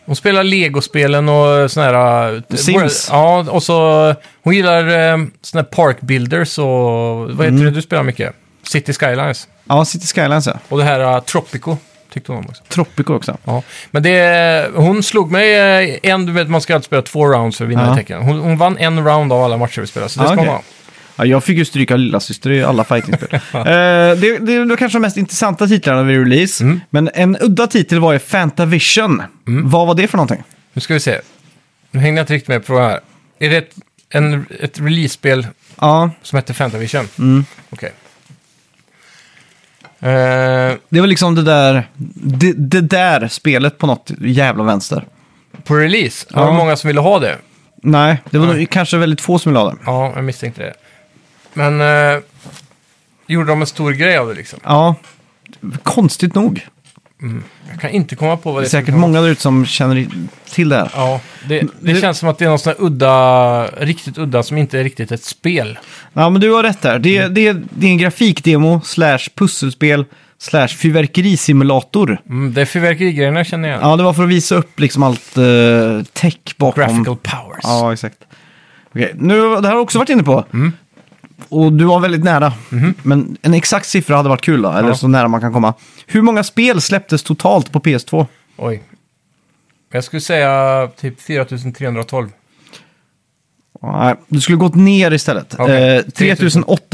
Speaker 2: Hon spelar legospelen och såna här... eh,
Speaker 1: Sims.
Speaker 2: Ja, och så... Hon gillar eh, såna här park builders och... Vad
Speaker 1: Mm.
Speaker 2: heter det du spelar mycket? City Skylines.
Speaker 1: Ja, City Skylines ja.
Speaker 2: Och det här eh, Tropico tyckte hon om också.
Speaker 1: Tropico också.
Speaker 2: Ja. Men det... Hon slog mig eh, en... Du vet, man ska alltid spela två rounds för att vinna
Speaker 1: Ja.
Speaker 2: i tecken. Hon, hon vann en round av alla matcher vi spelade, så det
Speaker 1: Ja,
Speaker 2: ska
Speaker 1: okej.
Speaker 2: hon ha.
Speaker 1: Ja, jag fick ju stryka lillasyster i alla fightingspel. Eh, det, det var kanske de mest intressanta titlarna vid release.
Speaker 2: Mm.
Speaker 1: Men en udda titel var ju Fantavision. Vad var det för någonting?
Speaker 2: Nu ska vi se. Nu hängde jag inte riktigt med på det här. Är det ett, en, ett release-spel
Speaker 1: Ja,
Speaker 2: som heter Fantavision? Mm. Okej. Eh,
Speaker 1: det var liksom det där, det, det där spelet på något jävla vänster.
Speaker 2: på release? Var det
Speaker 1: Ja.
Speaker 2: många som ville ha det?
Speaker 1: Nej, det var nog kanske väldigt få som ville ha det.
Speaker 2: Ja, jag misstänkte det. Men eh, gjorde de en stor grej av det liksom?
Speaker 1: Ja, konstigt nog.
Speaker 2: Jag kan inte komma på vad
Speaker 1: Det
Speaker 2: det
Speaker 1: är säkert
Speaker 2: skulle vara.
Speaker 1: många Mm. där ute som känner i- till det här.
Speaker 2: Ja, det, det
Speaker 1: Nu-
Speaker 2: känns som att det är någon sån här udda, riktigt udda som inte är riktigt ett spel.
Speaker 1: Ja, men du har rätt där.
Speaker 2: Mm.
Speaker 1: Det, det, det är en grafikdemo slash pusselspel slash fyrverkerisimulator.
Speaker 2: Mm, det är fyrverkerigrejerna känner jag igen.
Speaker 1: Ja, det var för att visa upp liksom allt eh, tech bakom.
Speaker 2: Graphical powers.
Speaker 1: Ja, exakt. Okej, nu, det här har jag också varit inne på.
Speaker 2: Mm.
Speaker 1: Och du var väldigt nära. Men en exakt siffra hade varit kul då, eller
Speaker 2: Mm-hmm. Ja.
Speaker 1: så nära man kan komma. Hur många spel släpptes totalt på PS2?
Speaker 2: Oj. Jag skulle säga typ 4312.
Speaker 1: Nej, du skulle gått ner istället.
Speaker 2: Okej.
Speaker 1: Eh,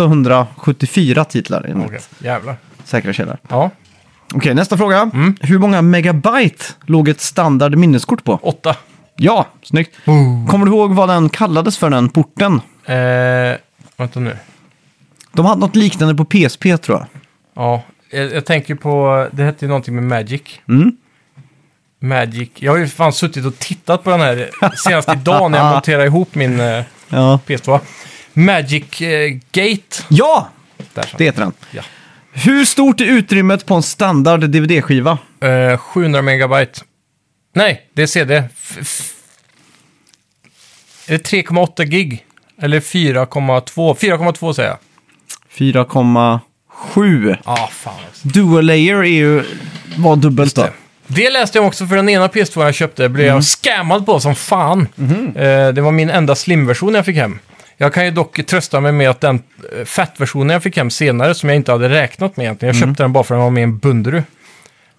Speaker 1: 3874 titlar enligt
Speaker 2: Okej, jävlar.
Speaker 1: säkra källor.
Speaker 2: Ja,
Speaker 1: Okej, nästa fråga.
Speaker 2: Mm.
Speaker 1: Hur många megabyte låg ett standard minneskort på?
Speaker 2: åtta.
Speaker 1: Ja, snyggt.
Speaker 2: Oh.
Speaker 1: Kommer du ihåg vad den kallades för, den porten?
Speaker 2: Eh, vänta nu.
Speaker 1: De hade något liknande på PSP tror jag.
Speaker 2: Ja, jag, jag tänker på, det hette ju någonting med Magic.
Speaker 1: Mm.
Speaker 2: Magic. Jag har ju fan suttit och tittat på den här senast idag när jag monterade ihop min eh,
Speaker 1: Ja,
Speaker 2: PS2. Magic eh, Gate.
Speaker 1: ja
Speaker 2: Där så.
Speaker 1: det heter den.
Speaker 2: Ja.
Speaker 1: Hur stort är utrymmet på en standard DVD-skiva?
Speaker 2: Eh, 700 megabyte. Nej, det är CD. F- f- är det 3,8 gig? Eller 4,2? 4,2 säger jag.
Speaker 1: 4,7.
Speaker 2: Ja, ah, fan också.
Speaker 1: Dual layer är ju, var dubbelt då.
Speaker 2: Det läste jag också för den ena PS2 jag köpte blev
Speaker 1: Mm.
Speaker 2: jag scammad på som fan.
Speaker 1: Mhm.
Speaker 2: Eh, det var min enda slim-version jag fick hem. Jag kan ju dock trösta mig med att den eh, fat-versionen jag fick hem senare, som jag inte hade räknat med egentligen, jag
Speaker 1: Mm.
Speaker 2: köpte den bara för att den var med i en Bunderu.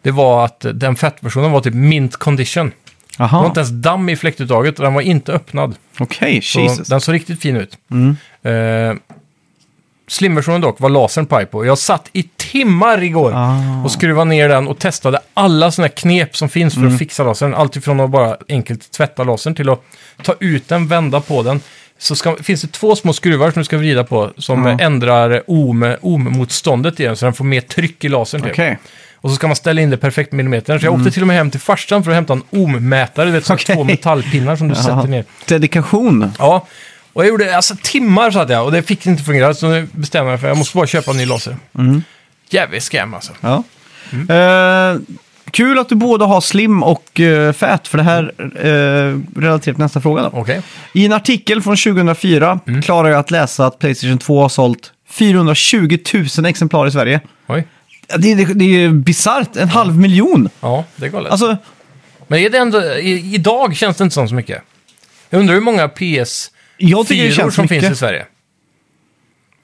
Speaker 2: Det var att eh, den fat-versionen var typ mint condition. Det var
Speaker 1: Aha,
Speaker 2: inte ens damm i fläktuttaget och den var inte öppnad.
Speaker 1: okej,
Speaker 2: Så
Speaker 1: Jesus. Mm.
Speaker 2: den såg riktigt fin ut. Eh, Slim-versionen dock var lasern paj på. Jag satt i timmar igår
Speaker 1: Ah.
Speaker 2: och skruvade ner den och testade alla sådana knep som finns för
Speaker 1: Mm.
Speaker 2: att fixa lasern. Alltifrån att bara enkelt tvätta lasern till att ta ut den, vända på den. Så ska, finns det två små skruvar som du ska vrida på som
Speaker 1: Ja.
Speaker 2: eh, ändrar ohm- ohm-motståndet i den så den får mer tryck i lasern. typ.
Speaker 1: Okej, Mm.
Speaker 2: Och så ska man ställa in det perfekt millimetern. Så jag åkte till och med hem till farsan för att hämta en ohm-mätare. Du vet, så
Speaker 1: Okej.
Speaker 2: två metallpinnar som du sätter ner.
Speaker 1: dedikation.
Speaker 2: Ja, och jag gjorde alltså timmar satt jag och det fick inte fungera. Så nu bestämmer jag mig för att jag måste bara köpa en ny laser.
Speaker 1: Mm.
Speaker 2: Jävligt scam alltså.
Speaker 1: Ja. Eh, kul att du både har slim och uh, fät, för det här eh, relaterar till nästa fråga. Då.
Speaker 2: Okej.
Speaker 1: I en artikel från 2004
Speaker 2: Mm.
Speaker 1: klarar jag att läsa att Playstation 2 har sålt 420 000 exemplar i Sverige.
Speaker 2: Oj.
Speaker 1: Ja, Det, det, det är bisarrt, en halv miljon!
Speaker 2: Ja, det är galet.
Speaker 1: Alltså,
Speaker 2: Men är det ändå, i, idag känns det inte som så mycket. Jag undrar hur många PS4
Speaker 1: jag tycker det känns
Speaker 2: som
Speaker 1: mycket.
Speaker 2: finns i Sverige.
Speaker 1: Är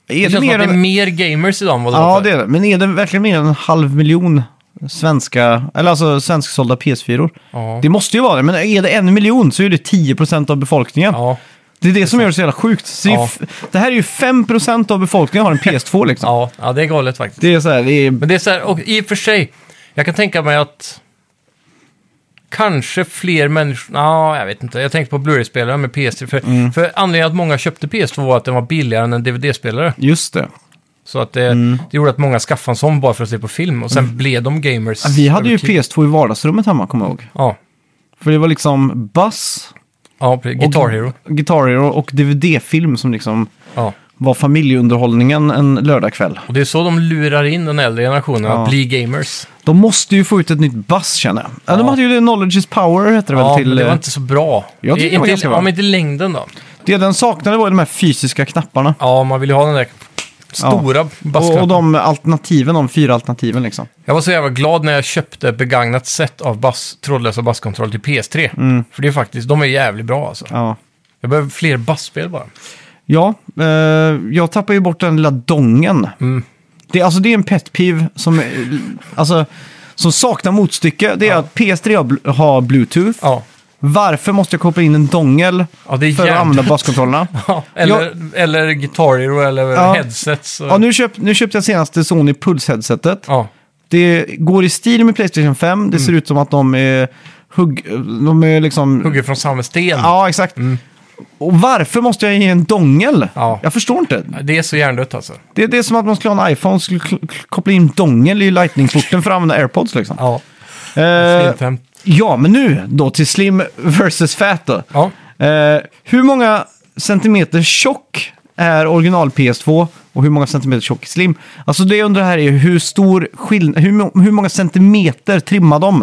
Speaker 2: Det,
Speaker 1: det
Speaker 2: känns
Speaker 1: mer
Speaker 2: som att det är
Speaker 1: än-
Speaker 2: mer gamers idag än vad det var
Speaker 1: Ja,
Speaker 2: förr.
Speaker 1: det är det. Men är det verkligen mer än en halv miljon svenska, eller alltså svensksålda PS4?
Speaker 2: Ja.
Speaker 1: Det måste ju vara det, men är det en miljon så är det 10% av befolkningen.
Speaker 2: Ja.
Speaker 1: Det är det som gör det så jävla sjukt. Så det, är
Speaker 2: Ja.
Speaker 1: f- det här är ju 5% av befolkningen har en PS2 liksom.
Speaker 2: Ja, ja, det är galet faktiskt.
Speaker 1: Det är så här, det är...
Speaker 2: Men det är så här, och i och för sig, jag kan tänka mig att kanske fler människor, ja, jag vet inte, jag tänkte på Blu-ray-spelare med PS3, för,
Speaker 1: Mm.
Speaker 2: för anledningen att många köpte PS2 var att den var billigare än en DVD-spelare.
Speaker 1: Just det.
Speaker 2: Så att det,
Speaker 1: Mm.
Speaker 2: det gjorde att många skaffade en sån bara för att se på film, och sen blev de gamers.
Speaker 1: Vi hade
Speaker 2: över
Speaker 1: ju
Speaker 2: tid.
Speaker 1: PS2 i vardagsrummet hemma, kommer jag ihåg.
Speaker 2: Ja,
Speaker 1: För det var liksom Buzz,
Speaker 2: Ja, precis. Guitar Hero.
Speaker 1: Guitar Hero och DVD-film som liksom
Speaker 2: Ja.
Speaker 1: var familjeunderhållningen en lördagkväll.
Speaker 2: Och det är så de lurar in den äldre generationen
Speaker 1: Ja.
Speaker 2: att bli gamers.
Speaker 1: De måste ju få ut ett nytt buzz känner jag. Ja. De hade ju det, Knowledge is power hette det
Speaker 2: Ja,
Speaker 1: väl till...
Speaker 2: men det var
Speaker 1: eh,
Speaker 2: inte så bra.
Speaker 1: Jag tycker det var
Speaker 2: inte,
Speaker 1: ganska bra.
Speaker 2: Om inte längden då.
Speaker 1: det den saknade var ju de här fysiska knapparna.
Speaker 2: Ja, man vill ju ha den där stora
Speaker 1: Och,
Speaker 2: bassknappen.
Speaker 1: och de alternativen, de fyra alternativen liksom.
Speaker 2: Jag var så jävla glad när jag köpte ett begagnat set av bass, trådlösa basskontroller till PS3.
Speaker 1: Mm.
Speaker 2: För det är faktiskt, de är jävligt bra alltså.
Speaker 1: Ja.
Speaker 2: Jag behöver fler bassspel bara.
Speaker 1: Ja, eh, jag tappar ju bort den lilla dongen.
Speaker 2: Mm.
Speaker 1: Det, alltså det är en pet peeve som, eh, alltså, som saknar motstycke. Det är att PS3 har, bl- har bluetooth.
Speaker 2: Ja.
Speaker 1: Varför måste jag koppla in en dongel
Speaker 2: Ja, det är
Speaker 1: för att
Speaker 2: jävligt.
Speaker 1: använda basskontrollerna?
Speaker 2: Ja, eller, eller Guitar Hero eller
Speaker 1: Ja.
Speaker 2: headsets. Och,
Speaker 1: ja, nu, köp, nu köpte jag senaste Sony Pulse-headsetet.
Speaker 2: ja. Mm.
Speaker 1: Det går i stil med Playstation 5. Det ser ut som att de är, hugg, de är liksom
Speaker 2: Hugger från samma sten.
Speaker 1: Ja, exakt. Och varför måste jag ge en dongel?
Speaker 2: Mm. Ja.
Speaker 1: Jag förstår inte.
Speaker 2: Det är så hjärndött alltså.
Speaker 1: Det, det är som att man skulle ha en iPhone och skulle k- k- koppla in dongel i lightningporten för att använda airpods liksom.
Speaker 2: Ja,
Speaker 1: Eh,
Speaker 2: fint hem.
Speaker 1: ja, men nu då till slim versus fat då.
Speaker 2: ja.
Speaker 1: Eh, hur många centimeter tjock är original PS2 och hur många centimeter tjock är slim? Alltså det jag undrar här är hur stor skillnad, hur, må- hur många centimeter trimmar de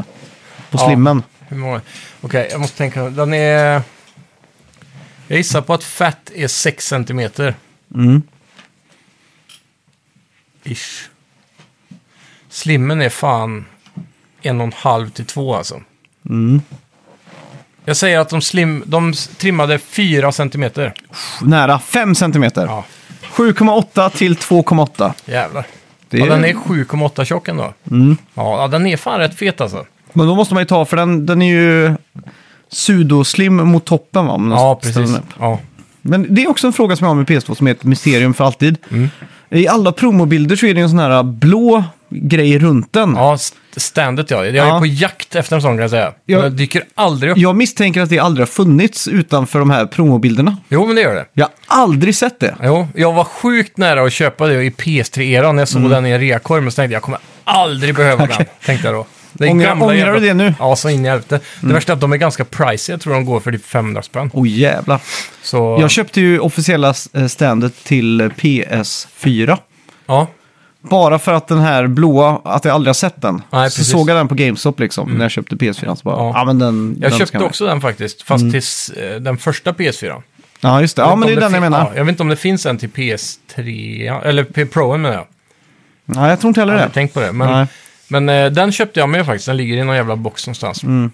Speaker 1: på
Speaker 2: Ja.
Speaker 1: slimmen?
Speaker 2: Hur många? Okej, jag måste tänka. Den är... Jag gissar på att fat är 6 centimeter.
Speaker 1: Mm.
Speaker 2: Ish. Slimmen är fan en och en halv till två alltså.
Speaker 1: Mm.
Speaker 2: Jag säger att de, slim, de s- trimmade 4 centimeter.
Speaker 1: Nära 5 centimeter.
Speaker 2: Ja.
Speaker 1: 7,8 till 2,8.
Speaker 2: Jävlar.
Speaker 1: Det
Speaker 2: Ja,
Speaker 1: är- Mm.
Speaker 2: den är 7,8 tjock ändå. Ja, ja, den är fan rätt fet alltså.
Speaker 1: Men då måste man ju ta, för den, den är ju pseudoslim mot toppen va? om man
Speaker 2: Ja,
Speaker 1: ställer
Speaker 2: precis.
Speaker 1: den upp.
Speaker 2: Ja.
Speaker 1: Men det är också en fråga som jag har med PS2 som är ett mysterium för alltid.
Speaker 2: Mm.
Speaker 1: I alla promobilder så är det ju en sån här blå grej runt den.
Speaker 2: Ja, st- standet ja. Jag är
Speaker 1: Ja.
Speaker 2: på jakt efter en sån kan jag säga.
Speaker 1: Ja.
Speaker 2: Men Den dyker aldrig upp.
Speaker 1: Jag misstänker att det aldrig har funnits utanför de här promobilderna.
Speaker 2: Jo, men det gör det.
Speaker 1: Jag har aldrig sett det.
Speaker 2: Jo, jag var sjukt nära att köpa det i PS3-eran när jag
Speaker 1: Mm.
Speaker 2: såg den i en reakorg, men så tänkte jag, jag kommer aldrig behöva den, tänkte jag då. Det är
Speaker 1: Ångrar- ångrar du det nu? Mm.
Speaker 2: Ja, så in i helvete. Det värsta är att de är ganska pricey, jag tror de går för typ 500 spänn.
Speaker 1: Åh jävlar.
Speaker 2: Så,
Speaker 1: Jag köpte ju officiella eh, standet till eh, PS4.
Speaker 2: ja.
Speaker 1: Bara för att den här blåa, att jag aldrig har sett den.
Speaker 2: Nej,
Speaker 1: så
Speaker 2: precis. Mm.
Speaker 1: såg jag den på GameStop liksom, när jag köpte PS4. Så bara, ja.
Speaker 2: Ja.
Speaker 1: men den, den
Speaker 2: Jag
Speaker 1: ska
Speaker 2: köpte
Speaker 1: med. Mm.
Speaker 2: också den faktiskt, fast till s- eh, den första PS4.
Speaker 1: Ja, just det. Ja,
Speaker 2: Jag
Speaker 1: men
Speaker 2: vet
Speaker 1: det är
Speaker 2: inte om
Speaker 1: den jag
Speaker 2: fin-
Speaker 1: menar.
Speaker 2: Ja, jag vet inte om det finns en till PS3, eller P- Proen menar jag.
Speaker 1: Nej, jag tror inte heller
Speaker 2: Jag
Speaker 1: det.
Speaker 2: har inte tänkt på det.
Speaker 1: Nej.
Speaker 2: Men, men eh, den köpte jag med faktiskt. Den ligger i någon jävla box någonstans.
Speaker 1: Mm.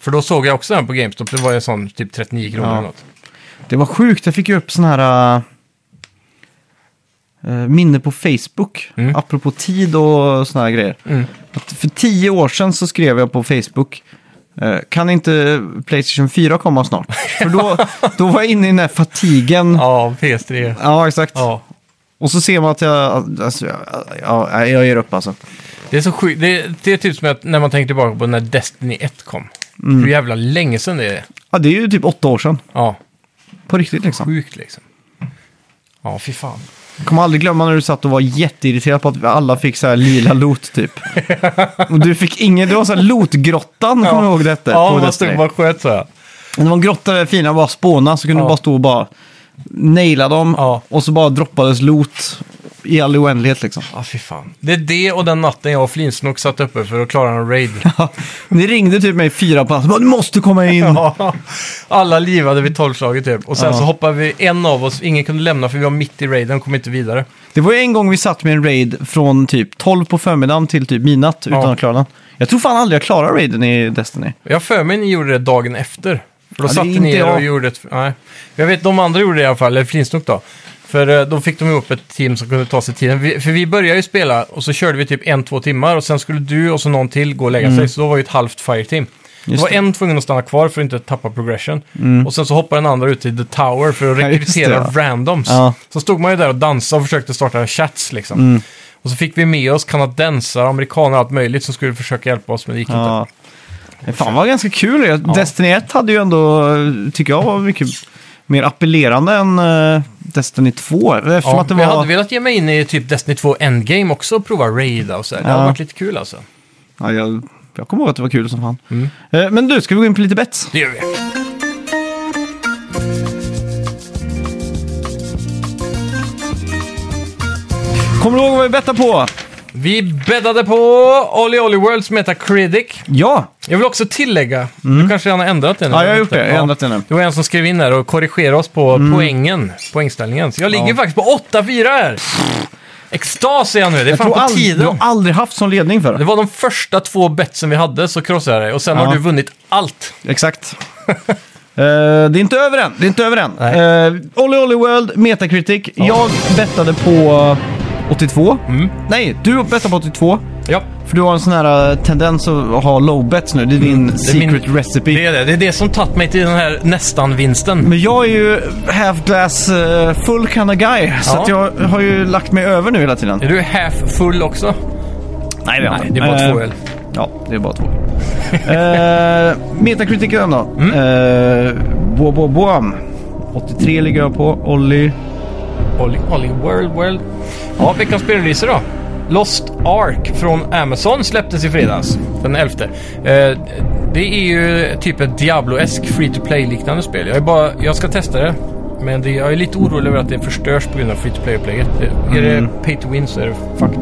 Speaker 2: För då såg jag också den på GameStop. Det var ju sån typ 39 kronor
Speaker 1: Ja.
Speaker 2: eller något.
Speaker 1: Det var sjukt, jag fick ju upp sån här äh, minne på Facebook.
Speaker 2: Mm.
Speaker 1: Apropå tid och såna här grejer.
Speaker 2: Mm.
Speaker 1: Att för tio år sedan så skrev jag på Facebook. eh, Kan inte Playstation 4 komma snart? För då, då var jag inne i den här fatigen. Ja,
Speaker 2: Ja, PS3.
Speaker 1: exakt.
Speaker 2: Ja.
Speaker 1: Och så ser man att jag... Alltså, jag, ja, nej, jag ger upp alltså.
Speaker 2: Det är så sjukt. Det, det är typ som att när man tänker tillbaka på när Destiny 1 kom.
Speaker 1: Mm.
Speaker 2: Hur jävla länge sedan det är.
Speaker 1: Ja, det är ju typ åtta år sedan.
Speaker 2: Ja,
Speaker 1: På riktigt liksom.
Speaker 2: sjukt liksom. Ja, fy fan.
Speaker 1: Jag kommer aldrig glömma när du satt och var jätteirriterad på att alla fick så här lila loot typ. och du fick ingen, det var så här lootgrottan, kommer du ihåg detta? på
Speaker 2: Ja, man
Speaker 1: Destiny?
Speaker 2: stod bara och sköt så här.
Speaker 1: Men Det var en grotta där fina bara spåna så kunde
Speaker 2: Ja.
Speaker 1: du bara stå och bara naila dem
Speaker 2: Ja.
Speaker 1: och så bara droppades loot i all oändlighet liksom.
Speaker 2: Ja, fy fan. Det är det och den natten jag och Flinsnock satt uppe för att klara en raid.
Speaker 1: Ni ringde typ mig fyra på natten, bara, du måste komma in!
Speaker 2: Ja, alla livade vid tolvslaget typ. Och sen
Speaker 1: Ja.
Speaker 2: så hoppade vi, en av oss, ingen kunde lämna för vi var mitt i raiden och kom inte vidare.
Speaker 1: Det var ju en gång vi satt med en raid från typ 12 på förmiddagen till typ midnatt utan
Speaker 2: Ja.
Speaker 1: att klara den. Jag tror fan aldrig jag klarar raiden i Destiny.
Speaker 2: Jag för mig ni gjorde det dagen efter.
Speaker 1: Ja,
Speaker 2: För då
Speaker 1: det är
Speaker 2: satte
Speaker 1: inte
Speaker 2: ni er och
Speaker 1: jag.
Speaker 2: gjorde ett... Nej. Jag vet, de andra gjorde det i alla fall, eller Flinsnock då. För eh, då fick de ihop ett team som kunde ta sig tiden. Vi, för vi började ju spela och så körde vi typ en, två timmar och sen skulle du och så någon till gå och lägga sig. Så då var ju ett halvt fireteam. Då
Speaker 1: Mm. Just
Speaker 2: var
Speaker 1: det. Mm.
Speaker 2: en tvungen att stanna kvar för att inte tappa progression. Och sen så hoppade den andra ut i The Tower för att
Speaker 1: Ja, just det,
Speaker 2: rekrytera
Speaker 1: ja.
Speaker 2: randoms.
Speaker 1: Ja. Mm.
Speaker 2: Så stod man ju där och dansade och försökte starta chats liksom. Och så fick vi med oss kanadensare, amerikaner och allt möjligt som skulle försöka hjälpa oss, men det gick inte.
Speaker 1: Ja. Det fan var ganska kul. Jag- Destiny 1 hade ju ändå, tycker jag, var mycket mer appellerande än eh, Destiny 2. Eftersom
Speaker 2: Ja,
Speaker 1: att det
Speaker 2: men Jag hade
Speaker 1: var...
Speaker 2: velat ge mig in i typ Destiny 2 Endgame också och prova Raida och så här. Det
Speaker 1: Ja.
Speaker 2: hade varit lite kul alltså.
Speaker 1: Ja,
Speaker 2: Mm.
Speaker 1: jag, jag kommer ihåg att det var kul som fan. Eh, Men du, ska vi gå in på lite bets?
Speaker 2: Det gör vi.
Speaker 1: Kommer du ihåg vad vi bettade på?
Speaker 2: Vi bäddade på Olly Olly Worlds Metacritic.
Speaker 1: Ja,
Speaker 2: Jag vill också tillägga, du kanske redan har ändrat den?
Speaker 1: Mm. ja jag har gjort det. Mm. Jag har ändrat den nu.
Speaker 2: Det var en som skrev in här och korrigerade oss på poängen, poängställningen. Så jag ligger faktiskt på 8-4 här. Extas är jag nu, det är
Speaker 1: Jag
Speaker 2: fan
Speaker 1: tror
Speaker 2: på
Speaker 1: aldrig, du
Speaker 2: tiden.
Speaker 1: har aldrig haft sån ledning
Speaker 2: Det
Speaker 1: för.
Speaker 2: var de första två betsen vi hade, så krossade jag dig. Och sen
Speaker 1: Ja.
Speaker 2: har du vunnit allt.
Speaker 1: Exakt. Eh, det är inte över än. Det är inte över än.
Speaker 2: Nej.
Speaker 1: Eh, Olly Olly World, Metacritic. Jag bettade på 82.
Speaker 2: Mm.
Speaker 1: Nej, du bettade på 82.
Speaker 2: Ja,
Speaker 1: För du har en sån här eh, tendens att ha low bets nu. Det är din
Speaker 2: Mm. är min-
Speaker 1: secret recipe.
Speaker 2: det är det. Det är det som tagit mig till den här nästan-vinsten.
Speaker 1: Men jag är ju half glass eh, full kind of guy. Så
Speaker 2: Ja.
Speaker 1: att jag har ju lagt mig över nu hela tiden.
Speaker 2: Är du half full också?
Speaker 1: Nej, har jag
Speaker 2: Nej,
Speaker 1: inte.
Speaker 2: det är bara
Speaker 1: Eh,
Speaker 2: två öl.
Speaker 1: Ja, det är bara två. uh, Metacritic igen då.
Speaker 2: Mm.
Speaker 1: Eh, bo, bo, boam.
Speaker 2: Mm.
Speaker 1: 83 ligger jag på. Olli.
Speaker 2: Olly, Olly World World. Ja, veckans spelreleaser då. Lost Ark från Amazon släpptes i fredags, den 11. Eh, det är ju typ ett Diablo-esk free to play-liknande spel. Jag, är bara, jag ska testa det. Men det, jag är lite orolig över att det förstörs på grund av free to play-upplägget. Eh, Är det pay to win så är det fucked.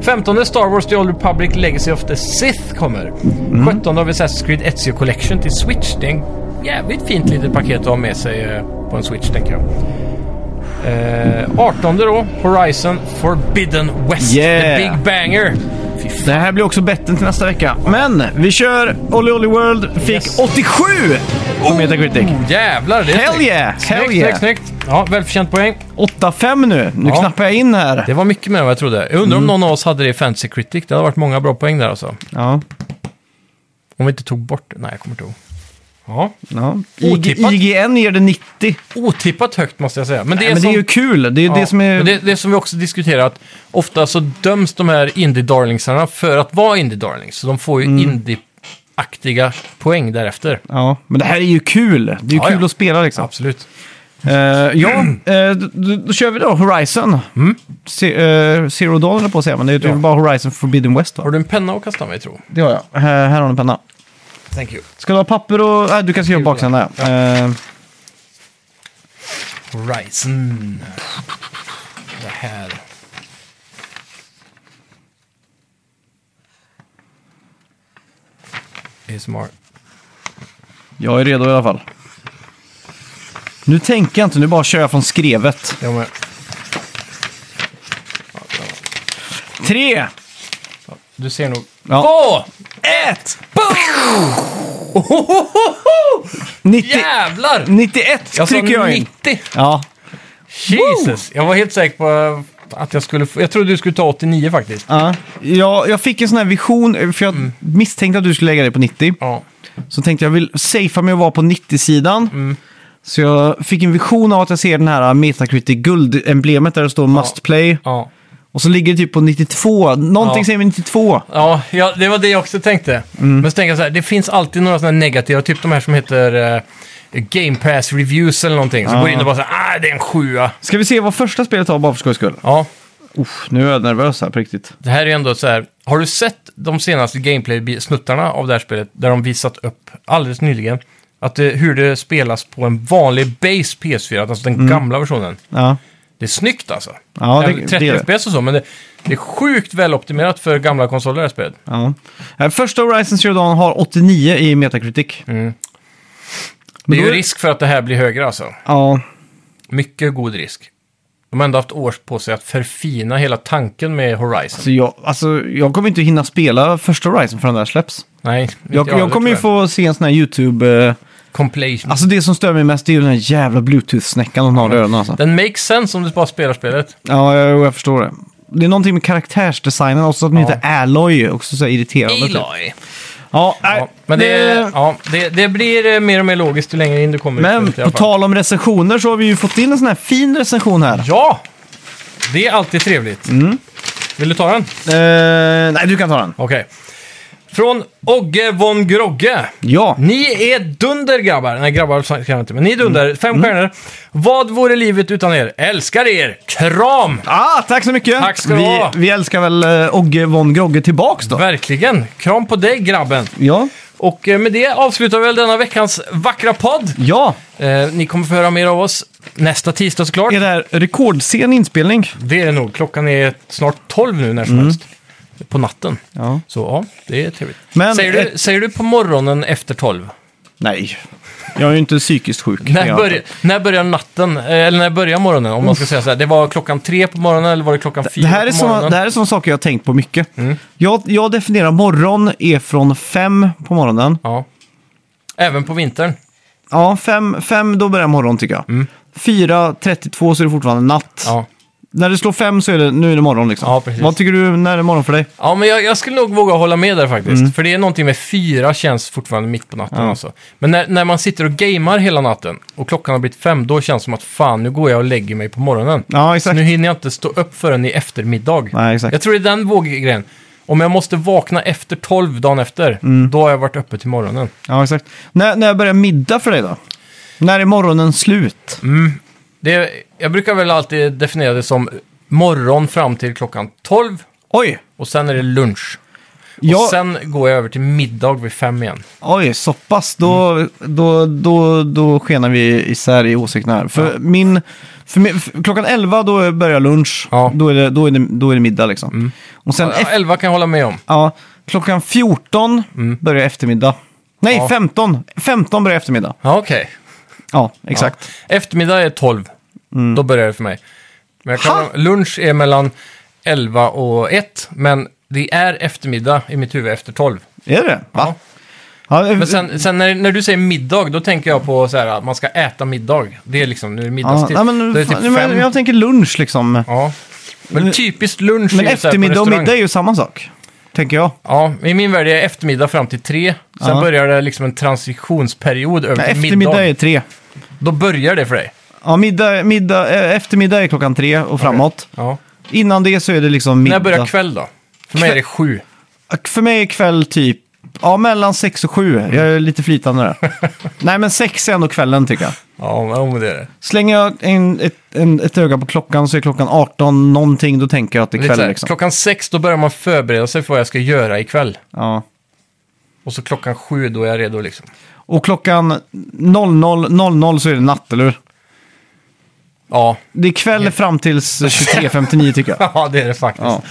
Speaker 2: 15 Star Wars The Old Republic Legacy of the Sith kommer.
Speaker 1: Mm.
Speaker 2: 17 av Assassin's Creed Ezio Collection till Switch. Det är en jävligt fint litet paket att ha med sig eh, på en Switch tänker jag. Eh, 18 då, Horizon Forbidden West.
Speaker 1: Yeah.
Speaker 2: The Big Banger.
Speaker 1: Det här blir också betten till nästa vecka. Men vi kör Olli Olli World. Fick
Speaker 2: Yes.
Speaker 1: 87 på Metacritic.
Speaker 2: Oh, jävlar, det är
Speaker 1: Hell
Speaker 2: snyggt.
Speaker 1: yeah,
Speaker 2: Snyggt,
Speaker 1: hell yeah.
Speaker 2: snyggt, snyggt. Ja, välförtjänt poäng.
Speaker 1: 8-5 nu. Nu
Speaker 2: Ja.
Speaker 1: knappar jag in här.
Speaker 2: Det var mycket mer än vad jag trodde. Jag undrar om
Speaker 1: Mm.
Speaker 2: någon av oss hade det i Fantasy Critic. Det hade varit många bra poäng där alltså.
Speaker 1: Ja,
Speaker 2: Om vi inte tog bort det. Nej, jag kommer inte ihåg. Ja.
Speaker 1: ja.
Speaker 2: Otippat.
Speaker 1: IG, IGN ger det 90.
Speaker 2: Otippat högt måste jag säga. Men det,
Speaker 1: Nej,
Speaker 2: är,
Speaker 1: men
Speaker 2: som,
Speaker 1: det är ju kul. Det är ju
Speaker 2: ja,
Speaker 1: det som är...
Speaker 2: men det, det som vi också diskuterar, att ofta så döms de här indie-darlingsarna för att vara indie-darlings. Så de får ju
Speaker 1: Mm.
Speaker 2: indie-aktiga poäng därefter.
Speaker 1: Ja, men det här är ju kul. Det är ju
Speaker 2: Ja, Mm.
Speaker 1: kul
Speaker 2: ja.
Speaker 1: att spela liksom.
Speaker 2: Absolut.
Speaker 1: Eh, ja, eh, då, då- då kör vi då Horizon. Se, eh, Zero Dawn eller på att säga, men det är typ
Speaker 2: Mm. Ja.
Speaker 1: bara Horizon Forbidden West va?
Speaker 2: Har du en penna att kasta mig, tro?
Speaker 1: Det har jag. Eh, här har du en penna.
Speaker 2: Thank you.
Speaker 1: Ska du ha papper och... Nej, du kan skriva på baksidan där. Eh,
Speaker 2: Horizon. Det här. ASMR.
Speaker 1: jag är redo i alla fall. Nu tänker jag inte, nu bara kör jag från skrevet.
Speaker 2: Jag med.
Speaker 1: Tre,
Speaker 2: Du ser nog.
Speaker 1: Ja.
Speaker 2: Åh!
Speaker 1: ett,
Speaker 2: Ohohoho!
Speaker 1: 90,
Speaker 2: Jävlar! Alltså,
Speaker 1: 91
Speaker 2: Jag sa
Speaker 1: trycker jag in.
Speaker 2: 90.
Speaker 1: Ja,
Speaker 2: Jesus! Jag var helt säker på eh, att jag skulle få... Jag trodde du skulle ta 89 faktiskt.
Speaker 1: ja. Jag, jag fick en sån här vision, för jag misstänkte att du skulle lägga dig på 90.
Speaker 2: Mm. Ja.
Speaker 1: Så tänkte jag vill safea mig och vara på 90-sidan.
Speaker 2: Mm.
Speaker 1: Så jag fick en vision av att jag ser den här äh, Metacritic guldemblemet där det står must play.
Speaker 2: Ja.
Speaker 1: Och så ligger det typ på 92. Någonting
Speaker 2: Ja.
Speaker 1: säger mig 92.
Speaker 2: Ja, ja, det var det jag också tänkte. Men så tänkte jag så här, det finns alltid några sådana negativa, typ de här som heter eh, Game Pass Reviews eller någonting. Så
Speaker 1: Ja.
Speaker 2: går in och bara så här, ah, det är en sjua.
Speaker 1: Ska vi se vad första spelet har bara för skojs skull?
Speaker 2: Ja,
Speaker 1: Uff, nu är jag nervös här på riktigt.
Speaker 2: det här är ju ändå så här, har du sett de senaste gameplay-snuttarna av det här spelet, där de visat upp alldeles nyligen, att det, hur det spelas på en vanlig base PS4, alltså den gamla versionen.
Speaker 1: Ja,
Speaker 2: Det är snyggt alltså.
Speaker 1: Ja, det-
Speaker 2: Även 30
Speaker 1: det är det.
Speaker 2: FPS och så, men det, det är sjukt väloptimerat för gamla konsoler det här spelet.
Speaker 1: ja. Eh, Första Horizon Zero Dawn har 89 i Metacritic.
Speaker 2: Mm. Det
Speaker 1: Men
Speaker 2: är
Speaker 1: då
Speaker 2: ju risk för att det här blir högre alltså.
Speaker 1: Ja,
Speaker 2: Mycket god risk. De har ändå haft år på sig att förfina hela tanken med Horizon.
Speaker 1: så jag, alltså, jag kommer inte hinna spela första Horizon förrän det här släpps.
Speaker 2: Nej, inte
Speaker 1: Jag, jag
Speaker 2: heller,
Speaker 1: kommer ju
Speaker 2: tror
Speaker 1: få se en sån här YouTube... eh,
Speaker 2: jag. Complation.
Speaker 1: alltså det som stör mig mest är ju den här jävla bluetooth-snäckan de har i öronen alltså.
Speaker 2: Den makes sense om du bara spelar spelet.
Speaker 1: Ja, jag, jag förstår det. Det är någonting med karaktärsdesignen också, att den
Speaker 2: Ja.
Speaker 1: heter Alloy, också så här irriterande. typ. Ja, nej,
Speaker 2: Ja, men det,
Speaker 1: det-
Speaker 2: ja, det, det blir eh, mer och mer logiskt ju längre in du kommer. i
Speaker 1: men
Speaker 2: spelet i
Speaker 1: på
Speaker 2: alla fall.
Speaker 1: tal om recensioner så har vi ju fått in en sån här fin recension här.
Speaker 2: Ja! Det är alltid trevligt.
Speaker 1: Mm.
Speaker 2: Vill du ta den?
Speaker 1: Eh, nej, du kan ta den.
Speaker 2: Okej. Från Ogge von Grogge.
Speaker 1: Ja,
Speaker 2: Ni är dunder grabbar. Nej, grabbar kan jag inte, men ni är dunder.
Speaker 1: Mm.
Speaker 2: Fem stjärnor. Vad vore livet utan er? Älskar er! Kram!
Speaker 1: ah, tack så mycket.
Speaker 2: Tack ska du
Speaker 1: vi,
Speaker 2: ha.
Speaker 1: vi älskar väl eh, Ogge von Grogge tillbaks då.
Speaker 2: Verkligen! Kram på dig grabben!
Speaker 1: Ja,
Speaker 2: Och eh, med det avslutar vi väl denna veckans vackra podd.
Speaker 1: Ja,
Speaker 2: Eh, ni kommer få höra mer av oss nästa tisdag såklart.
Speaker 1: är det här rekordsen inspelning?
Speaker 2: Det är det nog. Klockan är snart 12 nu när som
Speaker 1: Mm.
Speaker 2: helst. På natten.
Speaker 1: Ja.
Speaker 2: Så ja, det är trevligt.
Speaker 1: Men-
Speaker 2: säger, du, säger du på morgonen efter 12?
Speaker 1: Nej, jag är ju inte psykiskt sjuk. kan
Speaker 2: När,
Speaker 1: jag
Speaker 2: börjar-
Speaker 1: anta.
Speaker 2: när börjar natten? Eh, Eller när börjar morgonen? Om man ska säga så här. Det var klockan tre på morgonen eller var det klockan fyra
Speaker 1: det här, är
Speaker 2: på morgonen? Mm.
Speaker 1: såna, det här är såna saker jag har tänkt på mycket. Jag, jag definierar morgon är från fem på morgonen.
Speaker 2: Ja. Även på vintern.
Speaker 1: Ja, fem, fem då börjar morgon tycker jag. Fyra, 32 så är det fortfarande natt.
Speaker 2: Mm. Ja.
Speaker 1: När det slår fem så är det, nu är det morgon liksom.
Speaker 2: Ja, precis.
Speaker 1: Vad tycker du, när är det morgon för dig?
Speaker 2: Ja, men jag, jag skulle nog våga hålla med där faktiskt.
Speaker 1: Mm.
Speaker 2: För det är någonting med fyra känns fortfarande mitt på natten alltså. Men när, när man sitter och gamar hela natten och klockan har blivit fem, då känns det som att fan, nu går jag och lägger mig på morgonen.
Speaker 1: Ja,
Speaker 2: Så
Speaker 1: exakt.
Speaker 2: nu hinner jag inte stå upp förrän i eftermiddag.
Speaker 1: Nej, exakt.
Speaker 2: Jag tror det är den våggrejen. Om jag måste vakna efter tolv dagen efter,
Speaker 1: Mm.
Speaker 2: då har jag varit uppe till morgonen.
Speaker 1: Ja, exakt. När, när börjar middag för dig då? När är morgonen slut?
Speaker 2: Mm. Det, jag brukar väl alltid definiera det som morgon fram till klockan tolv
Speaker 1: Oj!
Speaker 2: och sen är det lunch.
Speaker 1: Jag,
Speaker 2: Och sen går jag över till middag vid fem igen.
Speaker 1: Oj, så pass. Då, då, då, då skenar vi isär i åsikterna här. För min... För min för klockan 11 då börjar lunch.
Speaker 2: Ja. Mm.
Speaker 1: Då, är det, då, är det, då är det middag liksom. Och sen...
Speaker 2: Ja,
Speaker 1: eff-
Speaker 2: elva kan jag hålla med om.
Speaker 1: ja, klockan 14 börjar eftermiddag. Nej,
Speaker 2: Mm. Ja.
Speaker 1: 15. 15 börjar eftermiddag.
Speaker 2: Ja, okej.
Speaker 1: Ja, exakt.
Speaker 2: Ja. Eftermiddag är 12. Då börjar det för mig. Men jag kan,
Speaker 1: Mm. Ha!
Speaker 2: lunch är mellan 11 och 1, men det är eftermiddag i mitt huvud efter 12.
Speaker 1: Är det? Va? Ja. eh,
Speaker 2: Men sen, sen när, när du säger middag, då tänker jag på så här, att man ska äta middag. Det är liksom, nu är det
Speaker 1: ja,
Speaker 2: middagstid.
Speaker 1: nej, men,
Speaker 2: då är det
Speaker 1: fan,
Speaker 2: typ
Speaker 1: nej, men
Speaker 2: fem.
Speaker 1: jag tänker lunch liksom.
Speaker 2: Ja. Men typiskt lunch
Speaker 1: Men
Speaker 2: är ju så här på
Speaker 1: eftermiddag och
Speaker 2: restaurang.
Speaker 1: middag är ju samma sak. Tänker jag.
Speaker 2: Ja, i min värld är eftermiddag fram till tre. Sen
Speaker 1: Ja.
Speaker 2: börjar det liksom en transitionsperiod över till middag.
Speaker 1: Eftermiddag är tre.
Speaker 2: Då börjar det för dig.
Speaker 1: Ja, middag, middag, eh, eftermiddag är klockan tre och framåt.
Speaker 2: Ja.
Speaker 1: Innan det så är det liksom middag.
Speaker 2: När börjar kväll då? För mig är det sju.
Speaker 1: För mig är kväll typ, ja mellan sex och sju.
Speaker 2: Mm.
Speaker 1: Jag är lite flytande där. Nej men sex är ändå kvällen tycker jag.
Speaker 2: Ja, men om det är det.
Speaker 1: Slänger jag en, ett, en, ett öga på klockan så är klockan 18 någonting, då tänker jag att det är
Speaker 2: Lite så
Speaker 1: kväll
Speaker 2: här,
Speaker 1: liksom.
Speaker 2: Klockan sex, då börjar man förbereda sig för vad jag ska göra ikväll.
Speaker 1: Ja.
Speaker 2: Och så klockan sju, då är jag redo liksom.
Speaker 1: Och klockan 00, 00 så är det natt, eller hur?
Speaker 2: Ja,
Speaker 1: Det är kväll fram tills 23.59 tycker jag.
Speaker 2: ja det är det faktiskt.
Speaker 1: Ja.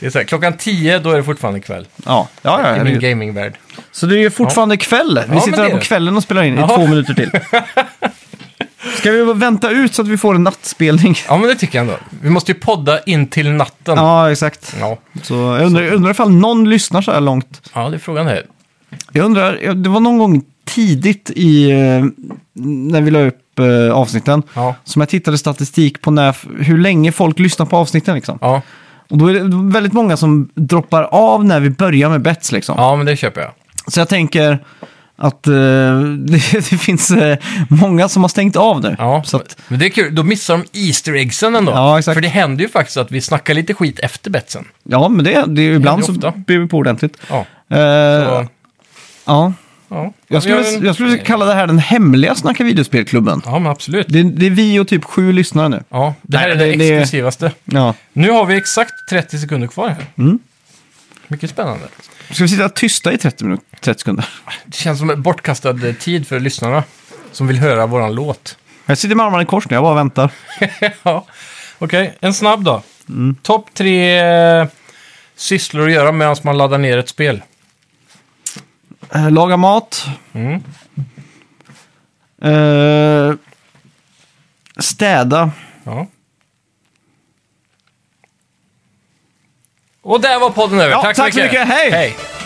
Speaker 2: Det är så här, klockan tio, då är det fortfarande kväll.
Speaker 1: Ja, ja, ja
Speaker 2: I min
Speaker 1: herregud.
Speaker 2: gamingvärld.
Speaker 1: Så det är ju fortfarande kväll. Vi
Speaker 2: men
Speaker 1: sitter
Speaker 2: det
Speaker 1: här
Speaker 2: är
Speaker 1: på
Speaker 2: det.
Speaker 1: kvällen och spelar in i
Speaker 2: Ja.
Speaker 1: två minuter till. Ska vi bara vänta ut så att vi får en nattspelning?
Speaker 2: Ja, men det tycker jag ändå. Vi måste ju podda in till natten. Ja,
Speaker 1: Ja, exakt.
Speaker 2: ja.
Speaker 1: Så jag undrar, jag undrar ifall någon lyssnar så här långt.
Speaker 2: det är frågan här.
Speaker 1: Jag undrar, jag- det var någon gång tidigt i, eh, när vi la upp eh, avsnitten,
Speaker 2: Ja.
Speaker 1: som jag tittade statistik på när, hur länge folk lyssnar på avsnitten. Liksom.
Speaker 2: Ja.
Speaker 1: Och då är det väldigt många som droppar av när vi börjar med bets. Liksom.
Speaker 2: ja, men det köper jag.
Speaker 1: Så jag tänker att eh, det, det finns eh, många som har stängt av nu.
Speaker 2: Ja,
Speaker 1: Så att,
Speaker 2: men det är kul. Då missar de Easter eggsen ändå.
Speaker 1: Ja, exakt.
Speaker 2: För det händer ju faktiskt att vi snackar lite skit efter betsen.
Speaker 1: ja men det, det är ju ibland så
Speaker 2: ofta.
Speaker 1: blir vi på ordentligt.
Speaker 2: Ja.
Speaker 1: Eh,
Speaker 2: Så,
Speaker 1: ja.
Speaker 2: ja.
Speaker 1: Jag skulle,
Speaker 2: Vi har en-
Speaker 1: jag skulle kalla det här den hemliga Snacka videospelklubben.
Speaker 2: Ja, men absolut.
Speaker 1: Det, det är vi och typ sju lyssnare nu.
Speaker 2: Ja, det här
Speaker 1: Nej,
Speaker 2: är det,
Speaker 1: det- det-
Speaker 2: exklusivaste.
Speaker 1: Ja.
Speaker 2: Nu har vi exakt 30 sekunder kvar här.
Speaker 1: Mm.
Speaker 2: Mycket spännande.
Speaker 1: Ska vi sitta tysta i 30, minuter, 30 sekunder?
Speaker 2: Det känns som en bortkastad eh, tid för lyssnarna som vill höra våran låt.
Speaker 1: Jag sitter med armarna i kors nu, jag bara väntar.
Speaker 2: ja. Okej, en snabb då.
Speaker 1: Mm.
Speaker 2: Topp tre eh, sysslor att göra medan man laddar ner ett spel.
Speaker 1: Eh, laga mat.
Speaker 2: Mm.
Speaker 1: Eh, städa.
Speaker 2: Ja. Och där var podden över.
Speaker 1: Ja,
Speaker 2: tack så
Speaker 1: tack så
Speaker 2: mycket.
Speaker 1: mycket. Hej.
Speaker 2: Hej.